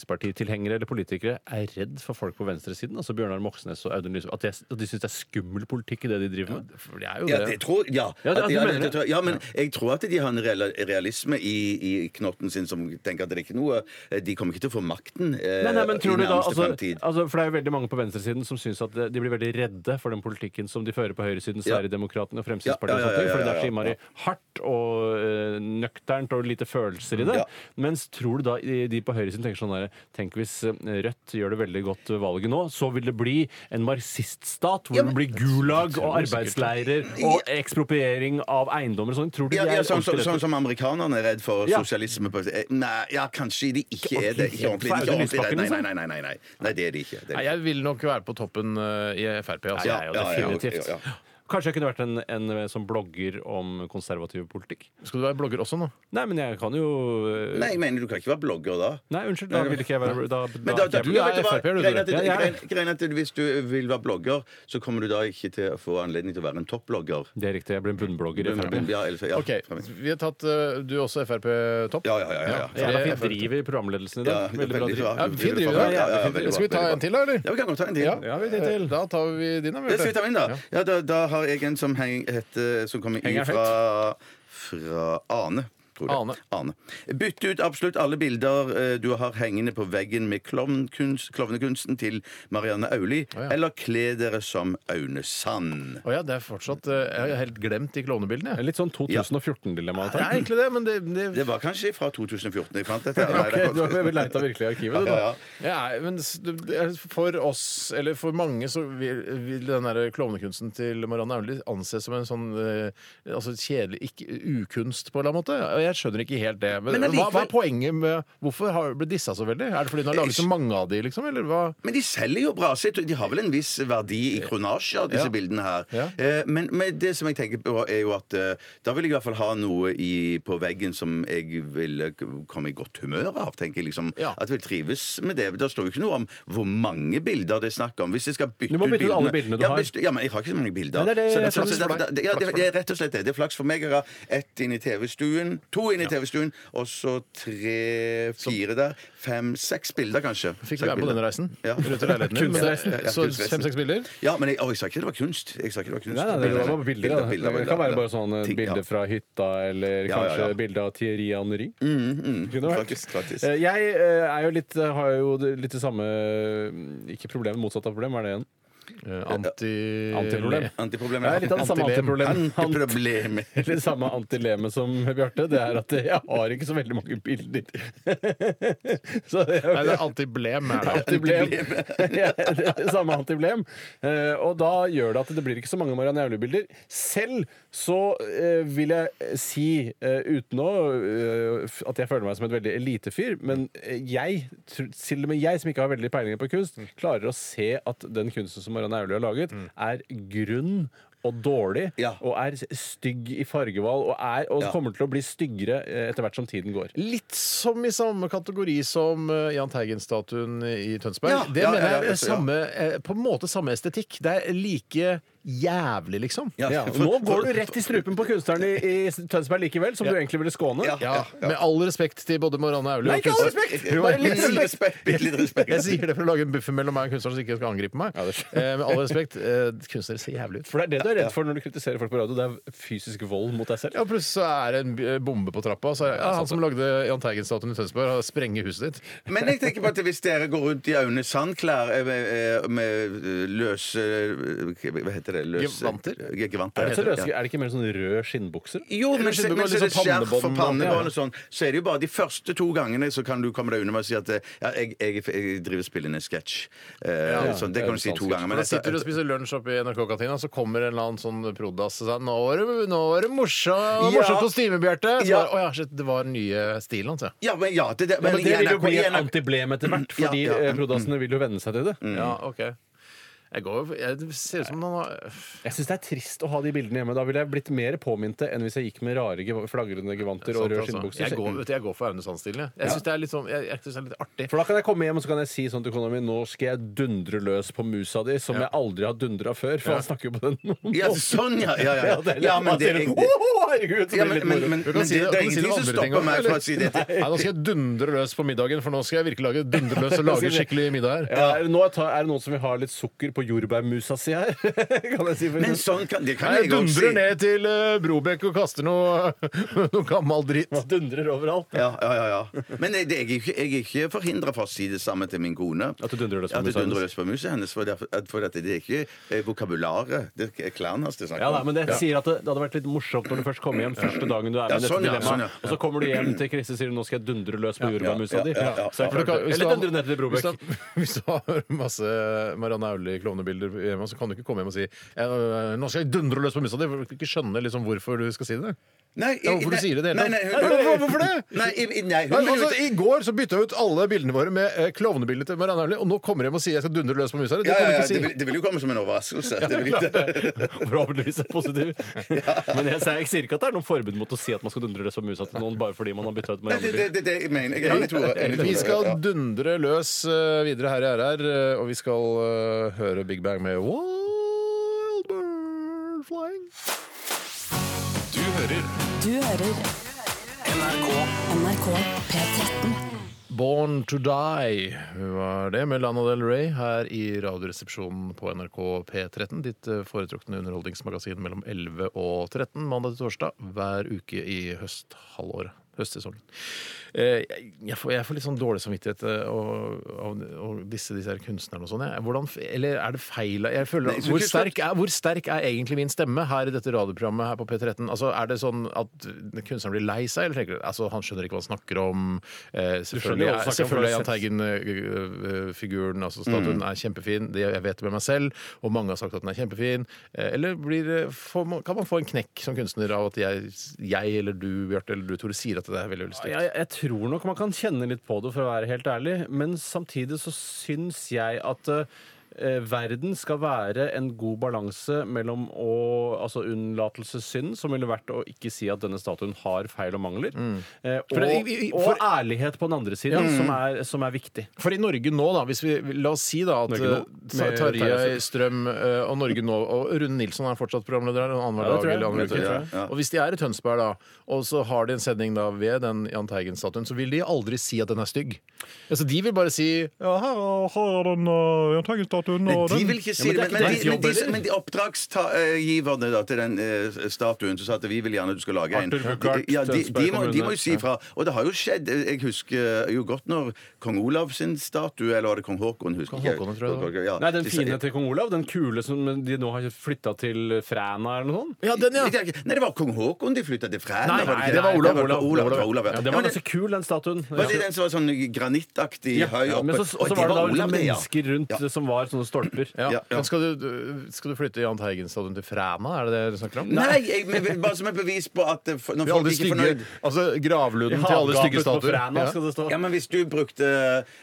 Speaker 3: Fremskrittspartitilhengere eller politikere er redd for folk på venstresiden? Altså Bjørnar Moxnes og Audun Lysbakken? At, de- at de syns det er skummel politikk i det de driver med?
Speaker 2: For det er jo
Speaker 4: Ja,
Speaker 2: det.
Speaker 4: det tror ja.
Speaker 3: Ja, det-
Speaker 4: At de-
Speaker 3: du
Speaker 4: ja,
Speaker 3: mener
Speaker 4: det
Speaker 3: det.
Speaker 4: tror jeg. ja, men jeg tror at de har en reala- realisme i, i knotten sin som tenker at det er ikke noe De kommer ikke til å få makten eh,
Speaker 3: Nei, nei, men tror
Speaker 4: i
Speaker 3: du da,
Speaker 4: nærmeste
Speaker 3: altså,
Speaker 4: fremtid.
Speaker 3: altså, for Det er jo veldig mange på venstresiden som syns at eh, de blir veldig redde for den politikken som de fører på høyresiden,
Speaker 4: Ja.
Speaker 3: Sverigedemokratene og Fremskrittspartiet.
Speaker 4: Ja, ja, ja, ja,
Speaker 3: og sånne ting, fordi det er
Speaker 4: ja,
Speaker 3: så
Speaker 4: ja,
Speaker 3: innmari hardt og eh, nøkternt og lite følelser i det.
Speaker 4: Ja.
Speaker 3: Mens tror du da de de på høyresiden tenker sånn der, Tenk hvis eh, Rødt gjør det veldig godt ved valget nå, så vil det bli en marxiststat hvor det blir gulag og arbeidsleirer og ekspropriering av eiendommer og sånn. Tror du
Speaker 4: ja,
Speaker 3: de
Speaker 4: ja,
Speaker 3: er
Speaker 4: sånn, sånn,
Speaker 3: ordentlig
Speaker 4: sånn
Speaker 3: redde?
Speaker 4: som amerikanerne er redd for
Speaker 3: Ja.
Speaker 4: sosialisme på, eh, Nei, ja, kanskje de ikke er det. Ikke ordentlig,
Speaker 3: Ordentlig. liksom.
Speaker 4: ikke ordentlig redd. Nei,
Speaker 3: Lysbakken,
Speaker 4: nei, nei, nei, nei, nei. nei, det er de ikke. Det er
Speaker 2: Nei,
Speaker 4: de ikke.
Speaker 2: jeg vil nok være på toppen eh, i Frp. Altså.
Speaker 3: Ja,
Speaker 4: Ja,
Speaker 3: ja,
Speaker 4: ja, ja, ok,
Speaker 3: definitivt.
Speaker 4: ja, ja.
Speaker 3: Kanskje jeg kunne vært en, en eh, som blogger om konservativ politikk?
Speaker 2: Skal du være blogger også nå?
Speaker 3: Nei, men jeg kan jo eh,
Speaker 4: Nei, jeg mener du kan ikke være blogger da.
Speaker 3: Nei, unnskyld, da vil ikke jeg være da, da,
Speaker 4: Men da, da,
Speaker 3: er
Speaker 4: du
Speaker 3: jeg-
Speaker 2: er
Speaker 4: vet du hva,
Speaker 2: FrP, du,
Speaker 4: greien er at-
Speaker 3: Tore. Ja, jeg er.
Speaker 4: greien- greien er at Hvis du vil være blogger, så kommer du da ikke til å få anledning til å være en toppblogger.
Speaker 3: Det er riktig, jeg blir en bunnblogger i Frp.
Speaker 4: Ja, eller- ja,
Speaker 2: OK. Vi har tatt eh, du også Frp-topp.
Speaker 4: Ja, ja, ja. ja, ja.
Speaker 3: Jævla fint driv i programledelsen i dag. Veldig bra driv.
Speaker 4: bra.
Speaker 2: Ja, fin driv, da.
Speaker 4: Ja, ja, veldig bra,
Speaker 2: Skal vi
Speaker 4: veldig bra.
Speaker 2: ta en til, da, eller?
Speaker 4: Ja, vi kan godt ta en til.
Speaker 2: Ja, vi tar en til. Da tar vi din, da.
Speaker 4: Ja, skal vi
Speaker 2: Bjarte.
Speaker 4: ta en, da?
Speaker 2: Ja.
Speaker 4: Ja, da, da har jeg en som, heng, heter, som kommer
Speaker 3: Henger
Speaker 4: i fra, fra Ane. tror jeg.
Speaker 2: Ane.
Speaker 4: Bytt ut absolutt alle bilder eh, du har hengende på veggen med klovnekunst, klovnekunsten til Marianne Auli,
Speaker 2: ja.
Speaker 4: eller kle dere som Aune Sand.
Speaker 2: Å ja, det er fortsatt eh, Jeg har helt glemt de klovnebildene. jeg.
Speaker 3: Litt sånn 2014-dilemma.
Speaker 2: Det er egentlig det, men det, det
Speaker 4: Det var kanskje fra 2014 jeg fant dette. her.
Speaker 3: Okay, du har leita virkelig i arkivet, du,
Speaker 4: Ja, ja.
Speaker 3: da.
Speaker 2: Ja, men s- det- det er for oss, eller for mange, så vil, vil den der klovnekunsten til Marianne Aulie anses som en sånn eh, altså kjedelig ikke, ukunst, på en eller annen måte. Og Jeg skjønner ikke helt det. Men,
Speaker 4: Men
Speaker 2: hva, hva
Speaker 4: allikevel-
Speaker 2: er poenget med Hvorfor har ble dissa så veldig? Er det fordi hun har laget så mange av de, liksom? Eller hva?
Speaker 4: Men de selger jo bra. så jeg- De har vel en viss verdi i kronasjer, disse
Speaker 2: Ja.
Speaker 4: bildene her.
Speaker 2: Ja.
Speaker 4: Eh, Men, men det som jeg tenker på, er jo at eh, da vil jeg i hvert fall ha noe i, på veggen som jeg ville k- komme i godt humør av. tenker jeg liksom.
Speaker 2: Ja.
Speaker 4: At jeg vil trives med det. Da står jo ikke noe om hvor mange bilder det er snakk om. Hvis jeg skal bytte
Speaker 3: Du må
Speaker 4: ut
Speaker 3: bytte ut alle bildene du
Speaker 4: ja,
Speaker 3: har.
Speaker 4: hvis- Ja, men jeg har ikke så mange bilder.
Speaker 3: Nei, det er det-
Speaker 4: Så
Speaker 3: det er
Speaker 4: så- så
Speaker 3: flaks for
Speaker 4: derfor-
Speaker 3: deg.
Speaker 4: ja, det, det er rett og slett det. Det er flaks for meg. Jeg har ett inn i TV-stuen, to inn i TV-stuen, og så tre, fire der. Fem, seks bilder, kanskje.
Speaker 2: Fikk du være
Speaker 4: Seks
Speaker 2: på denne
Speaker 4: bilder.
Speaker 2: reisen?
Speaker 4: Ja.
Speaker 2: Rundt i leiligheten din?
Speaker 4: Kunstreisen. Ja, ja,
Speaker 2: Så
Speaker 4: kunstreisen.
Speaker 2: fem-seks bilder?
Speaker 4: Ja, men jeg, å, jeg sa ikke det var kunst. Jeg sa ikke det var kunst.
Speaker 3: Nei, nei, det var bilder, da.
Speaker 4: bilder,
Speaker 3: det kan
Speaker 4: bilder.
Speaker 3: være bare sånn eh,
Speaker 4: Ting, ja.
Speaker 3: bilder fra hytta, eller
Speaker 4: Ja, ja,
Speaker 3: kanskje
Speaker 4: ja.
Speaker 3: bilde av Thierry Henry. Kunne vært.
Speaker 4: Mm, Faktisk, faktisk.
Speaker 3: Eh, Jeg eh, er jo litt, har jo det- litt det samme mm, Ikke problemet, motsatt av problem, hva er det igjen?
Speaker 2: Eh, Anti...
Speaker 3: Antiproblem.
Speaker 4: Antiproblemet.
Speaker 3: Jeg er litt av det samme
Speaker 2: Antilem.
Speaker 3: antiproblem. Ant-
Speaker 4: Antiproblemet.
Speaker 3: Eller samme antilemet som Bjarte. Det er at jeg har ikke så veldig mange bilder. Så det
Speaker 2: Nei,
Speaker 3: er
Speaker 2: det er antiblem. Er det.
Speaker 3: antiblem. Ja, det er samme antiblem. Eh, Og da gjør det at det blir ikke så mange Marianne Jaulu-bilder. Selv så eh, vil jeg si, eh, uten å eh, f- at jeg føler meg som et veldig elitefyr, men eh, jeg, tr- til og med jeg som ikke har veldig peiling på kunst,
Speaker 4: Mm.
Speaker 3: klarer å se at den kunsten som Marianne Jaulu har laget, er grunn og dårlig,
Speaker 4: Ja.
Speaker 3: og er stygg i fargevalg, og, er, og
Speaker 4: Ja.
Speaker 3: kommer til å bli styggere eh, etter hvert som tiden går.
Speaker 2: Litt som i samme kategori som eh, Jahn Teigen-statuen i Tønsberg.
Speaker 4: Ja,
Speaker 2: det
Speaker 4: ja,
Speaker 2: mener
Speaker 4: ja,
Speaker 2: jeg
Speaker 4: ja,
Speaker 2: er samme, eh, på en måte samme estetikk. Det er like jævlig, liksom.
Speaker 3: Ja, og nå går du rett i strupen på kunstneren i, i Tønsberg likevel, som du egentlig ville skåne.
Speaker 4: Ja.
Speaker 2: Ja, Med all respekt til både Marianne Aulie
Speaker 3: Nei, ikke all
Speaker 2: kunstneren.
Speaker 3: respekt!
Speaker 2: Jo,
Speaker 3: Bare
Speaker 2: jeg-
Speaker 3: litt respekt.
Speaker 4: respekt. Bitte litt respekt.
Speaker 2: Jeg sier det for å lage en buffer mellom meg og kunstneren som ikke skal angripe meg. Eh, med all respekt, eh, kunstnere ser jævlig ut.
Speaker 3: For det er det du er redd for når du kritiserer folk på radio. Det er fysisk vold mot deg selv.
Speaker 2: Ja, Plutselig så er det en b- bombe på trappa. Så er, ja, han som lagde Jahn Teigen-statuen i Tønsberg, har sprenger huset ditt.
Speaker 4: Men jeg tenker på at hvis dere går rundt i Aune Sand-klær eh, med, eh, med eh, løse eh, Hva heter det? Løse,
Speaker 2: Gevanter?
Speaker 4: Ge- Gevanter.
Speaker 3: Er det, så
Speaker 4: heter det,
Speaker 3: løs-
Speaker 4: ja.
Speaker 3: er det ikke mer sånn rød skinnbukser?
Speaker 4: Jo, men,
Speaker 2: Eller
Speaker 4: se- men så
Speaker 2: skinnbukser,
Speaker 4: er det
Speaker 2: liksom
Speaker 4: skjerf og
Speaker 2: pannebånd,
Speaker 4: pannebånd
Speaker 2: ja.
Speaker 4: og sånn. Så er det jo bare de første to gangene så kan du komme deg unna med å si at eh, ja, jeg, jeg, jeg driver og spiller inn en sketsj. Eh, sånn, det kan du si to ganger.
Speaker 2: Men
Speaker 4: Men
Speaker 2: da sitter du og
Speaker 4: etter,
Speaker 2: spiser lunsj oppe i NRK-kantina, så kommer en eller annen sånn prod.ass og sier 'Nå var det, nå var det morsom, morsomt
Speaker 4: Ja.
Speaker 2: kostyme, Bjarte'. Så
Speaker 4: Ja.
Speaker 2: bare, Å ja, shit, det var den nye stilen hans, ja.
Speaker 4: ja, men ja, det, det,
Speaker 3: Ja, men
Speaker 4: i
Speaker 3: det vil jo
Speaker 4: NRK
Speaker 3: bli
Speaker 4: i
Speaker 3: et
Speaker 4: NRK
Speaker 3: antiblem etter hvert,
Speaker 4: Ja,
Speaker 3: fordi
Speaker 4: ja,
Speaker 3: ja,
Speaker 4: mm,
Speaker 3: prod.assene vil jo venne seg til det.
Speaker 2: Ja, OK. Jeg går, jeg det ser ut som han har
Speaker 3: Jeg syns det er trist å ha de bildene hjemme. Da ville jeg blitt mer påminnet enn hvis jeg gikk med rare geva- flagrende gevanter og
Speaker 2: Sant,
Speaker 3: rød
Speaker 2: altså.
Speaker 3: skinnbukser.
Speaker 2: Jeg går, vet du, jeg går for Aune Sand-stilen. Jeg, jeg syns det er litt sånn, jeg, jeg synes det er litt artig.
Speaker 3: For da kan jeg komme hjem og så kan jeg si sånn til kona mi Nå skal jeg dundre løs på musa di, som jeg aldri har dundra før. For han snakker jo på den måten.
Speaker 4: Ja, sånn, ja. Ja, ja, ja.
Speaker 3: Ja, det er litt-
Speaker 4: ja men det, det, ja,
Speaker 3: man sier, «Åh, herregud, så blir det
Speaker 4: men, men,
Speaker 3: litt moro».
Speaker 4: men,
Speaker 2: Du kan
Speaker 4: men
Speaker 2: si
Speaker 4: det,
Speaker 2: det-
Speaker 4: det er
Speaker 2: du kan si det
Speaker 4: ingenting som stopper
Speaker 2: andre ting også,
Speaker 4: meg
Speaker 2: eller?
Speaker 4: fra å si det.
Speaker 2: Nei, nå skal jeg dundre løs på middagen, for nå skal jeg virkelig lage dundre løs og lage skikkelig middag her.
Speaker 3: Ja, er, det nå, jeg tar- er det noen som vil ha litt sukker på jordbærmusa si her? kan jeg si for
Speaker 4: Men sånn kan, det kan
Speaker 2: Nei, jeg
Speaker 4: jeg òg si.
Speaker 2: dundrer ned til eh, Brobekk og kaster noe, noe gammel dritt.
Speaker 3: Man dundrer overalt.
Speaker 4: Ja, ja, ja, ja. Men jeg, det, jeg, er ikke- jeg er ikke forhindra for å si det samme til min kone.
Speaker 3: At du dundrer løs på
Speaker 4: At jeg
Speaker 3: musa
Speaker 4: dundrer
Speaker 3: hennes.
Speaker 4: løs på musa hennes. For, derfor, at- for at det er ikke eh, vokabularet. Det er klærne hans det er snakk
Speaker 3: Ja,
Speaker 4: om.
Speaker 3: nei, men det sier at det, det hadde vært litt morsomt når du først kommer hjem første dagen du er
Speaker 4: Ja,
Speaker 3: med i dette
Speaker 4: sånn, ja,
Speaker 3: dilemmaet.
Speaker 4: sånn, ja.
Speaker 3: Og så kommer du hjem til Kristin og sier nå skal jeg dundre løs på jordbærmusa
Speaker 4: ja,
Speaker 3: di.
Speaker 4: ja, ja, ja.
Speaker 3: Så er det
Speaker 2: For du
Speaker 3: klart
Speaker 2: kan-
Speaker 3: det.
Speaker 2: hvis du
Speaker 3: Eller
Speaker 2: har-
Speaker 3: dundre ned til
Speaker 2: hvis du
Speaker 3: Brobekk.
Speaker 2: har- Hvis du har masse Marianne Aulie-klovnebilder hjemme, så kan du ikke komme hjem og si «Eh, 'Nå skal jeg dundre løs på musa di'. for Du kan ikke skjønne liksom hvorfor du skal si det.
Speaker 4: Nei,
Speaker 2: Ja, hvorfor du sier det i det hele
Speaker 4: Nei, nei,
Speaker 2: tatt?
Speaker 4: hun-
Speaker 2: Nei, hvorfor- hvorfor det?
Speaker 4: Nei, i- i- nei,
Speaker 2: Nei,
Speaker 4: hun,
Speaker 2: men altså, I går så bytta jeg ut alle bildene våre med eh, klovnebildene til Marianne Aulie, og nå kommer jeg hjem og sier 'jeg skal dundre løs på musa di'. Det
Speaker 4: ja, ja,
Speaker 2: kan du
Speaker 4: ja,
Speaker 2: ikke si.
Speaker 4: det, vil, det vil jo komme som en overraskelse. Det vil, ikke-
Speaker 3: Forhåpentligvis er positiv. Men jeg, sier- jeg sier ikke at det er noen forbud mot å si at man skal dundre løs på musa til noen bare fordi man har bytta ut
Speaker 4: Nei, det,
Speaker 3: Marianne
Speaker 4: det, det, det jeg mener jeg. er enig, Tore. Enig, Tore.
Speaker 2: Vi skal
Speaker 4: Ja.
Speaker 2: dundre løs eh, videre her i RR, eh, og vi skal eh, høre Big Bang med Wild Bird Flying.
Speaker 9: Du hører
Speaker 5: Du hører
Speaker 9: NRK
Speaker 5: NRK P13.
Speaker 2: Born to Die var det med Lana Del Rey her i Radioresepsjonen på NRK P13. Ditt eh, foretrukne underholdningsmagasin mellom 11 og 13 mandag til torsdag hver uke i høsthalvåret. Høstsesongen. Eh, Jeg jeg får, jeg får litt sånn dårlig samvittighet eh, og- av av disse, disse her kunstnerne og sånn. jeg. Hvordan f- Eller er det feil? Jeg føler,
Speaker 4: Nei, så
Speaker 2: hvor,
Speaker 4: ikke-
Speaker 2: sterk er, hvor sterk er egentlig min stemme her i dette radioprogrammet her på P13? Altså, Er det sånn at kunstneren blir lei seg, eller tenker du altså, han skjønner ikke hva han snakker om? Eh,
Speaker 3: skjønner
Speaker 2: Selvfølgelig
Speaker 3: jo
Speaker 2: er,
Speaker 3: hva du snakker om,
Speaker 2: selvfølgelig er
Speaker 3: for
Speaker 2: Jahn Teigen-figuren, altså statuen,
Speaker 3: Mm.
Speaker 2: er kjempefin. Det, jeg vet det med meg selv, og mange har sagt at den er kjempefin. Eh, Eller blir, det- får man- kan man få en knekk som kunstner av at jeg, jeg eller du, Bjarte, eller du, Tore, sier at det er veldig veldig stygt?
Speaker 3: jeg, jeg tror nok man kan kjenne litt på det, for å være helt ærlig. Men samtidig så syns jeg at eh, verden skal være en god balanse mellom å, altså unnlatelsessynd, som ville vært å ikke si at denne statuen har feil og mangler, eh,
Speaker 2: Mm.
Speaker 3: og,
Speaker 2: For det- i- i- for-
Speaker 3: og ærlighet på den andre siden, som, er, som er viktig.
Speaker 2: For i Norge nå, da, hvis vi, la oss si da at
Speaker 3: Norge
Speaker 2: eh,
Speaker 3: nå?
Speaker 2: Tar-
Speaker 3: Med
Speaker 2: Tarjei
Speaker 3: Tarjei
Speaker 2: Strøm eh, og Norge nå og Rune Nilsson er fortsatt programleder her annenhver
Speaker 3: Ja, det
Speaker 2: dag
Speaker 3: tror jeg.
Speaker 2: eller
Speaker 3: Det
Speaker 2: annenhver
Speaker 3: tror jeg,
Speaker 2: uke.
Speaker 4: ja.
Speaker 2: Og hvis de er i Tønsberg da, og så har de en sending da ved den Jahn Teigen-statuen, så vil de aldri si at den er stygg. Altså, de vil bare si Ja, her har den uh, Jahn Teigen-statuen
Speaker 4: Nei, de vil ikke si det,
Speaker 3: men
Speaker 4: men, men,
Speaker 3: det er ikke deres
Speaker 4: de, men,
Speaker 3: jobb,
Speaker 4: de,
Speaker 3: eller?
Speaker 4: som- men de oppdragsgiverne da, til den eh, statuen som sa at vi vil gjerne at du skal lage en
Speaker 3: Arthur Buchardt,
Speaker 4: ja,
Speaker 2: eh,
Speaker 4: de, de,
Speaker 3: Tønsberg
Speaker 4: må, de må
Speaker 3: kommune.
Speaker 4: jo si fra. Og det har jo skjedd. eh, Jeg husker jo godt når kong Olav sin statue, eller var det kong Haakon? Husker
Speaker 2: Kong
Speaker 4: ikke jeg.
Speaker 2: Haakon, tror jeg det var.
Speaker 4: Ja,
Speaker 3: Nei, den
Speaker 4: de sa-
Speaker 3: fine til kong Olav, den kule som de nå har flytta til Fræna eller noe sånt.
Speaker 2: Ja, den, ja.
Speaker 4: Jeg tenker- Nei, det var kong Haakon de flytta til Fræna.
Speaker 2: Nei,
Speaker 4: var ikke
Speaker 2: nei, det var Olav,
Speaker 4: Det var
Speaker 2: Olav,
Speaker 4: Olav,
Speaker 2: Olav.
Speaker 4: det var Olav, ja.
Speaker 3: Ja, den
Speaker 4: Ja,
Speaker 3: var
Speaker 4: men
Speaker 3: ganske kul, den statuen.
Speaker 4: var det den som var sånn granittaktig
Speaker 3: Ja,
Speaker 4: høy
Speaker 3: ja,
Speaker 4: oppe?
Speaker 3: men så, så
Speaker 4: Å,
Speaker 3: var det da liksom
Speaker 4: Olav, det, ja.
Speaker 3: mennesker rundt
Speaker 4: Ja.
Speaker 3: som var sånne stolper.
Speaker 2: Ja.
Speaker 4: Ja, ja.
Speaker 2: Men skal du, skal du flytte Jahn Teigen-statuen til Fræna? Er det det du snakker om?
Speaker 4: Nei, jeg, men bare som et bevis på at eh, når
Speaker 2: Vi har
Speaker 4: folk
Speaker 2: alle
Speaker 4: ikke er
Speaker 2: stygge,
Speaker 4: fornøyd
Speaker 2: altså Gravlunden til alle
Speaker 3: Havgapet
Speaker 2: stygge
Speaker 3: på
Speaker 2: statuer.
Speaker 3: Fræna skal det stå.
Speaker 4: Ja, men Hvis du brukte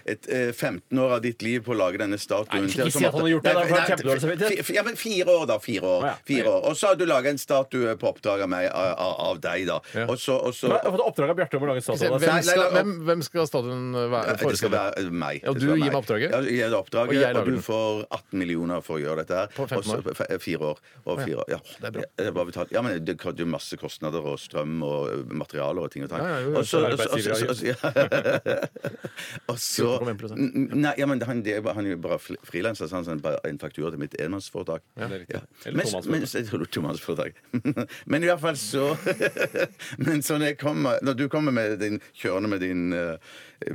Speaker 4: et, eh, 15 år av ditt liv på å lage denne statuen
Speaker 3: Nei, ikke
Speaker 4: til-
Speaker 3: si at han har gjort det, da, for han har kjempedårlig samvittighet.
Speaker 4: fi- fi- Ja, men Fire år, da. fire år,
Speaker 3: Å, ja.
Speaker 4: fire år. Og så har du laga en statue på oppdrag av meg, av, av- av deg, da. Og så, og så
Speaker 3: Jeg har fått oppdrag av Bjarte om å lage Altså, en statue. av deg.
Speaker 2: Hvem
Speaker 4: Nei,
Speaker 2: skal,
Speaker 4: nei, nei,
Speaker 2: hvem, hvem skal statuen være?
Speaker 4: Det skal være meg.
Speaker 2: Ja,
Speaker 4: Det
Speaker 2: du
Speaker 4: skal være
Speaker 2: gir meg
Speaker 4: meg.
Speaker 2: oppdraget?
Speaker 4: Ja, jeg gir deg
Speaker 2: Og jeg
Speaker 4: oppdraget,
Speaker 2: lager
Speaker 4: og du
Speaker 2: den.
Speaker 4: for 18 millioner for å gjøre dette her.
Speaker 2: På 15 år?
Speaker 4: Også f- f- fire år. Og fire år. Ja.
Speaker 2: Det er bra.
Speaker 4: Ja, det var betalt. Ja, men det hadde jo masse kostnader og strøm og ø, materialer og ting og tang.
Speaker 2: Ja, ja, jo, ja.
Speaker 4: Og så-
Speaker 3: Arbeidsgiveravgift.
Speaker 4: og så- ja. Og så
Speaker 2: 14,1%.
Speaker 4: N- Nei, ja, men han, det, er bare- han er jo bare frilanser, så han sendte bare en faktura til mitt enmannsforetak. Ja,
Speaker 3: det er riktig. Eller
Speaker 4: Mens,
Speaker 3: tomannsforetak.
Speaker 4: mens, jeg tror tomannsforetak. men i hvert fall så Men så når, jeg kommer, når du kommer med din kjørende med din eh,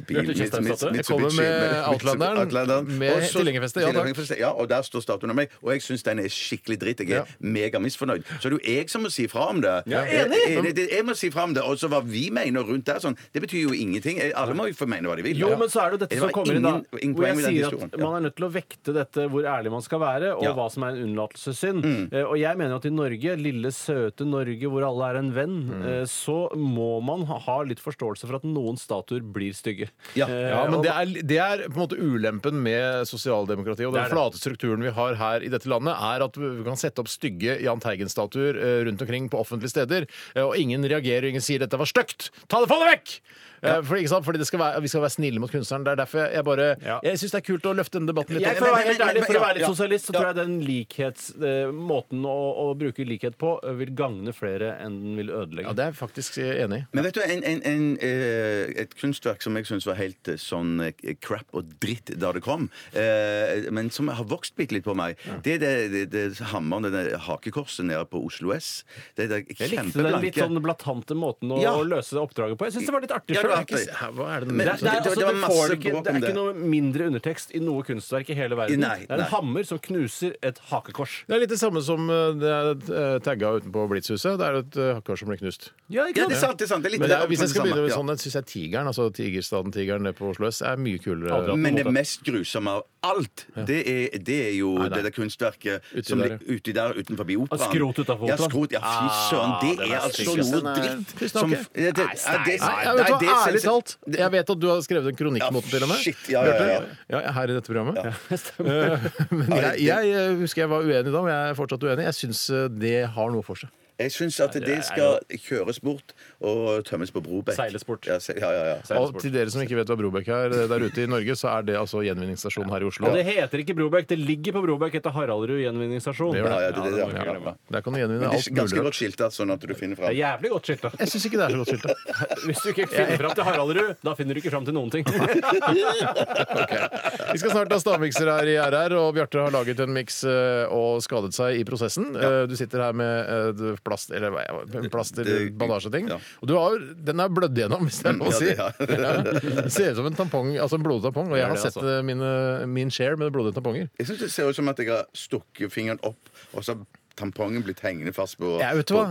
Speaker 4: bil
Speaker 3: Bjarte Tjøstheim
Speaker 4: Mits-
Speaker 3: Statue.
Speaker 4: Mits-
Speaker 2: Jeg kommer med
Speaker 4: Mitsubishi-
Speaker 2: Outlanderen, med
Speaker 4: Og så-
Speaker 2: tilhengerfeste, ja, takk.
Speaker 4: tilhengerfeste, ja, og der står statuen av meg. Og jeg syns den er skikkelig dritt. Jeg er
Speaker 2: Ja.
Speaker 4: megamisfornøyd. Så det er jo jeg som må si fra om det.
Speaker 3: Ja,
Speaker 4: Jeg- enig. Det- Jeg må si fra om det. Og så hva vi mener rundt der, sånn, det betyr jo ingenting. Eh, Alle må jo få mene hva de vil.
Speaker 3: Jo, men så er det jo dette
Speaker 4: Det
Speaker 3: som
Speaker 4: var
Speaker 3: kommer inn,
Speaker 4: ingen-
Speaker 3: da.
Speaker 4: ingen
Speaker 3: Hvor
Speaker 4: poeng
Speaker 3: jeg
Speaker 4: i den
Speaker 3: sier
Speaker 4: historien.
Speaker 3: at
Speaker 4: Ja.
Speaker 3: man er nødt til å vekte dette hvor ærlig man skal være, og
Speaker 4: Ja. Mm.
Speaker 3: hva som er en unnlatelsessynd. Eh, Og jeg mener jo at i Norge, lille søte Norge hvor alle er en venn,
Speaker 4: Mm.
Speaker 3: eh, så må man ha- ha litt forståelse for at noen statuer blir stygge.
Speaker 4: Ja.
Speaker 3: Eh,
Speaker 2: Ja, men
Speaker 3: og-
Speaker 2: det er, det er på en måte ulempen med sosialdemokratiet. Og
Speaker 3: Det
Speaker 2: den
Speaker 3: er det.
Speaker 2: flate strukturen vi har her i dette landet, er at vi kan sette opp stygge Jahn Teigen-statuer eh, rundt omkring på offentlige steder, eh, og ingen reagerer, ingen sier 'dette var stygt', ta det, få det vekk! Eh, Fordi, ikke sant? Fordi det skal være, Vi skal være snille mot kunstneren. Det er derfor jeg bare
Speaker 3: Ja.
Speaker 2: Jeg syns det er kult å løfte denne debatten litt.
Speaker 3: Jeg,
Speaker 2: opp.
Speaker 3: for å
Speaker 4: men-
Speaker 3: være helt
Speaker 4: men-
Speaker 3: ærlig, for å
Speaker 4: ja,
Speaker 3: være litt
Speaker 4: ja,
Speaker 3: sosialist, så
Speaker 4: ja.
Speaker 3: tror jeg den likhets, eh, måten å, å bruke likhet på eh, vil gagne flere enn den vil ødelegge.
Speaker 2: ja, det er jeg faktisk eh, enig i.
Speaker 4: Men vet du, en, en, en, eh, et kunstverk som jeg syns var helt eh, sånn eh, crap og dritt da det kom, eh, men som har vokst bitte litt på meg, det er det, det, det hammeren, det der hakekorset nede på Oslo S. Det er
Speaker 3: Jeg likte den litt
Speaker 4: kjempeblanke
Speaker 3: sånn blatante måten å,
Speaker 4: Ja.
Speaker 3: å løse det oppdraget på. Jeg syns det var litt
Speaker 4: Ja, det
Speaker 3: artig selv.
Speaker 4: var
Speaker 3: Det,
Speaker 4: artig.
Speaker 2: Hæ, Hva er det
Speaker 4: Men-
Speaker 3: er- det, er-
Speaker 4: det- det
Speaker 3: altså, det,
Speaker 4: masse
Speaker 3: får ikke, det
Speaker 4: bråk om
Speaker 3: er
Speaker 4: det.
Speaker 3: ikke noe mindre undertekst i noe kunstverk i hele verden.
Speaker 4: Nei,
Speaker 3: det er
Speaker 4: nei.
Speaker 3: en hammer som knuser et hakekors.
Speaker 2: Det er litt det samme som eh, det er tagga utenpå Blitzhuset. Det er et eh, hakkekors som ble knust.
Speaker 4: Ja, det er sant, det er sant. Det er litt
Speaker 2: Men det er, hvis jeg skal
Speaker 4: omtrent det
Speaker 2: begynne med
Speaker 4: samme,
Speaker 2: sånn, syns jeg Tigeren, altså Tigerstaden Tigeren nede på Oslo S, er mye kulere.
Speaker 3: Aldri hatt
Speaker 4: Men
Speaker 3: på en
Speaker 4: det
Speaker 3: måte.
Speaker 4: mest grusomme av alt, det er, det er jo
Speaker 2: Nei, nei.
Speaker 4: det der kunstverket
Speaker 2: Uti
Speaker 4: som
Speaker 2: der,
Speaker 4: ligger uti der utenfor operaen.
Speaker 3: Ah, skrot utenfor
Speaker 4: ja,
Speaker 3: operaen.
Speaker 4: skrot. Ja, fy
Speaker 2: Ah,
Speaker 4: søren. Det,
Speaker 3: det
Speaker 4: er
Speaker 3: var
Speaker 4: altså
Speaker 3: styggest.
Speaker 4: noe
Speaker 2: Nei,
Speaker 4: dritt
Speaker 2: tusen
Speaker 4: som
Speaker 2: takk.
Speaker 4: Ja, det- ja, det-
Speaker 2: Nei,
Speaker 4: nei,
Speaker 2: jeg vet
Speaker 4: det
Speaker 2: hva,
Speaker 4: synes
Speaker 2: ærlig
Speaker 4: jeg-
Speaker 2: talt, jeg vet at du har skrevet en kronikk
Speaker 4: Ja,
Speaker 2: mot den til og med.
Speaker 4: shit, ja, ja, ja.
Speaker 2: Bjarte, ja, her i dette programmet. Eh, Men
Speaker 4: Ja,
Speaker 2: jeg, jeg eh, husker jeg var uenig da, men jeg er fortsatt uenig. Jeg syns det har noe for seg.
Speaker 4: Jeg syns at det skal kjøres bort og tømmes på Brobekk.
Speaker 3: Seiles bort.
Speaker 4: Ja, se, ja, ja, ja.
Speaker 2: Og til dere som ikke vet hva Brobekk er eh, der ute i Norge, så er det altså gjenvinningsstasjonen her i Oslo.
Speaker 3: Og det heter ikke Brobekk. Det ligger på Brobekk etter Haraldrud gjenvinningsstasjon.
Speaker 2: Det gjør
Speaker 4: Ja, ja, det, det, det,
Speaker 3: må
Speaker 4: ja,
Speaker 3: vi
Speaker 4: ja,
Speaker 3: glemme.
Speaker 4: ja.
Speaker 2: Der kan du
Speaker 4: Men
Speaker 2: gjenvinne
Speaker 4: det
Speaker 2: alt
Speaker 4: er
Speaker 2: mulig.
Speaker 4: ganske godt
Speaker 2: rart.
Speaker 4: skilta, sånn at du finner
Speaker 3: Det
Speaker 4: fram.
Speaker 3: er jævlig godt skilta.
Speaker 2: Jeg syns ikke det er så godt skilta.
Speaker 3: Hvis du ikke finner fram til Haraldrud, da finner du ikke fram til noen ting.
Speaker 2: Vi skal snart ha stavmikser her i RR, og Bjarte har laget en miks eh, og skadet seg i prosessen. Eh, Du sitter her med eh, d- plast eller hva er det, plaster,
Speaker 4: Det-
Speaker 2: bandasjeting.
Speaker 4: ja.
Speaker 2: Og du har, den er blødd gjennom, hvis det er lov å
Speaker 4: Ja,
Speaker 2: si.
Speaker 4: det- ja.
Speaker 2: Ja. Det ser ut som en tampong, altså en blodig tampong, og jeg har
Speaker 3: det,
Speaker 2: sett eh, mine, min share med blodige tamponger.
Speaker 4: Jeg syns det ser ut som at jeg har stukket fingeren opp, og så har tampongen blitt hengende fast på
Speaker 2: Ja, vet du hva?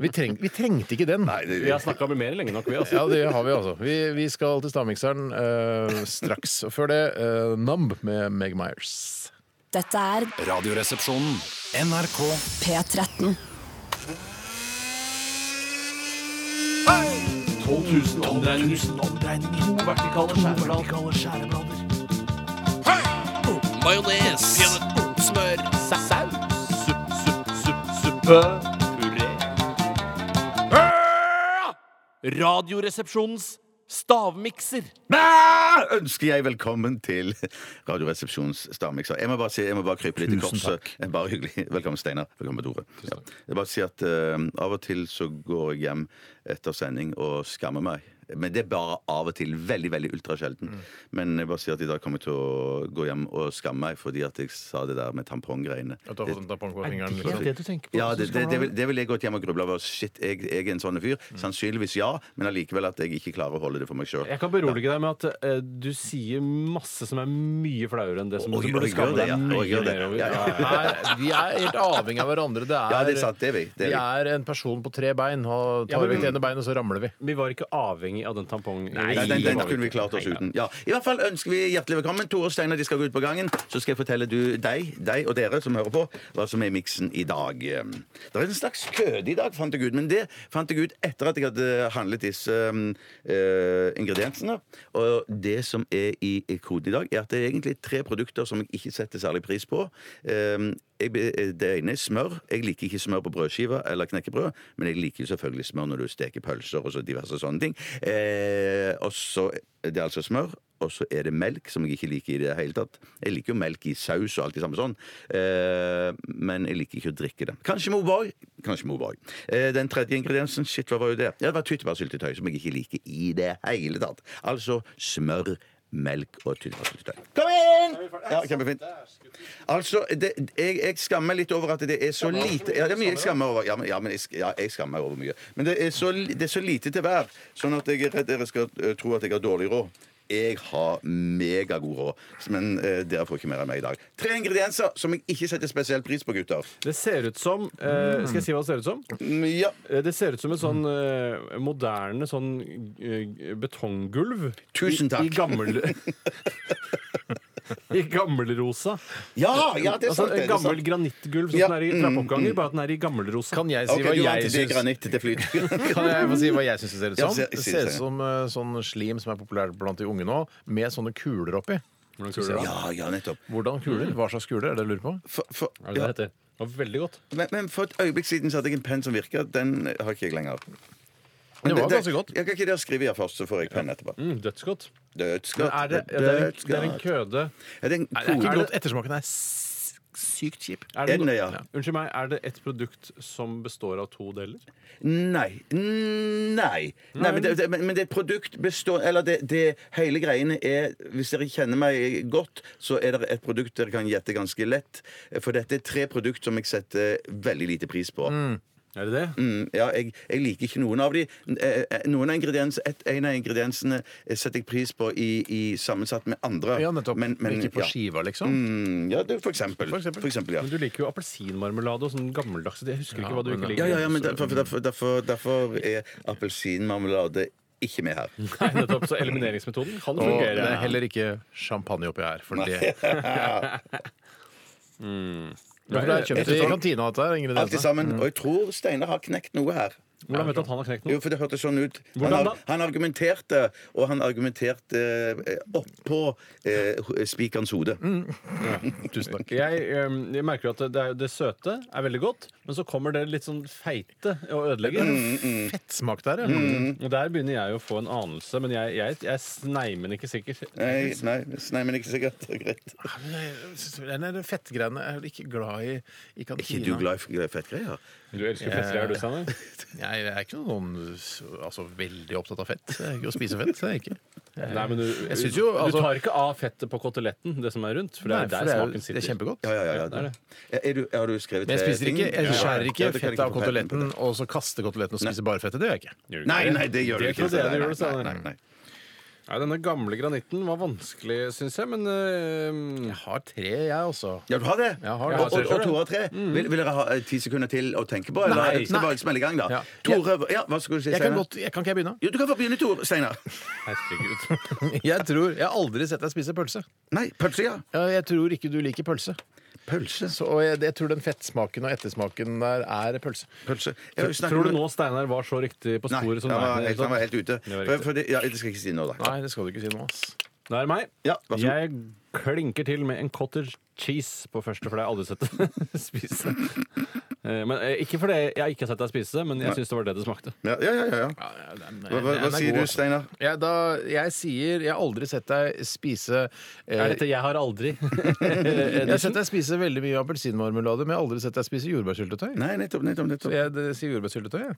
Speaker 2: Vi, treng, vi trengte ikke den.
Speaker 4: Nei, det,
Speaker 3: Vi har snakka med mer lenge nok, vi. Altså.
Speaker 2: Ja, det har vi altså. Vi, vi skal til stavmikseren eh, straks. Og før det, uh, Numb med Meg Myers.
Speaker 5: Dette er
Speaker 9: Radioresepsjonen. NRK
Speaker 5: P13.
Speaker 10: 12 000 omdreininger. To vertikale skjæreblader. Majones. Smør. Saus. Supp, supp, supp, suppe. Puré. Radioresepsjonens stavmikser.
Speaker 4: Da ønsker jeg velkommen til Radioresepsjonens stavmikser. Jeg må bare si, jeg må bare krype litt i korset. Eh, Bare hyggelig. Velkommen, Steinar. Velkommen, Tore. Ja. Jeg bare sier at eh, av og til så går jeg hjem etter sending og skammer meg. Men det er bare av og til. Veldig veldig ultrasjelden. Men jeg bare sier at i dag kommer jeg til å gå hjem og skamme meg fordi at jeg sa det der med tamponggreiene.
Speaker 2: At du har fått en tampong på fingeren. liksom.
Speaker 3: Det er det du tenker på.
Speaker 4: Ja, det, det, det, vil, det vil jeg gått hjem og grubla over. Shit, jeg, jeg er en sånn fyr. Sannsynligvis ja, men allikevel at jeg ikke klarer å holde det for meg sjøl.
Speaker 3: Jeg kan berolige deg med at eh, du sier masse som er mye flauere enn det som
Speaker 4: Og-
Speaker 3: du
Speaker 4: og
Speaker 3: burde
Speaker 4: gjør
Speaker 3: skamme
Speaker 4: det,
Speaker 3: deg
Speaker 4: ja. Og
Speaker 3: mye
Speaker 4: gjør det.
Speaker 3: mer over.
Speaker 4: Ja, ja.
Speaker 2: Nei, vi er helt avhengig av hverandre. Det er,
Speaker 4: Ja, det er sant, det er vi. Det er vi.
Speaker 2: vi er en person på tre bein. Og
Speaker 3: Ja,
Speaker 2: tar
Speaker 3: men
Speaker 2: vi
Speaker 3: vi-
Speaker 2: ut ene beinet, så ramler vi.
Speaker 3: Vi var ikke avhengig av den tampongen.
Speaker 4: Nei, den, den kunne vi klart oss uten. Ja. I hvert fall ønsker vi hjertelig velkommen. Tore og Steinar de skal gå ut på gangen. Så skal jeg fortelle du, deg, deg og dere som hører på, hva som er miksen i dag. Det er en slags køde i dag, fant jeg ut. Men det fant jeg ut etter at jeg hadde handlet disse um, eh, ingrediensene. Og det som er i i koden i dag, er at det er egentlig tre produkter som jeg ikke setter særlig pris på. Um, jeg, be- det ene er smør. Jeg liker ikke smør på brødskiva eller knekkebrød, men jeg liker jo selvfølgelig smør når du steker pølser og så diverse sånne ting. Eh, og så det er altså smør. og så er det melk, som jeg ikke liker i det hele tatt. Jeg liker jo melk i saus og alt det samme sånn, eh, men jeg liker ikke å drikke det. Kanskje med O'boy. Kanskje med O'boy. Eh, den tredje ingrediensen, shit, hva var jo det? Ja, det var tyttebærsyltetøy, som jeg ikke liker i det hele tatt. Altså smør, melk og tyttebærsyltetøy. Kom inn! Ja, kjempefint. Altså, det, jeg, jeg skammer meg litt over at det er så lite Ja, det er mye jeg skammer over. Ja, men, ja, men jeg, sk- ja, jeg skammer meg over mye. Men det er, så, li- det er så lite til hver, sånn at jeg er redd dere skal eh, tro at jeg har dårlig råd. Jeg har megagod råd, men eh, dere får ikke mer av meg i dag. Tre ingredienser som jeg ikke setter spesielt pris på, gutter.
Speaker 3: Det ser ut som eh, Skal jeg si hva det ser ut som?
Speaker 4: Mm, Ja,
Speaker 3: Eh, Det ser ut som et sånn eh, moderne sånn eh, betonggulv.
Speaker 4: Tusen takk.
Speaker 3: I, i gammel... I gammelrosa.
Speaker 4: ja, ja det er
Speaker 3: Altså,
Speaker 4: sant. det, det er
Speaker 3: gammel
Speaker 4: sant.
Speaker 3: granittgulv som
Speaker 4: Ja, Mm.
Speaker 3: den er i trappeoppganger, bare at den er i gammelrosa.
Speaker 2: Kan jeg si
Speaker 4: Ok,
Speaker 2: hva
Speaker 4: du vant
Speaker 2: jeg
Speaker 4: til det
Speaker 2: syns
Speaker 4: granitt til flyt.
Speaker 2: Kan jeg få si hva jeg syns det ser ut
Speaker 4: Ja,
Speaker 2: som?
Speaker 4: se-
Speaker 2: Det
Speaker 4: si
Speaker 2: ser
Speaker 4: det,
Speaker 2: ut som eh, sånn slim som er populært blant de unge nå, med sånne kuler oppi.
Speaker 4: Ja, ja, nettopp.
Speaker 2: Hvordan kuler? Hva slags kuler? Er det jeg lurer på?
Speaker 4: For, for,
Speaker 3: Er det det
Speaker 4: ja.
Speaker 3: heter? Det var veldig godt.
Speaker 4: men, men for et øyeblikk siden så hadde jeg en penn som virka. Den har ikke jeg lenger.
Speaker 2: Det var ganske godt.
Speaker 4: Jeg kan ikke dere skrive her først, så får jeg penn etterpå.
Speaker 3: Mm, dødsgodt.
Speaker 4: Dødsgodt.
Speaker 3: Er det, ja, det, er en, det er en
Speaker 4: dødsgodt.
Speaker 3: køde
Speaker 4: Er det en
Speaker 2: Nei, det er ikke
Speaker 4: kode?
Speaker 2: godt. Ettersmaken er s- sykt kjip.
Speaker 3: er
Speaker 4: Er den
Speaker 3: no-
Speaker 4: det, ja?
Speaker 3: Unnskyld meg, er det et produkt som består av to deler?
Speaker 4: Nei. Nei. Nei men, det, det- men, men det er et produkt består Eller det, det hele greiene er Hvis dere kjenner meg godt, så er det et produkt dere kan gjette ganske lett. For dette er tre produkt som jeg setter veldig lite pris på.
Speaker 3: Er det det?
Speaker 4: Mm, ja, jeg, jeg liker ikke noen av de. Eh, eh, Noen av ingrediens, et, en av ingrediensene eh, setter jeg pris på i, i sammensatt med andre.
Speaker 2: Ja, nettopp.
Speaker 4: Men, men,
Speaker 2: ikke på
Speaker 4: ja.
Speaker 2: skiva, liksom.
Speaker 4: Mm, ja, det, for eksempel.
Speaker 2: For eksempel.
Speaker 4: ja.
Speaker 3: Men du liker jo appelsinmarmelade og sånn gammeldags. Jeg husker
Speaker 2: Ja,
Speaker 3: ikke hva du
Speaker 2: men-
Speaker 3: ikke liker.
Speaker 4: Ja, ja, ja, men derfor, derfor, derfor, derfor er appelsinmarmelade ikke med her.
Speaker 3: Nei, nettopp, så elimineringsmetoden kan
Speaker 2: Og det
Speaker 3: fungere.
Speaker 2: er heller ikke champagne oppi her. For det. Ja, for det er kjøpt i kantina, dette her.
Speaker 4: Alt
Speaker 2: ingrediensene.
Speaker 4: sammen. Og jeg tror Steinar har knekt noe her.
Speaker 3: Hvordan vet du at han har knekt
Speaker 4: Jo,
Speaker 3: noe?
Speaker 4: for det hørtes sånn ut. Han,
Speaker 3: Hvordan
Speaker 4: ar-
Speaker 3: da?
Speaker 4: han argumenterte, og han argumenterte eh, oppå eh, spikerens hode.
Speaker 2: Mm. Tusen takk.
Speaker 3: Jeg, øhm, jeg merker at det, er, det søte er veldig godt, men så kommer det litt sånn feite og ødelegger.
Speaker 4: Mm.
Speaker 2: Fettsmak der, ja.
Speaker 3: Og der begynner jeg å få en anelse, men jeg, jeg, jeg er sneimen ikke sikker.
Speaker 4: Nei, nei, nei, men ikke sikkert. Det er Greit.
Speaker 2: Nei, nei, det Fettgreiene er jeg ikke glad i i
Speaker 4: Er ikke du
Speaker 2: kantina.
Speaker 4: glad i f- fettgreier?
Speaker 3: Du elsker festlig, er du, Steinar?
Speaker 2: Jeg er ikke noen altså, veldig opptatt av fett. Jeg er ikke å spise fett. Det er jeg ikke.
Speaker 3: Nei, men du,
Speaker 2: Jeg synes jo, altså-
Speaker 3: du tar ikke av fettet på koteletten, det som er rundt, for det er
Speaker 2: Nei, for
Speaker 3: der
Speaker 2: det er jo-
Speaker 3: smaken sitter.
Speaker 2: Det er kjempegodt.
Speaker 4: Ja, ja, ja. ja.
Speaker 3: det er det.
Speaker 4: Er- Er du, har du skrevet
Speaker 2: Men jeg spiser
Speaker 4: ting?
Speaker 2: ikke, jeg skjærer ikke
Speaker 4: Ja, du kan
Speaker 2: fettet av
Speaker 4: få patent på
Speaker 2: koteletten og så kaster koteletten og spiser bare fettet. Det gjør jeg ikke.
Speaker 3: Gjør du
Speaker 4: det.
Speaker 3: ikke
Speaker 4: Nei, nei, det gjør du ikke.
Speaker 3: trodde jeg
Speaker 4: Nei,
Speaker 3: du
Speaker 4: nei,
Speaker 3: gjorde, Steinar.
Speaker 4: nei, nei, nei.
Speaker 3: Nei, denne gamle granitten var vanskelig, syns jeg, men eh, øhm,
Speaker 2: Jeg har tre, jeg også.
Speaker 4: Ja, du har det?
Speaker 2: Jeg har det.
Speaker 4: Og, og,
Speaker 2: Jeg
Speaker 4: og Tore har tre. Vil, vil dere ha eh, ti sekunder til å tenke på? Eller
Speaker 2: Nei.
Speaker 4: skal vi bare smelle i gang, da?
Speaker 2: Ja.
Speaker 4: Tore, ja, hva skulle du si,
Speaker 2: Jeg kan,
Speaker 4: Steinar?
Speaker 2: godt, jeg, kan ikke jeg begynne?
Speaker 4: Jo, du kan få begynne, Tore. Steinar.
Speaker 3: herregud.
Speaker 2: Jeg tror, jeg har aldri sett deg spise pølse.
Speaker 4: Nei, pølse, ja.
Speaker 2: Ja, Jeg tror ikke du liker pølse.
Speaker 4: Pølse.
Speaker 2: Så, og jeg, jeg tror den fettsmaken og ettersmaken der er pølse.
Speaker 4: Pølse. Jeg har jo snakket
Speaker 3: Tror du
Speaker 4: med-
Speaker 3: nå Steinar var så riktig på
Speaker 4: Nei,
Speaker 3: sporet som
Speaker 4: han var, helt, han var
Speaker 3: Nei,
Speaker 4: helt ute.
Speaker 3: var
Speaker 4: For,
Speaker 3: riktig.
Speaker 4: for det, ja, det skal jeg ikke si nå, da.
Speaker 2: Nei, det skal du ikke si nå. ass.
Speaker 3: Det er meg.
Speaker 4: Ja, vær så god.
Speaker 3: jeg klinker til med en cottage cheese på første, for det har jeg aldri sett deg spise. Eh, Men eh, Ikke fordi jeg ikke har sett deg spise, men jeg syns det var det det smakte.
Speaker 4: Ja, ja, ja. ja, ja. Hva, hva,
Speaker 2: eh,
Speaker 4: hva sier du, Steinar?
Speaker 2: altså. Ja, da, jeg sier jeg har aldri sett deg spise eh,
Speaker 3: Er dette 'jeg har aldri'?
Speaker 2: Jeg har sett deg spise veldig mye appelsinmarmelade, men jeg har aldri sett deg spise jordbærsyltetøy.
Speaker 4: Nei, nettopp, nettopp. nettopp.
Speaker 2: Jeg det, sier jordbærsyltetøy, jeg.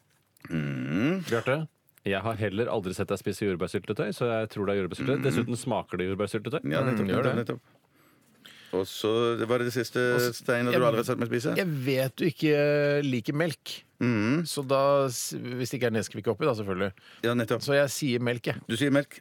Speaker 3: Bjarte? Jeg har heller aldri sett deg spise jordbærsyltetøy, så jeg tror det er jordbærsyltetøy. Dessuten smaker det jordbærsyltetøy.
Speaker 4: Mm. Ja, nettopp,
Speaker 2: gjør
Speaker 4: nettopp,
Speaker 2: det.
Speaker 4: nettopp. Og så det var det det siste, Steinar, du
Speaker 2: jeg-
Speaker 4: aldri har sett meg spise?
Speaker 2: Jeg vet du ikke eh, liker melk. Så da, s- Hvis det ikke er Nesquik oppi, da, selvfølgelig.
Speaker 4: Ja, nettopp.
Speaker 2: Så jeg sier melk, jeg.
Speaker 4: Du sier melk.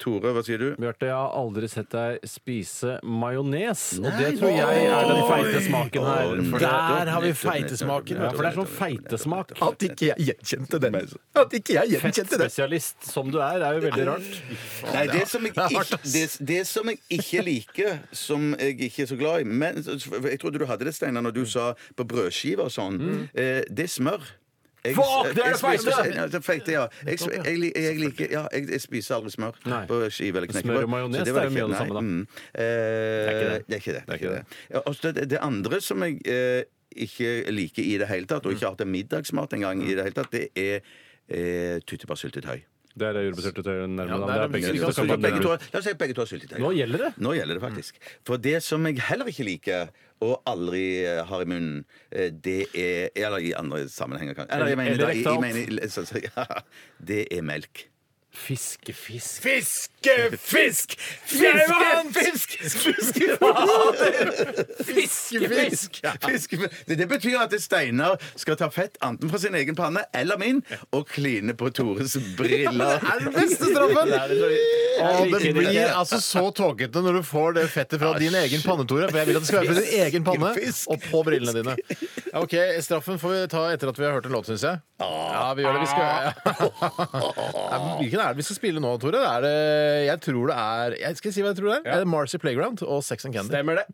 Speaker 4: Tore, hva sier du?
Speaker 3: Bjarte, jeg har aldri sett deg spise majones, og det tror jeg er den feite smaken her.
Speaker 4: Oi!
Speaker 3: For det-
Speaker 2: Der har vi
Speaker 4: nettopp,
Speaker 2: feitesmaken.
Speaker 3: Ja, for det er sånn feitesmak.
Speaker 2: At ikke jeg gjenkjente den. At ikke jeg
Speaker 3: Fettspesialist som du er, er jo veldig rart.
Speaker 4: Nei, det som, jeg
Speaker 2: Det er hardt,
Speaker 4: ikke,
Speaker 2: ass.
Speaker 4: det, det som jeg ikke liker, som jeg ikke er så glad i Men for jeg trodde du hadde det, Steinar, når du sa på brødskiver og sånn. Eh, det er smør. Jeg,
Speaker 3: Mm. Fuck,
Speaker 4: jeg
Speaker 3: det er det
Speaker 4: spiser-
Speaker 3: feite!
Speaker 4: Ja, det feite! Ja. Jeg, jeg, jeg, jeg, liker, ja, jeg, jeg spiser aldri smør
Speaker 3: Nei.
Speaker 4: på skive eller knekkebrød.
Speaker 3: Smør og majones,
Speaker 4: så
Speaker 3: det
Speaker 4: var
Speaker 3: er jo mye av det
Speaker 4: ikke-
Speaker 3: samme,
Speaker 4: nei,
Speaker 3: da.
Speaker 4: Mm. Eh, det er
Speaker 3: Det
Speaker 4: ikke det. det, er ikke
Speaker 3: det.
Speaker 4: det. Ja, og så det, det andre som jeg eh, ikke
Speaker 3: Mm.
Speaker 4: liker i det hele tatt, og ikke har til middagsmat engang, i det hele tatt, det er eh, tyttebærsyltetøy.
Speaker 3: Det er jordbaserte tøy nærmere.
Speaker 2: Ja,
Speaker 3: da.
Speaker 2: der er
Speaker 3: det er
Speaker 2: mye-
Speaker 3: begge
Speaker 2: vi kan
Speaker 3: to.
Speaker 2: snakke om
Speaker 4: Begge to, la oss si begge to har syltetøy.
Speaker 3: Nå gjelder det.
Speaker 4: Nå gjelder det faktisk. For det som jeg heller ikke liker, og aldri eh, har i munnen, eh, det er Eller i andre sammenhenger, kanskje. Eller, jeg mener,
Speaker 3: Eller
Speaker 4: da, jeg,
Speaker 3: rektalt.
Speaker 4: jeg mener, så- så- ja, det er melk.
Speaker 3: Fiskefisk.
Speaker 2: Fiskefisk! Fiskevann! Fisk!
Speaker 4: Fiskefisk! Det, det betyr at Steinar skal ta fett enten fra sin egen panne eller min og kline på Tores briller.
Speaker 2: Det er den beste straffen! Og det
Speaker 3: liker det.
Speaker 2: blir altså så tåkete når du får det fettet fra din egen panne, Tore. For jeg vil at det skal være fra din egen panne og på brillene dine. Ja, OK, straffen får vi ta etter at vi har hørt en låt, syns jeg. Ja, vi gjør det. Vi skal Nei, men Hvilken er det vi skal spille nå, Tore? Er det, jeg tror det er jeg Skal jeg si hva jeg tror det er? er det Marcy Playground og Sex and Candy.
Speaker 3: Stemmer det.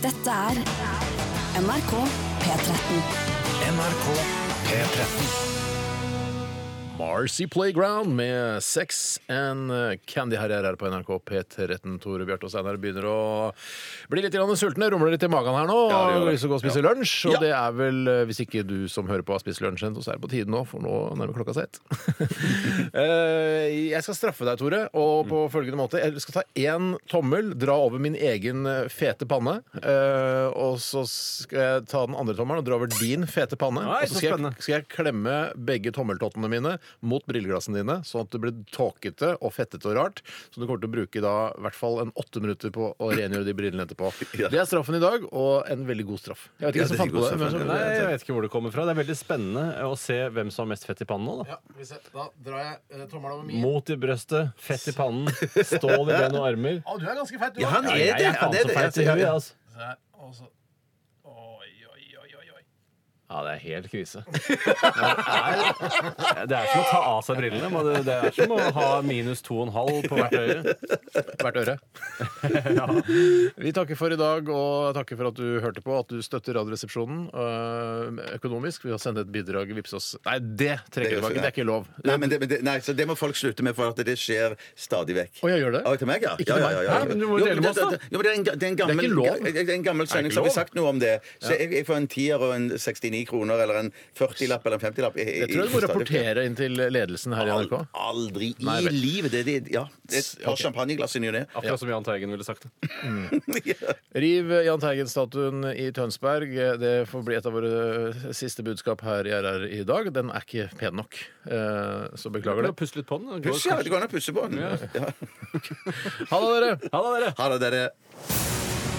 Speaker 5: Dette er NRK P13.
Speaker 9: NRK P13.
Speaker 2: Marcy Playground med Sex and Candy her er her på NRK P13. Tore Bjarte og Steinar begynner å bli litt grann sultne. Rumler litt i magen her nå.
Speaker 4: Ja, det gjør
Speaker 2: og har
Speaker 4: det.
Speaker 2: lyst til å gå og spise lunsj. Og det er vel, eh, hvis ikke du som hører på har spist lunsj ennå, så er det på tide nå, for nå nærmer klokka seg ett. Eh, jeg skal straffe deg, Tore, og på
Speaker 4: Mm.
Speaker 2: følgende måte. Jeg skal ta én tommel, dra over min egen eh, fete panne, eh, og så skal jeg ta den andre tommelen og dra over din fete panne. og
Speaker 3: Nei, så
Speaker 2: så skal
Speaker 3: spennende.
Speaker 2: jeg, skal jeg klemme begge tommeltottene mine mot brilleglassene dine, sånn at det blir tåkete og fettete og rart. Så du kommer til å bruke da i hvert fall en åtte minutter på å rengjøre de brillene etterpå.
Speaker 4: Ja.
Speaker 2: Det er straffen i dag, og en veldig god straff. Jeg vet
Speaker 4: Ja,
Speaker 2: ikke
Speaker 4: det
Speaker 2: hvem som
Speaker 4: er
Speaker 2: fant på
Speaker 4: god
Speaker 2: det. Men
Speaker 4: straff,
Speaker 2: så,
Speaker 3: Nei, jeg vet ikke hvor det kommer fra. Det er veldig spennende å se hvem som har mest fett i pannen nå. da.
Speaker 2: ja, vi ser. Da drar jeg eh, tommelen over min.
Speaker 3: Mot i brøstet, fett i pannen, stål i ben og armer.
Speaker 2: Å, du er ganske feit, du
Speaker 4: Ja,
Speaker 2: også.
Speaker 4: han er det.
Speaker 3: Jeg er
Speaker 4: ja,
Speaker 3: faen
Speaker 4: det er
Speaker 3: så
Speaker 4: det.
Speaker 3: feit i
Speaker 4: Ja,
Speaker 3: huet,
Speaker 4: ja.
Speaker 3: altså.
Speaker 2: Se her, og så- Oi, oi, oi, oi, oi.
Speaker 3: Ja, det er helt krise. Det er, det er som å ta av seg brillene. men Det, det er som å ha minus to og en halv på hvert øye.
Speaker 2: Hvert øre. Vi takker for i dag, og takker for at du hørte på, at du støtter Radioresepsjonen øh, økonomisk ved å sende et bidrag. Vips oss. Nei, det trekker
Speaker 4: Det
Speaker 2: vi
Speaker 4: er jo-
Speaker 2: tilbake. Det er ikke lov.
Speaker 4: Nei, men det, men det, nei, så det må folk slutte med, for at det skjer stadig vekk.
Speaker 2: Å, jeg gjør det?
Speaker 4: Å, til meg, ja.
Speaker 2: Ikke
Speaker 4: ja,
Speaker 2: til meg.
Speaker 4: ja, ja, ja.
Speaker 2: Nei, men du må jo
Speaker 4: Jo,
Speaker 2: dele
Speaker 4: men
Speaker 2: med
Speaker 4: det-
Speaker 2: oss, da.
Speaker 4: det- Jo, men det er en, det er en gammel,
Speaker 2: Det er ikke lov.
Speaker 4: ga- det er en gammel sending
Speaker 2: ikke
Speaker 4: som har
Speaker 2: lov.
Speaker 4: sagt noe om det. Så jeg, jeg får en tier og en 69 kroner, eller en 40-lapp eller en 50-lapp. Jeg,
Speaker 2: Jeg tror jeg må rapportere inn til ledelsen her i NRK.
Speaker 4: Aldri i
Speaker 2: Nei vel.
Speaker 4: livet! Det, det, ja. det er Et par
Speaker 2: Ok.
Speaker 4: champagneglass i ny og ne.
Speaker 3: Akkurat som Jahn Teigen ville sagt det.
Speaker 2: Riv Jahn Teigen-statuen i Tønsberg. Det får bli et av våre øh, siste budskap her i RR i dag. Den er ikke pen nok, Eh, så beklager det.
Speaker 3: Puss litt på den.
Speaker 4: Puss, ja. Det går an å pusse på den. Ja.
Speaker 2: Ha det, dere!
Speaker 3: Ha det, dere.
Speaker 4: Ha det, dere.